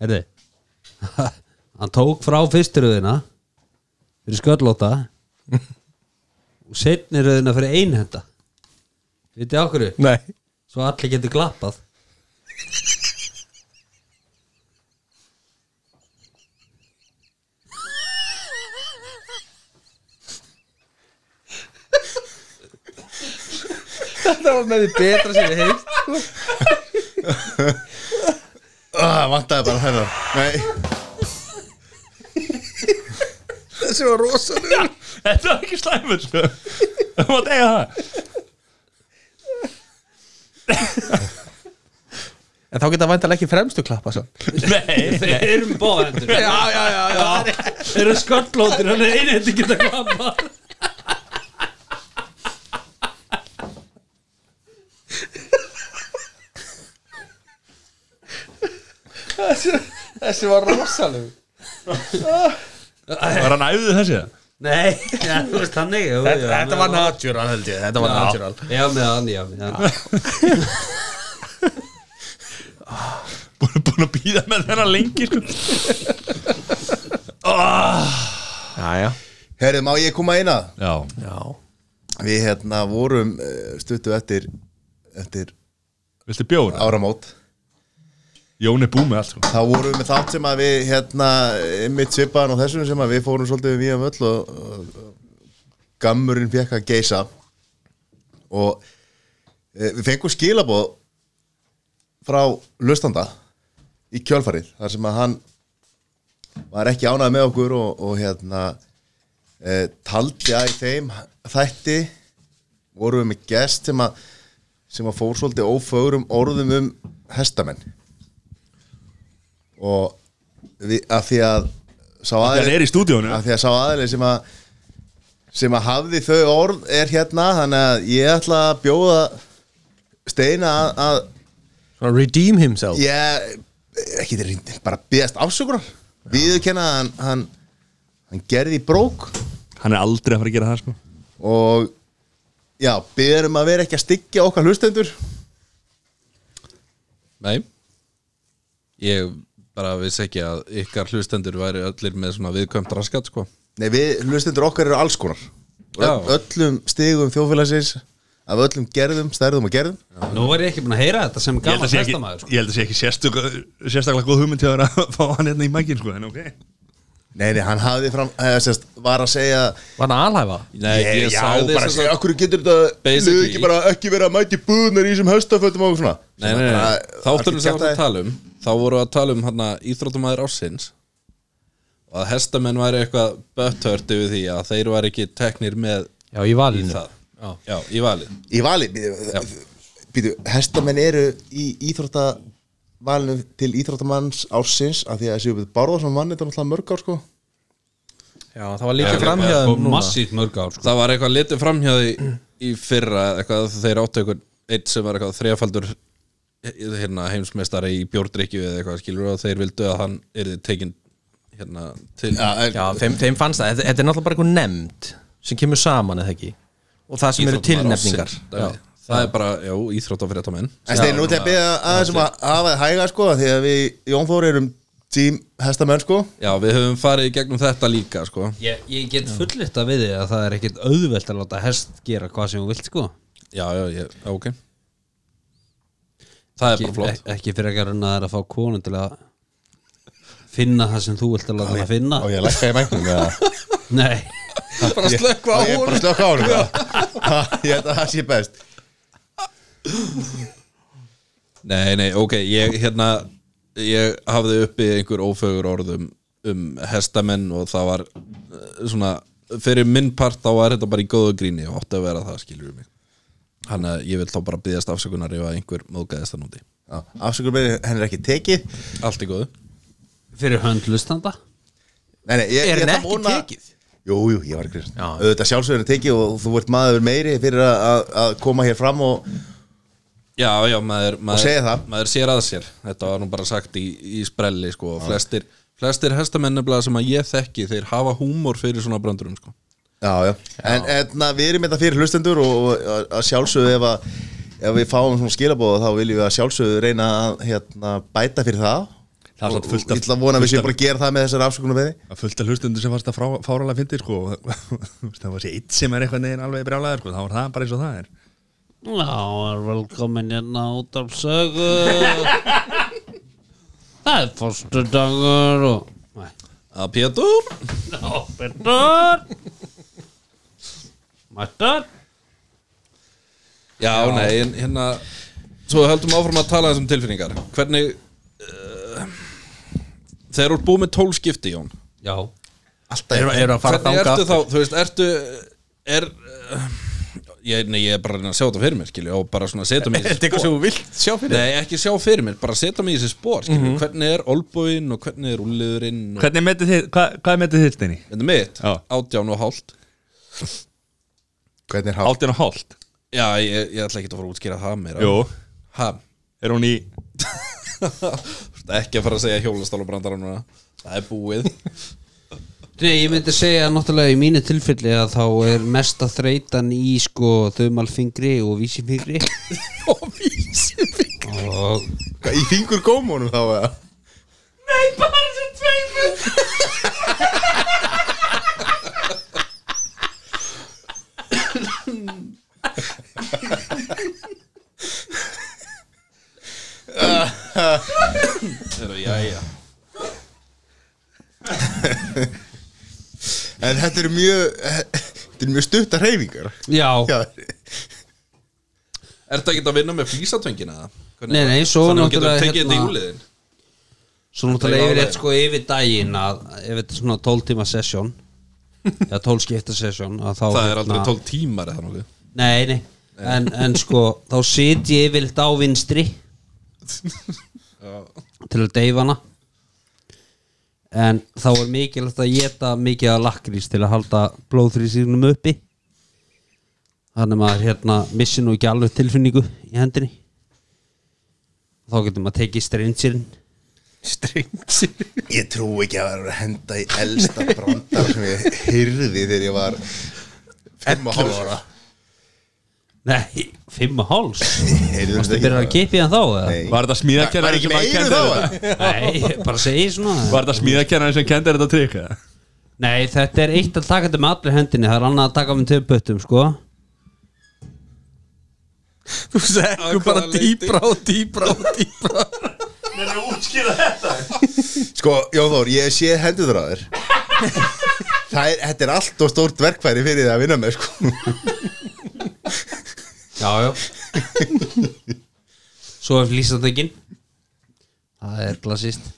Speaker 3: Herði [LAUGHS] Hann tók frá fyrstu röðina Fyrir
Speaker 6: [LAUGHS]
Speaker 3: sköllóta Og setni röðina fyrir einhenda Vitið þið á hverju?
Speaker 6: Nei
Speaker 3: Svo allir getur glappað
Speaker 6: Þetta var með því betra sem ég heilt
Speaker 2: ah, vantaði bara hennar Nei,
Speaker 6: Þessi var rosalega
Speaker 1: [LAUGHS] Þetta var ekki slæmur sko. [LAUGHS] Það var degja það
Speaker 6: En þá geta væntalega ekki fremstu klappa svo
Speaker 1: Nei,
Speaker 3: Þeir eru með bóðhendur
Speaker 6: Já, já, já, já
Speaker 3: Þeir eru sköllótir Hann er einhenda geta glappað
Speaker 6: Þessi var rosalega
Speaker 1: var hann æfðu þessi það?
Speaker 3: Nei, já, þú veist þannig jú,
Speaker 6: Þetta,
Speaker 3: jú,
Speaker 6: þetta var natural held ég Þetta var natural
Speaker 3: Já, já, með hann, já, með hann
Speaker 1: Búin, búin að býða með þennan lengi sko.
Speaker 6: Já, já
Speaker 2: herrið, má ég koma eina?
Speaker 1: Já,
Speaker 2: Við hérna vorum eh, stuttu eftir, eftir
Speaker 1: viltu bjóra?
Speaker 2: áramót
Speaker 1: Jón er búið með allt sko.
Speaker 2: Þá vorum við með þátt sem að við hérna mitt svipaðan og þessum sem að við fórum svolítið við um öll og, og, og gammurinn fekk að geisa og e, við fengum skilaboð frá lustanda í kjölfarið þar sem að hann var ekki ánægð með okkur og, og hérna e, taldi að í þeim þætti vorum við með gest sem að sem að fór svolítið ófögrum orðum um hestamenn og við, að því að sá
Speaker 1: Hann
Speaker 2: aðeins
Speaker 1: er í stúdíónu
Speaker 2: af því að sá aðli sem að sem að hafði þau orð er hérna þannig að ég ætla að bjóða Steina að, að
Speaker 6: Svona redeem himself
Speaker 2: ég ekki til reyndin, bara beðast afsökunar viðurkenna að hann, hann hann gerði í brók
Speaker 1: Hann er aldrei að fara að gera það sko.
Speaker 2: og já, beðum að vera ekki að styggja okkar hlustendur
Speaker 8: Nei Ég bara vissi ekki að ykkar hlustendur væri allir með svona viðkvæmt raskat sko
Speaker 2: nei, við hlustendur okkar eru alls konar Ö-
Speaker 8: Já.
Speaker 2: öllum stigum þjóðfélagsins af öllum gerðum, stærðum og gerðum
Speaker 3: Nú er ég ekki búin að heyra þetta sem
Speaker 1: Ég held
Speaker 3: gammal
Speaker 1: að sé ekki,
Speaker 3: hestamæður sko.
Speaker 1: ég held að sé ekki sérstök, sérstaklega góð hugmynd til að vera að fá hann hérna í mækin sko, en ok
Speaker 2: nei, nei, hann hafði fram, eh, sérst, var að segja
Speaker 6: Var hann aðalhæfa?
Speaker 8: Nei, Eh, ég,
Speaker 2: já,
Speaker 8: sagði
Speaker 2: bara
Speaker 8: sem
Speaker 2: segja,
Speaker 8: sagt-
Speaker 2: okkur getur þetta
Speaker 8: Basically.
Speaker 2: lið ekki bara ekki verið að mæti búðnar í þessum höstafötum og svona
Speaker 8: Nei, nei, nei,
Speaker 2: Bara,
Speaker 8: nei. þá þurfum
Speaker 2: allir
Speaker 8: við sem að
Speaker 2: kjaftaði.
Speaker 8: tala um Þá voru að tala um hann að íþróttumæður ársins og að hestamenn væri eitthvað böttört yfir því að þeir væri ekki teknir með
Speaker 6: Já, í
Speaker 8: í
Speaker 6: valinu
Speaker 8: það Já, í valið
Speaker 2: Í vali, býtu, býtu, hestamenn eru í íþrótta valinu til íþróttamanns ársins af því að séu við Bárðarsson vann þetta náttúrulega mörg ár sko
Speaker 6: Já, það var líka
Speaker 8: Já,
Speaker 6: framhjáðum
Speaker 3: Og
Speaker 6: núna
Speaker 3: massíft mörg ár sko.
Speaker 8: Það var eitthvað litið framhjáði í fyrra eitthvað að þeir áttu eitthvað eitt sem var eitthvað þrefaldur hérna, heimsmeistari í bjórdrykju eða eitthvað skilur og þeir vildu að hann yrði tekin hérna til
Speaker 6: Já, þeim, þeim fannst það, þetta, þetta er náttúrulega bara eitthvað nefnd sem kemur saman eða ekki og það sem eru tilnefningar
Speaker 8: Já, Það er bara, já, íþróttafréttamenn
Speaker 2: En stein, nú til að beða aðeins um að hafa þið hæga sko af því að við Jón Þór erum tím hestamenn sko [LAUGHS]
Speaker 8: Já, við höfum farið í gegnum þetta líka sko.
Speaker 3: ég, ég get fullitt að við þig að það er ekkit auðvelt að láta hest gera hvað sem hún vilt sko
Speaker 8: Já, já, ég, já, ok Það er
Speaker 3: ekki,
Speaker 8: bara flott
Speaker 3: ek- ekki fyrir ekki að reyna það að fá konu til að finna það sem þú vilt að láta hann að finna
Speaker 2: og ég lækka í mæknum
Speaker 1: [LAUGHS]
Speaker 2: eða-
Speaker 3: Nei,
Speaker 6: Bara slökku
Speaker 2: og ég er bara að slökka á honum eða? ég held að það sé best
Speaker 8: Nei, nei, ok, ég hérna ég hafði uppi einhver ófögur orðum um hestamenn og það var eh, svona fyrir minn part þá var þetta bara í góðu gríni og átti að vera það skilur mig Þannig að ég vil þá bara byggðast afsökunar ef að einhver móðgæðist það núti
Speaker 2: afsökur með henn er ekki tekið
Speaker 8: Allt í góðu
Speaker 3: fyrir hönd lustanda
Speaker 2: Nei, nei, ég,
Speaker 6: Er
Speaker 2: ég
Speaker 6: hann
Speaker 2: ætla að
Speaker 6: ekki
Speaker 2: vona-
Speaker 6: tekið?
Speaker 2: Jú, jú, ég var ekki
Speaker 6: Já.
Speaker 2: Auðvitað sjálfsögurinn tekið og þú ert maður meiri fyrir að- að að koma hér fram og
Speaker 8: Já, já, maður,
Speaker 2: segja
Speaker 8: maður,
Speaker 2: það.
Speaker 8: maður sér að sér Þetta var nú bara sagt í, í sprelli sko, og flestir, flestir hestamenn nefnilega sem að ég þekki, þeir hafa húmor fyrir svona brandurum sko.
Speaker 2: hérna, Já, já En, en na, við erum þetta fyrir hlustendur og, og að- að sjálfsögðu ef að ef við fáum svona skilabóða þá viljum við að sjálfsögðu reyna að hérna, bæta fyrir það
Speaker 1: Það er
Speaker 2: og,
Speaker 1: samt
Speaker 2: og,
Speaker 1: fullt
Speaker 2: og
Speaker 1: af-
Speaker 2: illa vona að við
Speaker 1: fullt
Speaker 2: séum
Speaker 1: af-
Speaker 2: bara að gera það með þessar afsökunum veði
Speaker 1: að fullt af hlustundur sem varst að frá- fáralega fyndi sko, [LAUGHS] og þú veist, það var sér eitt sem er eitthvað neginn alveg brjálæður sko, þá var það bara eins og það er
Speaker 3: Já, er velkomin hérna út af sögu Það er fórstudagur og Nei,
Speaker 8: Að Pétur
Speaker 3: ábyrður Mættar
Speaker 8: Já, nei, en hérna Svo höldum áfram að tala þessum tilfinningar Hvernig uh, Þegar þú ert búið með tólskipti, Jón
Speaker 3: Já,
Speaker 2: alltaf er, er,
Speaker 8: Hvernig ertu þá, þú veist, ertu Er uh, ég, Nei, ég er bara að reyna að sjá þetta fyrir mér, skilju Og bara svona setja mig í þessi spor
Speaker 6: sem þú vilt sjá
Speaker 8: Nei, ekki sjá fyrir mér, bara setja mig í þessi spor skilju, Hvernig er olbúinn og hvernig er úliðurinn
Speaker 2: Mm.
Speaker 8: og...
Speaker 1: Hvernig metið þið, hvað, hvað metið þið steini?
Speaker 8: Þetta er mitt,
Speaker 1: Já.
Speaker 8: átján og hálft
Speaker 2: hvernig er hálf
Speaker 1: Átján og hálft
Speaker 8: Já, ég, ég ætla ekki að fara að útskýra það meira
Speaker 1: Jú,
Speaker 8: Ha,
Speaker 1: er hún í
Speaker 8: þú ert ekki að fara að segja hjólastálubrandara núna Það er búið
Speaker 3: Nei, ég myndi segja náttúrulega í mínu tilfelli að þá er mesta þreytan í sko þumalfingri og vísifingri
Speaker 8: [LAUGHS] Og vísifingri
Speaker 3: og
Speaker 2: í fingur gómunum þá eða?
Speaker 8: Jæja
Speaker 2: en þetta eru mjög þetta eru mjög stuttar hreyfingar
Speaker 3: Já,
Speaker 2: Já,
Speaker 8: Ertu ekki að vinna með flýsatöngina eða? Hvernig
Speaker 3: Nei,
Speaker 8: er það?
Speaker 3: nei, svo
Speaker 8: Þannig að þú getur
Speaker 3: náttúrulega,
Speaker 8: tekið þetta í
Speaker 3: hérna-
Speaker 8: úliðin
Speaker 3: svo náttúrulega
Speaker 8: Það er
Speaker 3: yfirleitt
Speaker 8: alveg.
Speaker 3: sko yfir daginn að ef þetta er svona 12 tíma
Speaker 8: [LAUGHS]
Speaker 3: sesjón eða 12 skipta sesjón að þá
Speaker 8: Það er
Speaker 3: hérna-
Speaker 8: aldrei 12 tímar eða nokkuð
Speaker 3: Nei, nei, en, en sko þá sit ég yfirleitt á vinstri til að deyfa hana en þá er mikilvægt að geta mikið að lakrís til að halda blóðþrýsirnum uppi þannig að maður hérna missi nú ekki alveg tilfinningu í hendinni þá getur maður tekið streynsirinn
Speaker 2: ég trú ekki að vera að henda í elsta brandar sem ég hyrði þegar ég var 5 og hálf ára
Speaker 3: Nei, fimm og háls
Speaker 2: Heyrðu
Speaker 3: Það byrjar að kipi hann þá eða?
Speaker 2: Nei.
Speaker 1: Var þetta
Speaker 2: Var
Speaker 1: smíðakennar
Speaker 2: ekki með eyru þá eða?
Speaker 3: Nei, ég bara segi svona
Speaker 1: Var þetta smíðakennar sem kendir þetta trikk? eða?
Speaker 3: Nei, þetta er eitt að taka þetta með allir hendinni Það er annað að taka með töfböttum, sko
Speaker 6: Þú seggur bara
Speaker 8: hvaða leyti?
Speaker 6: dýbra og dýbra og dýbra
Speaker 2: Sko, Jóþór, ég sé hendur á þér Það er, þetta er allt og stórt verkfæri fyrir þið að vinna með, sko
Speaker 3: Já, já [LAUGHS] Svo er flýsatökin Það er klassist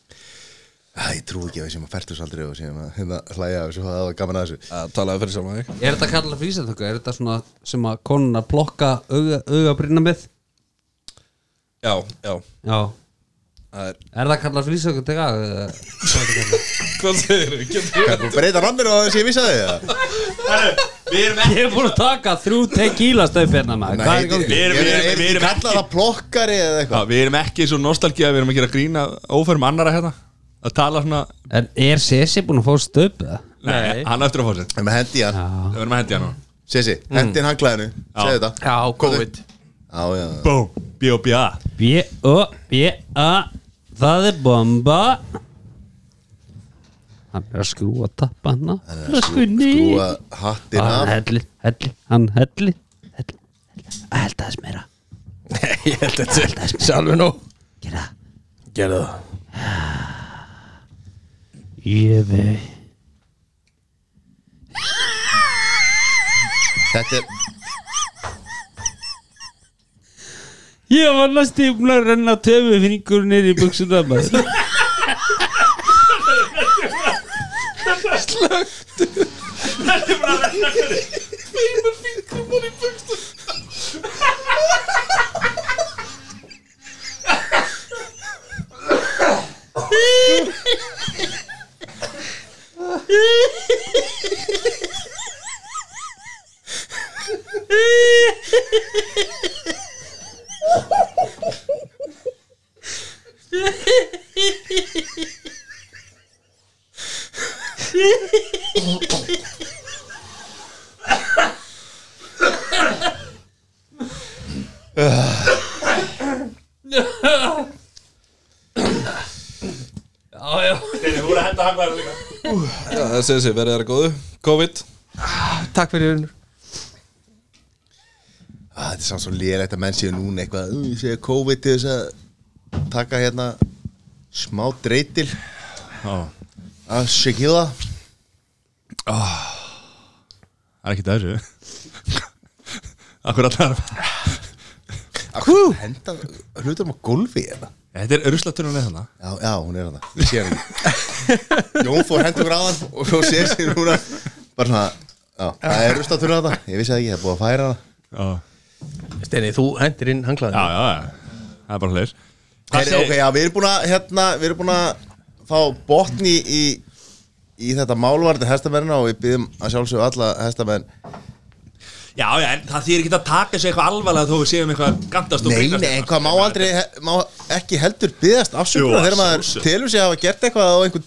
Speaker 2: Æ, ég trú ekki að við séum að fertus aldrei og séum að hérna hlæja af þessu og það var gaman að þessu
Speaker 8: Það talaði fyrir sjálf að
Speaker 3: Er þetta kallað flýsatöku? Er þetta svona sem að konuna plokka auga, augabrýna með?
Speaker 8: Já, já
Speaker 3: Já
Speaker 8: Það er
Speaker 3: Er það kallað flýsatöku?
Speaker 8: Hvað segir þau? Getur
Speaker 2: Hvað, þú breyta rannir á þessu, ég vissi að þið það
Speaker 3: Ég er búin að taka þrjú tequila stöfi hérna maður Hvað er í gangi?
Speaker 1: Við erum-
Speaker 2: Ég-
Speaker 1: við erum-
Speaker 2: ég-
Speaker 1: við
Speaker 2: ég
Speaker 1: erum
Speaker 2: kalla
Speaker 1: ekki-
Speaker 2: það plokkari eða
Speaker 1: Já,
Speaker 2: eitthvað
Speaker 1: við erum ekki svo nostalgía Við erum ekki að grína óferum annara hérna Að tala svona
Speaker 3: En er Sessi búin að fá stöfið?
Speaker 1: Nei, hann á eftir að fá sér
Speaker 2: Það með hendi í hann,
Speaker 1: Við erum að hendi hann
Speaker 2: Sessi, hendi hann hanglaðinu, segðu þetta
Speaker 6: Já, COVID
Speaker 2: Já, já, já.
Speaker 1: Búm, B.O.B.A
Speaker 3: B-O-B-A Það er bomba Hann er að skrúa tappa hana Skrúa
Speaker 2: Skrúa hattinn
Speaker 3: Hann
Speaker 2: af
Speaker 3: helli, helli, hann helli, helli, helli. Að helda þess meira
Speaker 6: Nei, ég held að þetta er sjálfur nú
Speaker 3: Gera það
Speaker 6: Gerðu það
Speaker 3: Ég vei
Speaker 2: Þetta er,
Speaker 3: Ég var næstu búin að renna töfu fingur niður í buksuna maður
Speaker 8: Já, já Þeir voru að henda hangvæðan líka Já, það segir sig, verið það góðu COVID
Speaker 6: Takk fyrir unnur
Speaker 2: Ah, Þetta er samt svo lélegt að menn séu núna eitthvað uh, séu COVID til þess að taka hérna smá dreytil að Shakira
Speaker 1: Það er ekki þessu Akkur að það
Speaker 2: að henda hlutum á gólfi hérna.
Speaker 1: Þetta er ruslatunum eða þannig
Speaker 2: já, já, hún er hérna, ég sé hann ekki Jón fór hendur gráðan og svo sé sér núna bara svona, já, það er rust að turna þetta ég vissi það ekki, það er búið að færa það
Speaker 1: Já,
Speaker 6: Steini, þú hendir inn hanglaðin
Speaker 1: já, já, já. það er bara hleir
Speaker 2: Heri, ok, já, við erum búin að hérna, við erum búin að fá botni í, í þetta málvarði hestamenn og við byggjum að sjálfsögðu alla hestamenn
Speaker 1: Já, já, en það þýr ekki að taka sig eitthvað alvarlega þó við séum eitthvað gandast og
Speaker 2: Nei,
Speaker 1: grínast
Speaker 2: nei,
Speaker 1: eitthvað.
Speaker 2: eitthvað má aldrei, he- má ekki heldur byggðast
Speaker 1: Jú,
Speaker 2: afsökunar
Speaker 1: að
Speaker 2: þegar maður
Speaker 1: sjálfsögðu.
Speaker 2: telur sig að hafa gert eitthvað á einhver,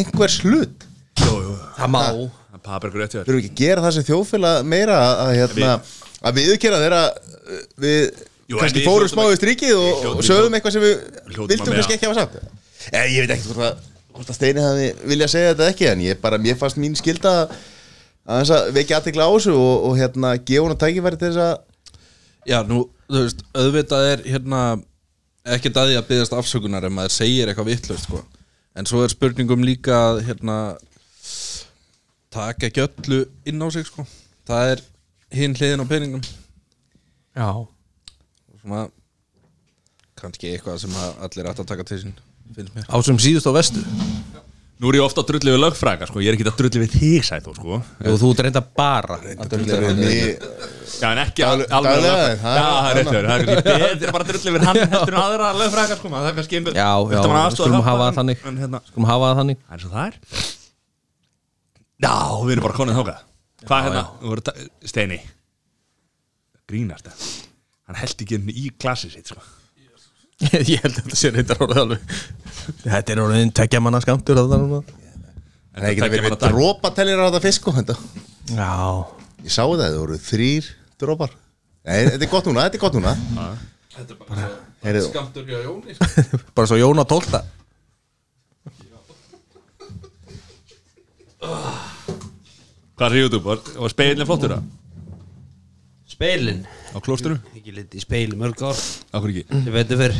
Speaker 2: einhver slut
Speaker 6: Það má
Speaker 1: Það papir ykkur eftir
Speaker 2: Við erum ekki að gera það sem þjóðfélag meira að, að, hérna, að við aukera þeirra uh, við
Speaker 1: Jú, en
Speaker 2: kannski
Speaker 1: við
Speaker 2: fórum
Speaker 1: hljótum
Speaker 2: smá
Speaker 1: að-
Speaker 2: í strikið og,
Speaker 1: hljótum
Speaker 2: og
Speaker 1: að-
Speaker 2: sögðum eitthvað sem við
Speaker 1: hljótum að
Speaker 2: vildum
Speaker 1: mega.
Speaker 2: kannski ekki hafa sagt eh, Ég veit ekkert hvort að, hvort að Steini hafi vilja segja þetta ekki en ég bara, mér fannst mín skilda að aðeins að vekja aðtekla á þessu og, og hérna, gefa hún að tækifæri til þess að
Speaker 8: Já, nú, þú veist, auðvitað er hérna ekkert að því að byggðast afsökunar ef maður segir eitthvað vittlust, sko en svo er spurningum líka að hérna taka ekki öllu inn á sig, sko það er hinn hliðin á peningum
Speaker 6: Já
Speaker 8: svona kannski eitthvað sem að allir ætti að taka til sín finnst mér
Speaker 6: Á sem síðust á vestu
Speaker 1: Nú er ég ofta að drulli við lögfrækar, sko Ég er ekki að drulli við þig, sætó, sko
Speaker 6: Og þú ert reynda bara
Speaker 2: Mér-
Speaker 1: Já, en ekki al-
Speaker 2: Daglega,
Speaker 1: alveg lögfræðing.
Speaker 2: daglega, það er-
Speaker 1: Já, það er rétt
Speaker 2: annað.
Speaker 1: verið Það er kannski betur bara að drulli við hann heldur en aðra lögfrækar, sko maður, Það er kannski einbjörn
Speaker 6: Já, já, skulum hafa það þannig
Speaker 1: hérna,
Speaker 6: Skulum hafa það þannig
Speaker 1: Það er svo það er Já, við erum bara konið þáka Hvað hérna, þú voru ta- Steini Grínast það Hann held ekki henni í glasið sitt sko.
Speaker 6: [LAUGHS] Ég held að þetta sé reyndar orðið alveg Þetta er orðin tekja manna skamtur að það núna
Speaker 1: En
Speaker 2: Það er ekki
Speaker 1: þetta
Speaker 2: að
Speaker 1: tekur
Speaker 2: vera
Speaker 1: bara dag.
Speaker 2: drópatellir á þetta fisk og þetta
Speaker 6: Já
Speaker 2: Ég sá það, það voru þrýr drópar Nei, þetta er gott núna, þetta er gott núna
Speaker 8: Þetta er bara
Speaker 2: Heyrðu.
Speaker 8: skamtur hjá Jóni
Speaker 6: Bara svo Jóna tólta
Speaker 1: Hvað er YouTube? Var, var speilin flottur það?
Speaker 3: Speilin
Speaker 1: Á klósturu?
Speaker 3: Ekki liti í speil í mörg ár
Speaker 1: Akkur ekki
Speaker 3: Sem veitum fyrr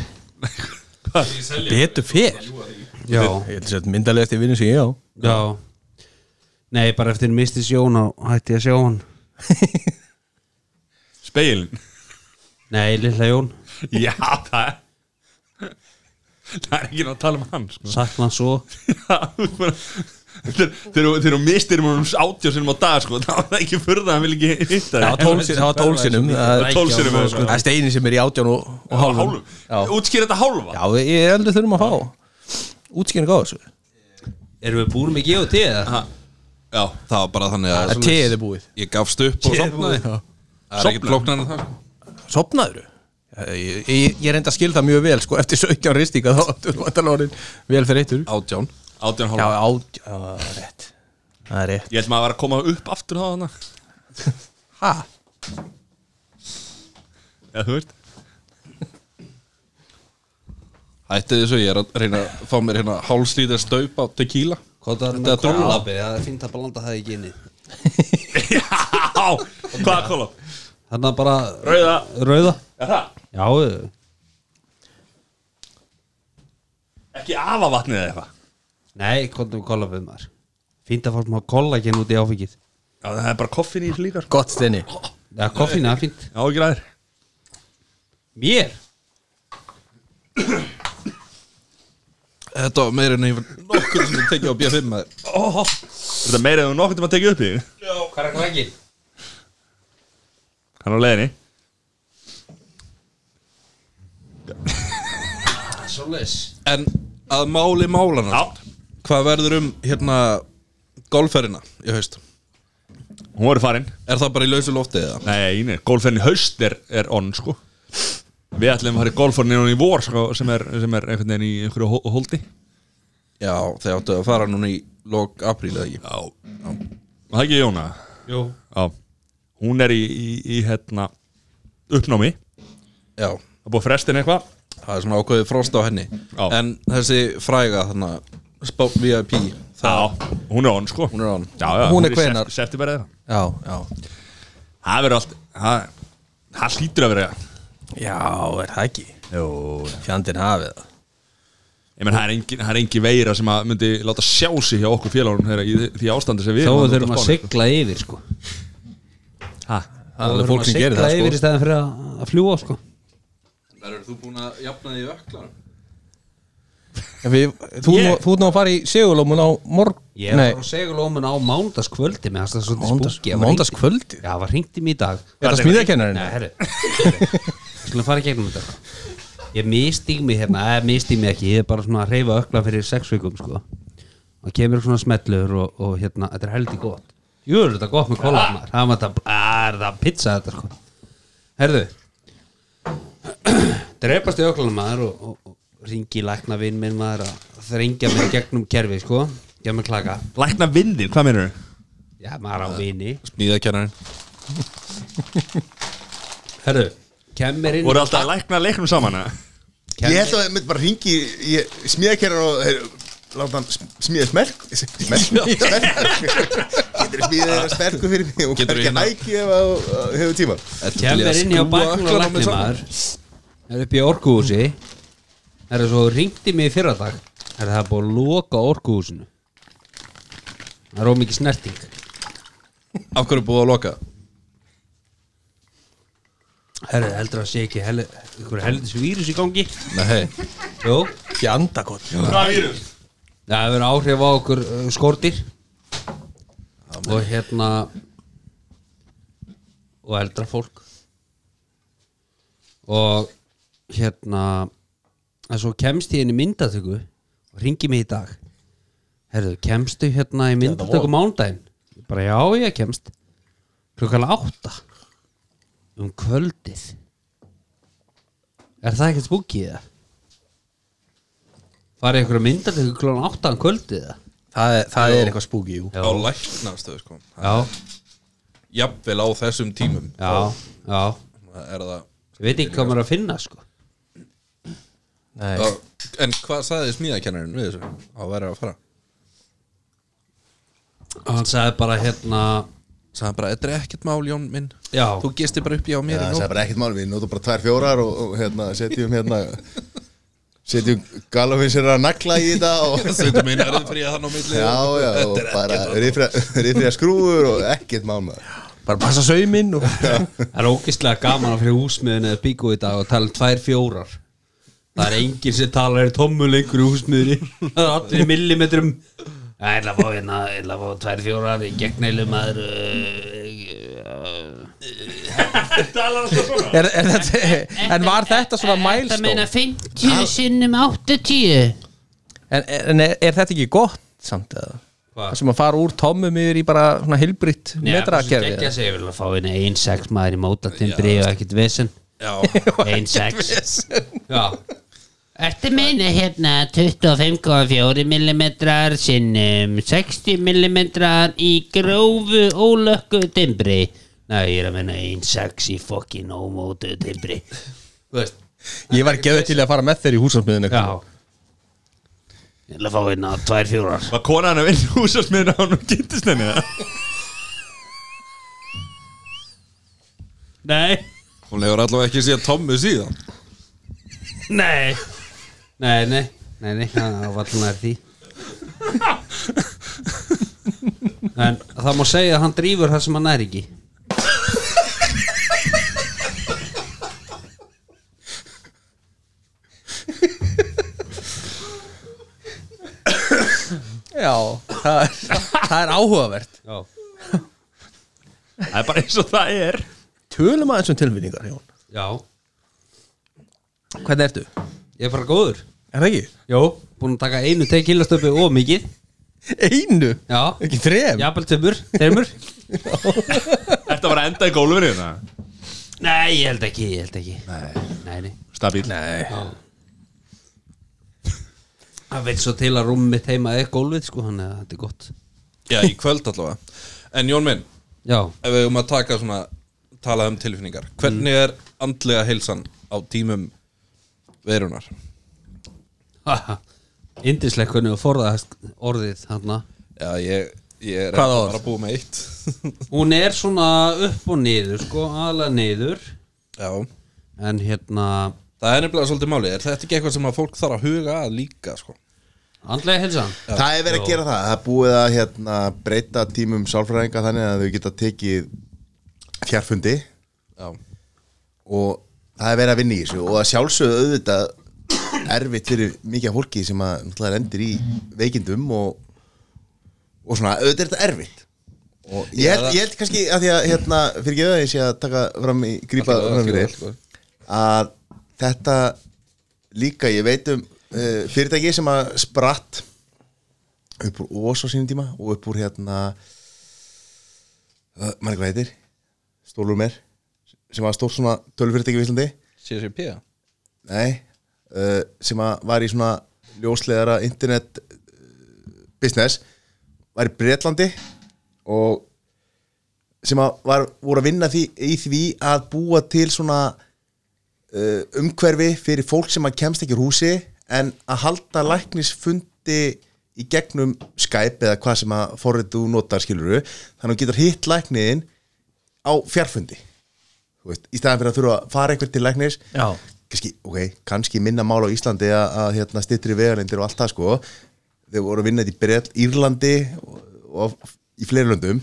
Speaker 6: Betur fyrr
Speaker 3: Já
Speaker 6: Ég held að þetta er myndalegast í vinnu sem ég á
Speaker 3: Já Nei, bara eftir misti sjón og hætti ég að sjá hann
Speaker 1: Speilin?
Speaker 3: Nei, lilla Jón
Speaker 1: Já, það er Það er ekki náttúrulega að tala um hann sko.
Speaker 3: Sakna hann svo
Speaker 1: Já, þú veist bara- Þegar þegar- þegar þú mistir um átjósinum á dag sko, þá er það ekki furða að hann vil ekki hitta
Speaker 6: Það var tólf sin- það var tólf sinnum Það
Speaker 1: Það er tólf sinnum eða
Speaker 6: það er steini sem er í átján og, og hálfum
Speaker 1: Hálfum? Útskýr þetta hálfa?
Speaker 6: Já, við- ég heldur þurfum að fá Útskynning á þessu
Speaker 3: Erum við búin með G.O.T. eða?
Speaker 8: Já, það var bara þannig að
Speaker 6: Að teið Eh, er búið
Speaker 8: ég gafst upp og sopnaði
Speaker 6: Já.
Speaker 8: Það er ekkert flóknar en það sko.
Speaker 6: Sopnaður Eh, Ég, ég, ég reynda að skil það mjög vel sko, eftir 17 ristíka þá áttu vantalórin vel fyrir eittur
Speaker 8: Átján
Speaker 1: Átján
Speaker 6: Já,
Speaker 1: hálfa
Speaker 6: á, já, rétt Það er rétt
Speaker 1: Ég held maður að vera að koma upp aftur þá þannig
Speaker 6: Ha?
Speaker 1: Já, þú veist
Speaker 8: Hætti þessu, ég er að reyna að fá mér hérna hálslítar staup á tequila
Speaker 3: Hvað það er
Speaker 8: Þetta
Speaker 3: með
Speaker 8: er dólar.
Speaker 3: kólapi? Það er fínt að blanda það ekki inni
Speaker 1: [LAUGHS] Já, hvaða kóla?
Speaker 3: Þannig bara
Speaker 1: Rauða
Speaker 3: Rauða
Speaker 1: Er það?
Speaker 3: Já eh,
Speaker 1: Ekki afa vatnið eða eitthvað
Speaker 3: Nei, kóndum kólapi maður Fínt að fá smá kollaginn út í áfengið
Speaker 1: Já, það er bara koffin í þessu líka sko.
Speaker 6: Gott steini
Speaker 3: Já, koffín, það er fínt
Speaker 1: Já, ekki ræðir
Speaker 3: Mér?
Speaker 8: Þetta var meira en ég var nokkur sem ég tekið á B5 maður
Speaker 1: oh. Þetta er meira en þú nokkuð til að tekið upp í því
Speaker 3: Já, hvað er krakkin?
Speaker 1: Hann er á leiðinni
Speaker 3: Svoleiðis
Speaker 8: En að máli málana
Speaker 1: Já,
Speaker 8: Hvað verður um hérna golferina í haust?
Speaker 1: hún voru farin
Speaker 8: Er það bara í lausu lofti eða?
Speaker 1: Nei, nei, golfferðin í haust er, er on sko Við ætlum að fara í golfferðin núna í vor sko, sem, er, sem er einhvern veginn í einhverju hó- holdi
Speaker 8: Já, þeir áttu að fara núna í lok apríl eða ekki
Speaker 1: Já, Það ekki Jóna
Speaker 3: Jú
Speaker 1: Já Hún er í, í, í hérna uppnámi
Speaker 8: já,
Speaker 1: Það er búið frestin eitthvað
Speaker 8: það er svona ákveðið frost á henni
Speaker 1: Já.
Speaker 8: en þessi fræga þarna Spop VIP, það,
Speaker 1: Já, hún er on sko
Speaker 8: hún er án
Speaker 1: Já, já,
Speaker 6: Hún er
Speaker 1: í
Speaker 6: hvenær?
Speaker 1: sep- September eða
Speaker 6: já, já
Speaker 1: Það verður allt Það, það hlýtur að vera
Speaker 6: Já, er það ekki
Speaker 1: Jó
Speaker 6: Fjandinn hafið það
Speaker 1: Ég menn, það er engin, það er engin veira sem að myndi láta sjá sig hjá okkur félagunum þeirra í því- því ástandi sem við
Speaker 3: Þá
Speaker 1: erum þarna
Speaker 3: þurfum
Speaker 1: úti á
Speaker 3: að
Speaker 1: Spáni,
Speaker 3: sigla yfir sko
Speaker 1: Ha,
Speaker 3: Þá
Speaker 8: alveg
Speaker 3: þurfum
Speaker 8: fólk
Speaker 3: að
Speaker 8: sem gerir
Speaker 3: sigla
Speaker 8: það, sko.
Speaker 3: yfir í stæðan fyrir að, að fljúa sko
Speaker 8: Verður þú búin að jafna því öklar?
Speaker 6: við, Þú
Speaker 1: Ég-
Speaker 6: ert nú að fara í segulómun á morg
Speaker 3: Ég var frá segulómun á mándaskvöldi með það svolítið spúki
Speaker 6: Mándagskvöldi
Speaker 3: Já, það var hringt í mig í dag
Speaker 6: Er það smíðakennarinn?
Speaker 3: Nei, herri herri. Skulum fara í gegnum þetta Ég mistík mig hérna, eða mistík mig ekki Ég er bara svona að reyfa ökla fyrir sex vikum sko. og kemur svona smellur og, og hérna, þetta er heldig gott Jú, er þetta gott með kóla Það var þetta, að, er það pizza þetta sko. Herðu [CLEARS THROAT] Drepast í öklanum maður og, og, og ringi lækna vinn minn maður að þrengja mig gegnum kerfi sko, gef mig klaka
Speaker 1: Lækna vindin, hvað meinur þau?
Speaker 3: Já, maður á vini
Speaker 8: Smíðakennarinn
Speaker 3: Herðu, kemur inn
Speaker 1: Voru alltaf að lækna leiknum saman eða?
Speaker 2: Ég held að ég myndi bara ringi í smíðakerran og heyr, láta hann sm- smíða [LAUGHS] smerk smerk, smerk getur smíða þeirra smerku fyrir mig og
Speaker 8: Geturðu
Speaker 2: kannski
Speaker 8: hérna-
Speaker 2: hæki ef að að hefur tíma
Speaker 3: kemur inn hjá bækula lækni maður er upp í orkuhúsi er svo ringdi mig í fyrradag er það búið að loka orkuhúsinu það er ómikið snerting
Speaker 8: Af hverju er búið að loka?
Speaker 3: herru heldur að sé ekki hel ykkur heldur vírus í gangi
Speaker 8: Nei, hei,
Speaker 3: jú
Speaker 6: Fjandakott
Speaker 1: Hvað vírus?
Speaker 3: Já, það hefur áhrif á okkur uh, skortir og hérna og eldra fólk og hérna en svo kemst ég inn í myndatöku og ringi mig í dag Herðu, kemstu hérna í myndatöku mándaginn? Bara já, ég kemst klukkan átta um kvöldið Er það ekkert spúkið það? Farið ykkur að mynda til klón 8 um kvöldið eða?
Speaker 6: Það er, það er eitthvað spooky, jú
Speaker 8: á læknastöðu sko
Speaker 3: Já,
Speaker 8: Jafnvel á þessum tímum
Speaker 3: já, já
Speaker 8: Það Er það
Speaker 3: Ég veit ekki hvað maður er að finna sko
Speaker 8: Já, En hvað sagði smíðakennarinn við þessu? Á verið að fara
Speaker 3: Og hann sagði bara hérna
Speaker 8: Sagði hann bara, þetta er ekkert mál Jón minn
Speaker 3: Já,
Speaker 8: Þú gistir bara upp í á
Speaker 2: Já,
Speaker 8: mér í
Speaker 2: það er
Speaker 8: nótt
Speaker 2: bara ekkert mál, við notum bara tvær fjórar og, og hérna, setjum hérna setjum galafins er að nagla í þetta
Speaker 8: [LAUGHS]
Speaker 2: og
Speaker 8: Sveitum minn er þið fríða þann á milli
Speaker 2: já, já, og
Speaker 8: Þetta er
Speaker 2: bara
Speaker 8: ekkert
Speaker 2: rifriða skrúfur og ekkert mál maður
Speaker 6: Bara passa sauminn og
Speaker 3: það er ógeðslega gaman að fyrir húsmiðun eða bíkó í dag og tala um tvær fjórar Það er enginn sem talar í tommu lengur í húsmiðunni Það er allir í millimetrum Það er að fá hérna, ég ætla að fá tvær fjórar í gegneilum maður eh,
Speaker 6: [LAUGHS] er, er þetta, En var þetta svona
Speaker 9: Það meina
Speaker 6: mælstón?
Speaker 9: 50 sinnum 80
Speaker 6: En, en er, er þetta ekki gott samt eða?
Speaker 3: Hvað?
Speaker 6: Það sem að fara úr tommum yfir í bara svona hilbritt
Speaker 3: Metrakerfi
Speaker 6: metrakerfi
Speaker 3: Ég vil að fá hérna ein sex maður í mótatimbri og ekkert vesen
Speaker 8: Já,
Speaker 6: sko.
Speaker 3: Ein sex Já,
Speaker 9: Ertu meina hérna 25,4 mm sinnum 60 mm í grófu ólökku dimbri Nei, ég er að meina 1,6 í fokkin ómótu dimbri
Speaker 3: þú veist
Speaker 6: Ég var gefið til að fara með þeir í húsansmiðinu
Speaker 3: Já,
Speaker 9: Ég ætla að fá hérna tvær fjórar
Speaker 1: Var konan að vinna húsasmiðna á hún kynntist henni eða?
Speaker 9: Nei
Speaker 8: hún hefur allavega ekki séð Tommu síðan
Speaker 9: Nei
Speaker 3: nei, nei, nei, nei, það var alltaf nær því En það má segja að hann drífur það sem hann er ekki
Speaker 6: Já, það er, það er áhugavert
Speaker 3: Já,
Speaker 1: Það er bara eins og það er
Speaker 6: Tölum aðeins um tilfinningar, Jón
Speaker 3: já,
Speaker 6: Hvernig ertu?
Speaker 3: ég er bara góður
Speaker 6: Er það ekki?
Speaker 3: Jó, búin að taka einu tekilastöpu og mikið
Speaker 6: Einu?
Speaker 3: Já,
Speaker 6: Ekki þrem?
Speaker 3: jafnvel tömur, þreymur
Speaker 1: Ertu að vera að enda í gólfinu hérna?
Speaker 3: Nei, ég held ekki, ég held ekki Nei, nei, nei.
Speaker 1: Stabíl
Speaker 3: Það veit svo til að rúmið mitt heima er gólfið sko, hann er þetta er gott
Speaker 8: Já, í kvöld allavega En Jón minn,
Speaker 3: Já,
Speaker 8: ef við um að taka svona talað um tilfinningar hvernig er andlega heilsan á tímum verunar
Speaker 3: Indisleikunni og forðast orðið hana.
Speaker 8: já ég, ég er
Speaker 3: Hvaða
Speaker 8: ekki
Speaker 3: orð?
Speaker 8: bara búið með eitt [LAUGHS]
Speaker 3: Hún er svona upp og niður sko, aðla niður
Speaker 8: já
Speaker 3: En hérna
Speaker 8: það er nefnilega svolítið máli er þetta ekki eitthvað sem að fólk þarf að huga að líka sko
Speaker 3: Andlega heilsan
Speaker 2: Það er verið að gera það, það er búið að hérna, breyta tímum sálfræðinga þannig að þau geta tekið fjarfundi
Speaker 8: já
Speaker 2: og það er verið að vinna í þessu og að sjálfsögðu auðvitað erfitt fyrir mikið af fólki sem að náttúrulega endir í veikindum og, og svona auðvitað er þetta erfitt og ég held, ég held kannski að því að hérna, fyrir ekki að ég sé að taka fram í grípa
Speaker 8: Allt í góðu,
Speaker 2: fram í
Speaker 8: allt í
Speaker 2: þig að þetta líka ég veit um uh, fyrirtæki sem að spratt upp úr ós á sínum tíma og upp úr hérna uh, manni hvað heitir Stólur mér sem var stórt svona tölvfyrirtæki í Íslandi
Speaker 8: CCP já
Speaker 2: Nei, uh, sem að var í svona ljóslegara internet uh, business var í Bretlandi og sem að var, voru að vinna því, í því að búa til svona uh, umhverfi fyrir fólk sem að kemst ekki úr húsi en að halda læknisfundi í gegnum Skype eða hvað sem að forrið þú notar skiluru þannig að þú getur hitt lækniðin á fjarfundi Þú veist, í staðan fyrir að þurfa að fara einhver til læknis
Speaker 3: Já.
Speaker 2: kannski, okay, kannski minna mál á Íslandi að, að hérna, styttri vegalindir og allt það sko þau voru að vinna þetta í Bretl, Írlandi og, og í fleiri löndum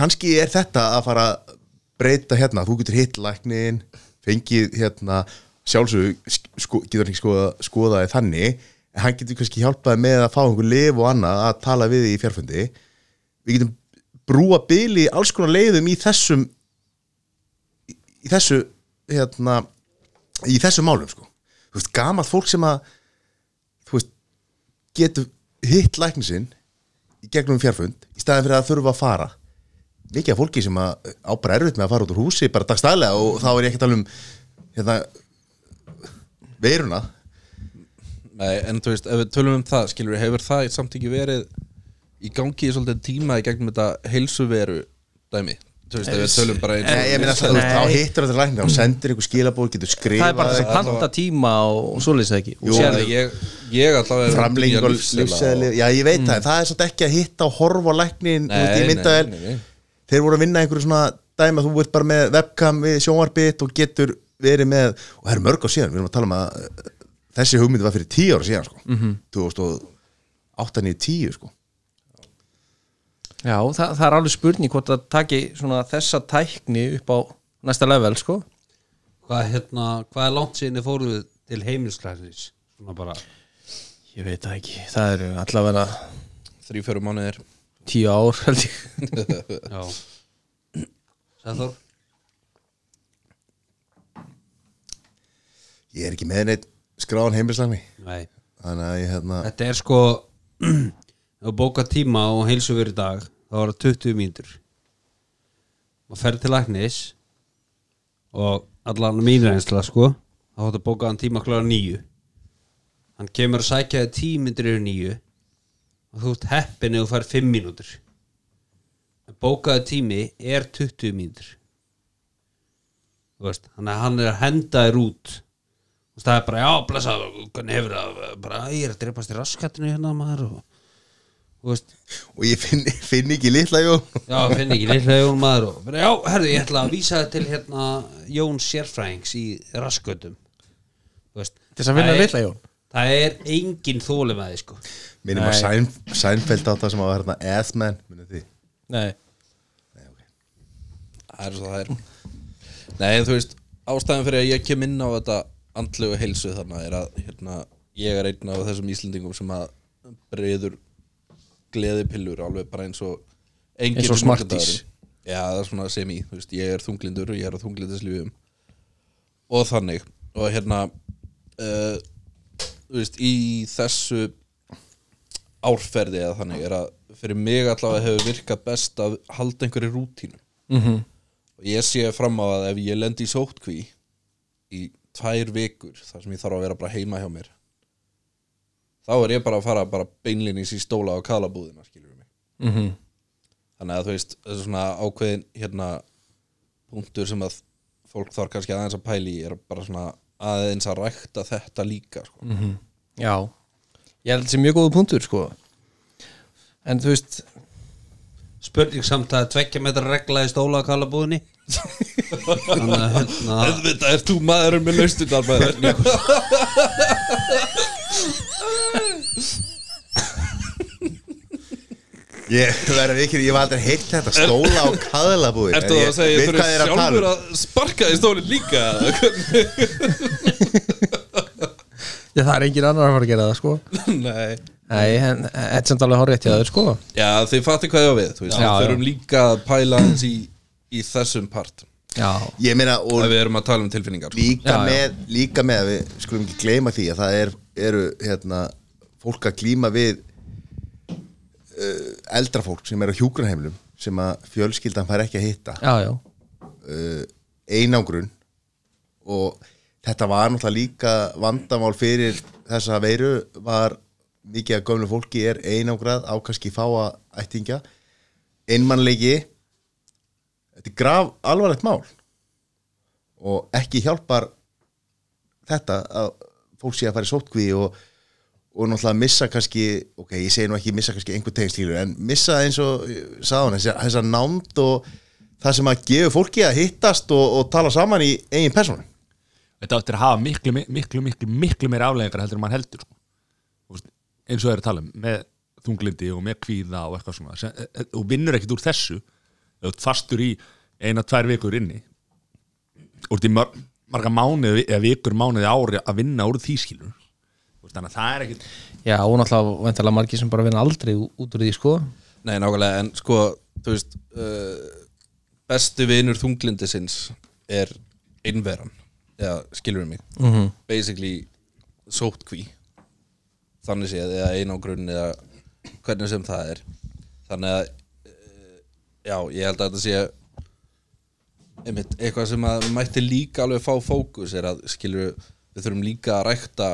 Speaker 2: kannski er þetta að fara að breyta hérna, þú getur hitt læknin fengið hérna sjálfsög, sko, getur hann ekki skoða, skoða þig þannig, en hann getur kannski hjálpaði með að fá einhver lif og annað að tala við þig í fjárfundi við getum brúa byli í alls konar leiðum í þessum í þessu hérna, í þessu málum sko. þú veist, gamalt fólk sem að þú veist, getur hitt læknisinn í gegnum fjárfund í staðin fyrir að þurfa að fara mikið af fólki sem að á bara erfitt með að fara út úr húsi bara dagstæðlega og þá er ég ekki að tala um hérna veiruna
Speaker 8: Nei, en þú veist, ef við tölum um það, skilur við, hefur það samt ekki verið í gangi í svolítið tíma í gegnum þetta heilsuveru dæmi, þú veist, ef við tölum bara eins og-
Speaker 2: Nei, ég meina það, þú veist, þá hittur þetta læknir og sendir einhver skilabóð, getur
Speaker 6: það er bara
Speaker 2: skrifað
Speaker 6: þess að panta tíma og, og svoleiðis það ekki
Speaker 2: Jú,
Speaker 6: og
Speaker 8: Þannig að ég, ég allavega er
Speaker 2: framlenging
Speaker 8: nýja
Speaker 2: og
Speaker 8: lífsseðla
Speaker 2: lífsæðli já ég veit það, en það er svolítið ekki að hitta og horfa á læknin, þú veist,
Speaker 8: Mm. Nei,
Speaker 2: ég mynda
Speaker 8: nei,
Speaker 2: vel
Speaker 8: nei, nei.
Speaker 2: þeir voru að vinna einhverju svona dæma þú ert bara með webcam við sjónvarpið og getur verið með, og það er mörg á síðan við erum að tala um að eh, þessi hugmynd var fyrir tíu ára síðan, sko mm
Speaker 8: Mhm.
Speaker 2: -hmm. 2008, 9, 10, sko
Speaker 6: Já, það, það er alveg spurning hvort það taki svona þessa tækni upp á næsta level sko
Speaker 3: Hvað, hérna, hvað er langt síðan þið fóruð til heimilsklæsins? Svona bara
Speaker 6: Ég veit það ekki, það eru allavega
Speaker 8: Þrjú, fjóru mánuðir
Speaker 6: tíu ár held ég [LAUGHS]
Speaker 3: Já Sæður
Speaker 2: ég er ekki með neitt skráðan heimilslækni
Speaker 3: Nei
Speaker 2: þannig að ég hérna,
Speaker 3: Þetta er sko [CLEARS THROAT] að bóka tíma og heilsu verið dag þá var það 20 mínútur og ferð til læknis og allan mín reynsla sko þá hótt að bóka hann tíma klára nýju hann kemur að sækja þig 10 mínútur yfir nýju og þú ert heppin eða þú fær 5 mínútur en bókaði tími er 20 mínútur þú veist þannig að hann er að henda þér út og það er bara, já, blessa, hvernig hefur það bara, ég er að dreipast í raskatinu hérna maður og, þú veist,
Speaker 2: og ég finn, [LAUGHS] finn ekki litla jú
Speaker 3: já, finn ekki litla Jón maður og, bara, já, herðu, ég ætla að vísa það til hérna Jón Sérfræðings í raskatum þú veist
Speaker 6: Til þess að vinna
Speaker 3: það er-
Speaker 6: litla Jón?
Speaker 3: það er engin þólum að þið sko
Speaker 2: minnum að Sæn, Sænfeld átta sem að var hérna Earthman, minnum því
Speaker 6: Nei,
Speaker 8: Það er svo það er Nei, þú veist, ástæðan fyrir að ég kem inn á þetta andlegu heilsu þarna er að hérna, ég er einn af þessum Íslendingum sem að breyður gleðipillur alveg bara eins og enginn
Speaker 6: Eins og
Speaker 8: þunglindaður.
Speaker 6: Smarties.
Speaker 8: Já, það er svona semi, þú veist, ég er þunglindur og ég er á þunglindislífum og þannig og hérna uh, þú veist, í þessu árferði eða þannig er að fyrir mig allavega hefur virkað best að halda einhverju rútínu og ég sé fram á að ef ég lendi í sótkví í tvær vikur þar sem ég þarf að vera bara heima hjá mér þá er ég bara að fara bara beinlinnis í stóla á kalabúðina skilur mig þannig að þú veist, þessu svona ákveðin hérna punktur sem að fólk þarf kannski aðeins að pæli er bara svona aðeins að rækta þetta líka sko. mm -hmm.
Speaker 6: Já, ég held þessi mjög góðu punktur sko En þú veist,
Speaker 3: Spurning samt að tvekkja metra regla í stóla að kalla búðinni Þannig að hérna
Speaker 8: Þetta er þú maðurinn með laustundan maður
Speaker 2: Ég verður ekki, ég var aldrei heilt þetta stóla og kaðalabúi
Speaker 8: [LAUGHS] Ertu það að segja, þú
Speaker 2: Við hvað er
Speaker 8: eru
Speaker 2: að tala um?
Speaker 8: sjálfur að sparka í stólinn líka eða hvernig?
Speaker 6: já, það er engin annar að fara að gera það sko
Speaker 8: [LAUGHS] Nei
Speaker 6: Nei, en þetta er samt alveg horrið til aður sko
Speaker 8: Já, þið fattir hvað ég á við, þú veist,
Speaker 6: Já,
Speaker 8: við
Speaker 6: já.
Speaker 8: þurfum líka að pæla aðeins í, í þessum part
Speaker 6: Já,
Speaker 2: Ég meina, og
Speaker 8: ef við erum að tala um tilfinningar sko.
Speaker 2: líka
Speaker 6: Já, já.
Speaker 2: með, líka með að við skulum ekki gleyma því að það er, eru hérna, fólk að glíma við uh, eldra fólk sem er á hjúgrunheimlum sem að fjölskyldan fær ekki að hitta
Speaker 6: já, já
Speaker 2: uh, einangrun og þetta var náttúrulega líka vandamál fyrir þessa veiru var mikið að gömlu fólki er einangrað á kannski fáa ættingja einmannleiki þetta er graf alvarlegt mál og ekki hjálpar þetta að fólk sé að fara í sótkví og, og náttúrulega missa kannski ok, ég segi nú ekki missa kannski einhver tegnstílu en missa eins og eh, sáðan þessar þessa nánd og það sem að gefa fólki að hittast og, og tala saman í eigin persónu
Speaker 10: þetta áttir að hafa miklu, mi- miklu, miklu, miklu meira afleggingar heldur en maður heldur sko. Þú veist, eins og það er að tala um með þunglindi og með kvíða og eitthvað svona sem, e- e- og vinnur ekkert úr þessu þú ert fastur í eina, tvær vikur inni og ert í mar marga mánuði eða vikur, mánuði, ári að vinna úr því skilur Þú veist, þannig að það er ekkert
Speaker 6: Já, og náttúrulega vantarlega margir sem bara vinna aldrei ú- út úr því sko
Speaker 8: Nei, nákvæmlega, en sko, þú veist uh, bestu vinur þunglindisins er einveran eða skilur mig -hmm. basically sótkví þannig séð, eða einangrun eða hvernig sem það er þannig að uh, já, ég held að þetta sé einmitt, eitthvað sem að mætti líka alveg fá fókus er að skilur við þurfum líka að rækta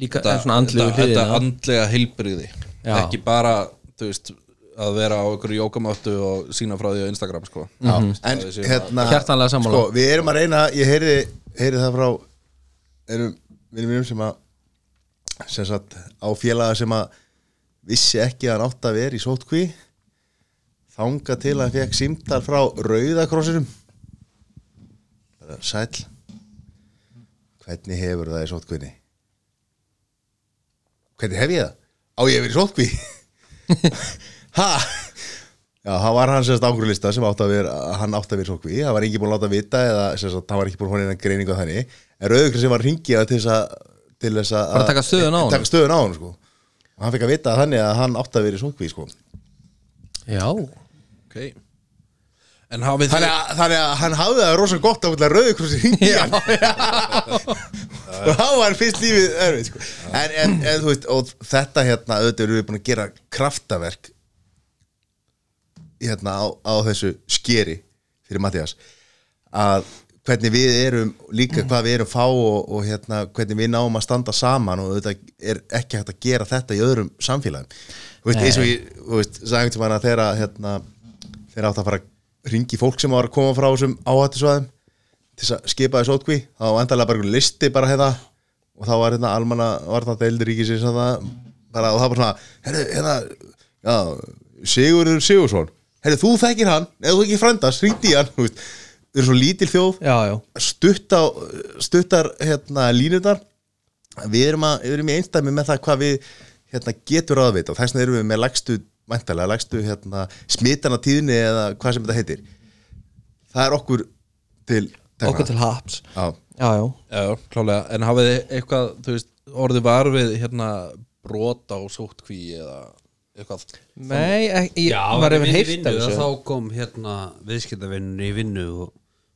Speaker 6: Líka
Speaker 8: þetta,
Speaker 6: svona andlegu
Speaker 8: þetta-
Speaker 6: hliðina
Speaker 8: þetta andlega heilbriði
Speaker 6: Já.
Speaker 8: ekki bara, þú veist að vera á einhverju jókamáttu og sína frá því á Instagram sko
Speaker 2: en
Speaker 8: Það sé-
Speaker 2: hérna
Speaker 6: Hjartanlega sammála.
Speaker 2: sko, við erum að reyna, ég heyri, heyri það frá erum vinnum mínum sem að sem sagt á félaga sem að vissi ekki að hann átt að vera í sótkví þanga til að hann fekk símtal frá rauðakrossinum bara sæll hvernig hefur það í sótkvinni hvernig hef ég það? á ég hef verið í
Speaker 6: [LAUGHS]
Speaker 2: sótkví ha? Já, það var hann sérst ángrúlista sem átt að vera, hann átt að vera sókví, það var ekki búin að láta vita eða sérst, hann var ekki búin að hóna innan greiningu á þannig, en Rauðugrið sem var ringið til þess að, til þess að
Speaker 6: Bara taka stöðuna á honum.
Speaker 2: Taka stöðuna á honum, sko. Og hann fekk að vita þannig að hann átt að vera sókví, sko.
Speaker 6: Já,
Speaker 8: okay. en hafið
Speaker 2: Þannig að, þannig að hann hafði það rosalega gott að Rauðugrið sem ringið hann. og það var fyrst lífið erfið, sko. En, en, en þú veist, og þetta hérna, auðvitað erum við búin að gera kraftaverk hérna á, á þessu skeri fyrir Mattias að hvernig við erum líka hvað við erum fá og, og hérna hvernig við náum að standa saman og þetta er ekki hægt að gera þetta í öðrum samfélagum þú veist, eins og ég, þú veist, sagði til manna þegar að, hérna, þegar átt að fara að ringi fólk sem var að koma frá þessum áhættisvæðum til þess að skipa þessu ótkví þá var endalega bara einhver listi bara hérna og þá var hérna almanna varna deildi ríkisins hérna, bara, og það var svona hérna, hérna já, Sigurður Sigursson hérna, þú þekkir hann, ef þú ekki frendast, ringdi í hann þú veist, þau eru svo lítil þjóð
Speaker 6: já, já
Speaker 2: stutt á, stuttar hérna, línunar við erum, að, við erum í einstæmi með það hvað við hérna, getur aðvita og þess vegna erum við með lægstu, mæntalega lægstu hérna, smitana tíðni eða hvað sem þetta heitir það er okkur til tekna.
Speaker 5: okkur til haps
Speaker 2: Já.
Speaker 5: já, já,
Speaker 8: Já, klálega, en hafið þið eitthvað þú veist, orðið var við hérna brota og sótkví eða eitthvað
Speaker 6: Nei, e- ek- ég
Speaker 3: Já,
Speaker 6: var
Speaker 3: ég vinn
Speaker 6: yfir
Speaker 3: í
Speaker 6: heilt af
Speaker 3: vinnu,
Speaker 6: þessu
Speaker 3: Þá kom hérna viðskiptavinnun í vinnu og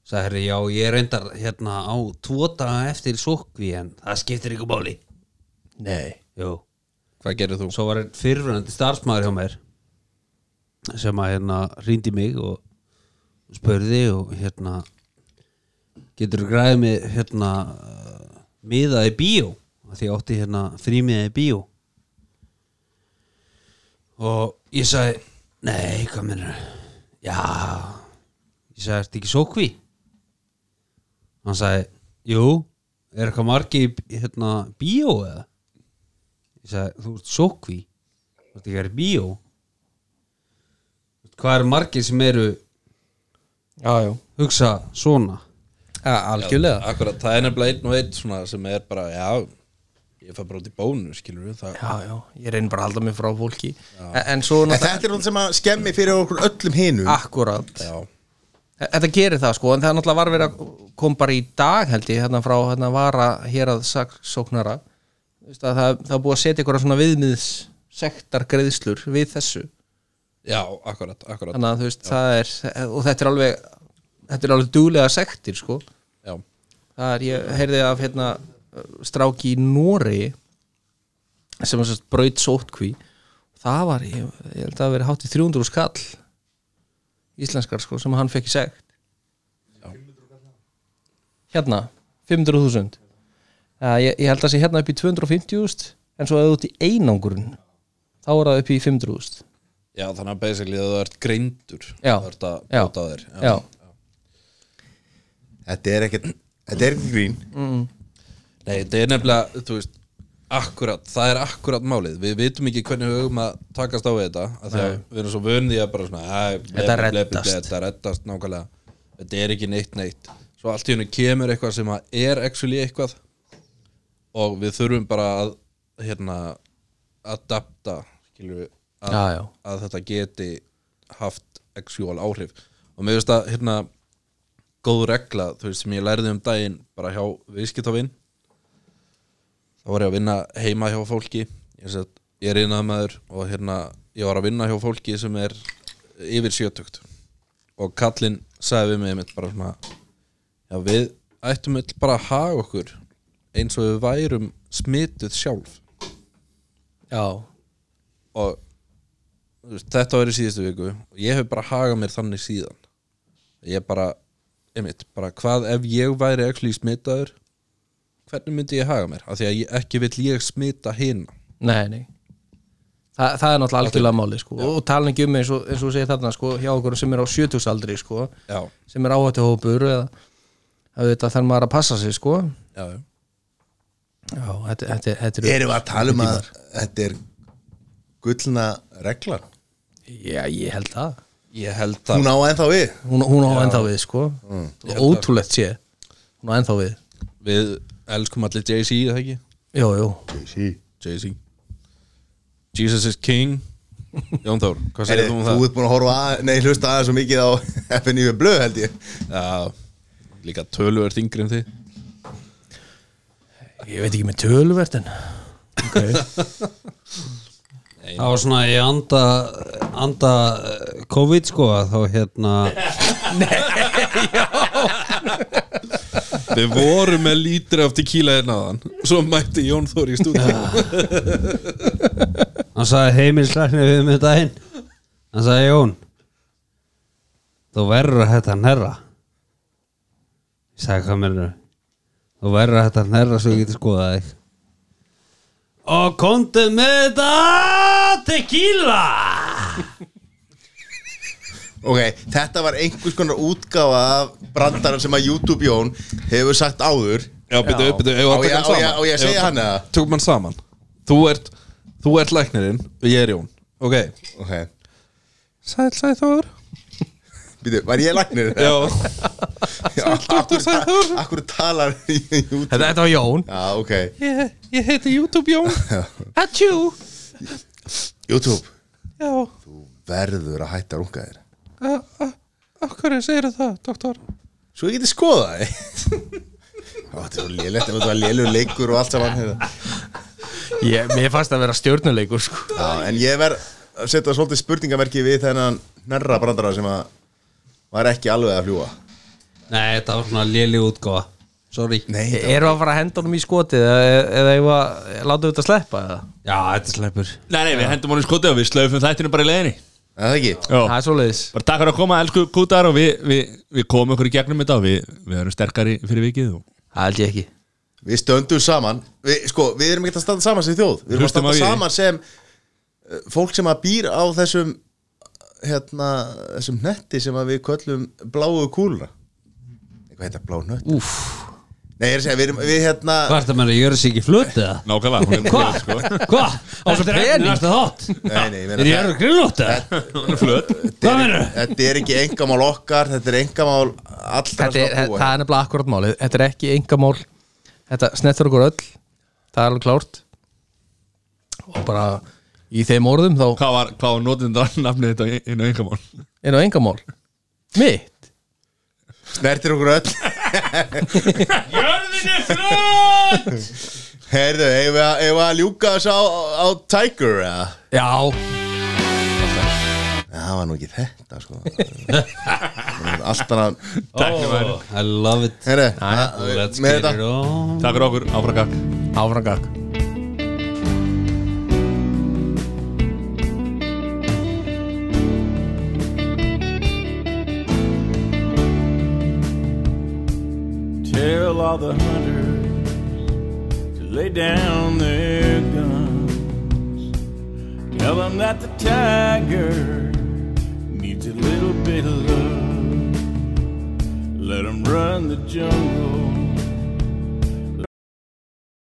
Speaker 3: sagði herri, já, ég reyndar hérna á tvo daga eftir sókvi en það skiptir ykkur báli.
Speaker 5: nei
Speaker 3: Jú.
Speaker 8: hvað gerir þú?
Speaker 3: Svo var einn fyrirvunandi starfsmæður hjá mér sem að hérna rýndi mig og spurði og hérna getur græðið mig hérna uh, miðaði bíó Af því ég átti hérna frímiðaði bíó og ég sagði Nei, hvað minnur Já Ég sagði, ertu ekki sókví? Hann sagði, jú Er eitthvað margi í í, hérna, bíó eða? Ég sagði, þú ert sókví Þú ert ekki að vera í bíó Hvað eru margir sem eru
Speaker 6: já, já,
Speaker 3: hugsa svona?
Speaker 6: ja, algjörlega
Speaker 8: Akkurat, það er nefnilega einn og einn svona sem er bara, já ég fær bara út í bónu, skilur við það
Speaker 6: já, já, ég reynir bara að halda mig frá fólki en, en svo
Speaker 2: En þetta er náttúrulega sem að skemmi fyrir okkur öllum hinum
Speaker 6: Ah. akkurat
Speaker 8: Já,
Speaker 6: þetta gerir það sko, en það er náttúrulega var verið að kom bara í dag held ég, hérna frá hérna vara hér að saksóknara Þú veist að það, það er búið að setja ykkur svona viðmiðs sektar greiðslur við þessu
Speaker 8: já akkurat, akkurat
Speaker 6: þannig að þú veist, það er og þetta er alveg, þetta er alveg dúlega sektir sko,
Speaker 8: Já,
Speaker 6: það er, ég heyrði af hérna stráki í Nóri sem var sérst braut sótkví það var, ég, ég held að það hafi verið hátt í 300 skall íslenskar sko, sem hann fekk í sekt hérna 500.000 uh, ég, ég held að sé hérna upp í 250.000 en svo að þú ert í einangurinn þá er það upp í 500.000
Speaker 8: já þannig að basically að þú ert greindur
Speaker 6: Já.
Speaker 8: Þú ert að
Speaker 6: Já.
Speaker 8: bóta þér
Speaker 6: já,
Speaker 2: Þetta er ekkert Þetta er ekki grín
Speaker 8: Nei, þetta er nefnilega, þú veist Akkurat, það er akkurat málið Við vitum ekki hvernig við höfum að takast á við þetta af því að Við erum svo vönið að bara svona æ, ble,
Speaker 6: Þetta
Speaker 8: ble, ble, ble,
Speaker 6: reddast.
Speaker 8: Þetta reddast nákvæmlega Þetta er ekki neitt neitt Svo allt í hennu kemur eitthvað sem að er actually eitthvað og við þurfum bara að hérna, adapta skilur við að,
Speaker 6: Já, já.
Speaker 8: að þetta geti haft actual áhrif og mér finnst að hérna góð regla, þú veist, sem ég lærði um daginn bara hjá viðskiptavinn þá var ég að vinna heima hjá fólki ég, set, ég er innað maður og hérna ég var að vinna hjá fólki sem er yfir sjötugt og kallinn sagði við mig mitt bara svona já við ættum öll bara að haga okkur eins og við værum smituð sjálf
Speaker 6: já,
Speaker 8: og þú veist, þetta var í síðustu viku og ég hef bara hagað mér þannig síðan ég bara, einmitt, bara hvað ef ég væri ekki smitaður hvernig myndi ég haga mér af því að ég, ekki vill ég smita hinn
Speaker 6: nei, nei Þa, það er náttúrulega algjörlega máli sko. og talan ekki um eins og, eins og segir þarna sko, hjá okkur sem er á 70 aldri sko,
Speaker 8: já,
Speaker 6: sem er áhættu hópur eða að þetta þarf maður að passa sig sko.
Speaker 8: já, já,
Speaker 6: já, þetta, þetta, þetta eru-
Speaker 2: Erum við að tala um að þetta er gullna reglan
Speaker 6: já, ég held það
Speaker 8: ég held það
Speaker 2: Hún á ennþá við
Speaker 6: hún, hún á ennþá við sko ótrúlegt sé hún á ennþá við
Speaker 8: við elskum allir Jay-Z, eða ekki?
Speaker 6: jú, jú.
Speaker 8: Jay-Z Jesus is
Speaker 2: [LAUGHS]
Speaker 8: King Jón Þór, hvað segir
Speaker 2: Heyrðu,
Speaker 8: þú um
Speaker 2: Þú
Speaker 8: það?
Speaker 2: ert búin að horfa að, nei hlusta aðeins svo mikið á [LAUGHS] FNU blöð held ég
Speaker 8: Já, líka töluvert yngri en þið
Speaker 6: ég veit ekki með töluvert en
Speaker 3: Það var svona í anda, anda eh, COVID sko að þá hérna
Speaker 8: Við vorum með lítri af tequila hérna áðan Svo mætti Jón Þór í stúdíu
Speaker 3: hann sagði heimilslækni við með daginn hann sagði Jón þú verður þetta nærra ég sagði hvað mennur þú verður þetta nærra svo ég geti skoðað þig og komdu með þetta tequila
Speaker 2: Ok, þetta var einhvers konar útgáfa af brandarum sem að YouTube Jón hefur sagt áður
Speaker 8: Já, byrju, byrju,
Speaker 2: Á
Speaker 8: hefur að
Speaker 2: ég-
Speaker 8: taka
Speaker 2: á
Speaker 8: hann
Speaker 2: ég-
Speaker 8: saman
Speaker 2: á ég að
Speaker 8: Eigum
Speaker 2: segja
Speaker 8: við-
Speaker 2: hann eða?
Speaker 8: Tökum hann saman Þú ert, þú ert læknirinn og ég er Jón Ok
Speaker 2: Ok,
Speaker 8: Sæl, sæl Þór
Speaker 2: býtu, var ég lagnir
Speaker 8: Já,
Speaker 2: [LAUGHS] akkur, akkur talar [LAUGHS] í YouTube
Speaker 6: þetta, þetta var Jón
Speaker 2: Já, ok,
Speaker 8: ég, ég heiti YouTube Jón
Speaker 6: Atjú.
Speaker 2: YouTube
Speaker 8: Já,
Speaker 2: Þú verður að hætta að runga þér
Speaker 8: okkur segir það, doktor
Speaker 2: Svo ég geti skoða það [LAUGHS] Þetta er svo lélegt, þetta var lélur leikur og allt saman hérna.
Speaker 6: ég, mér fannst að vera stjórnuleikur sko.
Speaker 2: Já, en ég verð að setja svolítið spurningamerki við þennan nærra brandara sem að var ekki alveg að fljúa
Speaker 3: nei þetta var svona léli útgáfa sorry
Speaker 2: Nei, þetta
Speaker 6: eru að fara að henda honum í skotið eða, eða ég var, látum við þetta sleppa eða?
Speaker 3: já þetta sleppur
Speaker 10: Nei, nei, við hendum honum í skotið og við slöfum þættinu bara í leiðinni
Speaker 2: Er það ekki
Speaker 10: Jó,
Speaker 6: það er svoleiðis
Speaker 10: bara takk fyrir að koma, elsku kútar og við, við, við komum okkur í gegnum þetta og við, við erum sterkari fyrir vikið og
Speaker 6: það held ég ekki
Speaker 2: Við stöndum saman við, Sko, við erum ekki að standa saman sem eh, þjóð Við erum
Speaker 10: Hlustum
Speaker 2: að
Speaker 10: á
Speaker 2: standa
Speaker 10: ég.
Speaker 2: saman sem uh, fólk sem að býr á þessum hérna, þessum hnetti sem að við köllum bláu kúluna eitthvað heita blá hnött
Speaker 3: Úf,
Speaker 2: Nei, ég er að segja, við, erum- við hérna
Speaker 3: hvað er það með að gjöra sig ekki flut eða?
Speaker 10: Nákvæmlega, hún er sko.
Speaker 3: Hvað? Hvað? Á svo pening? Næsta þátt?
Speaker 2: Nei, nei, ég meina
Speaker 3: Er ég að grillóta? Hún er flut Hvað
Speaker 2: þetta,
Speaker 3: meður?
Speaker 2: er, þetta er ekki engamál okkar þetta er engamál allra
Speaker 6: þetta er,
Speaker 2: sem að
Speaker 6: það
Speaker 2: búa
Speaker 6: er nefnilega akkurat málið þetta er ekki engamál þetta snettur okkur öll, það er alveg klárt og bara í þeim orðum þá
Speaker 10: Hvað var, hvað var notindar nafnið þetta í- inn á yngamál?
Speaker 6: er það engamál mitt,
Speaker 2: snertir okkur öll
Speaker 1: Jörðin er flott
Speaker 2: Heyrðu, eigum við að- eigum við að ljúka þessu á, á Tiger eða?
Speaker 6: já
Speaker 2: Nei, það var nú ekki þetta
Speaker 1: [LAUGHS]
Speaker 2: sko Allt annað
Speaker 3: I love it
Speaker 2: Heyrðu,
Speaker 3: Let's
Speaker 2: að- með
Speaker 3: get it
Speaker 2: þetta
Speaker 3: on
Speaker 10: Takk fyrir okkur, áfrakak
Speaker 6: áframgak
Speaker 4: Tell all the hunters to lay down their guns. Tell them that the tiger needs a little bit of love. Let 'em run the jungle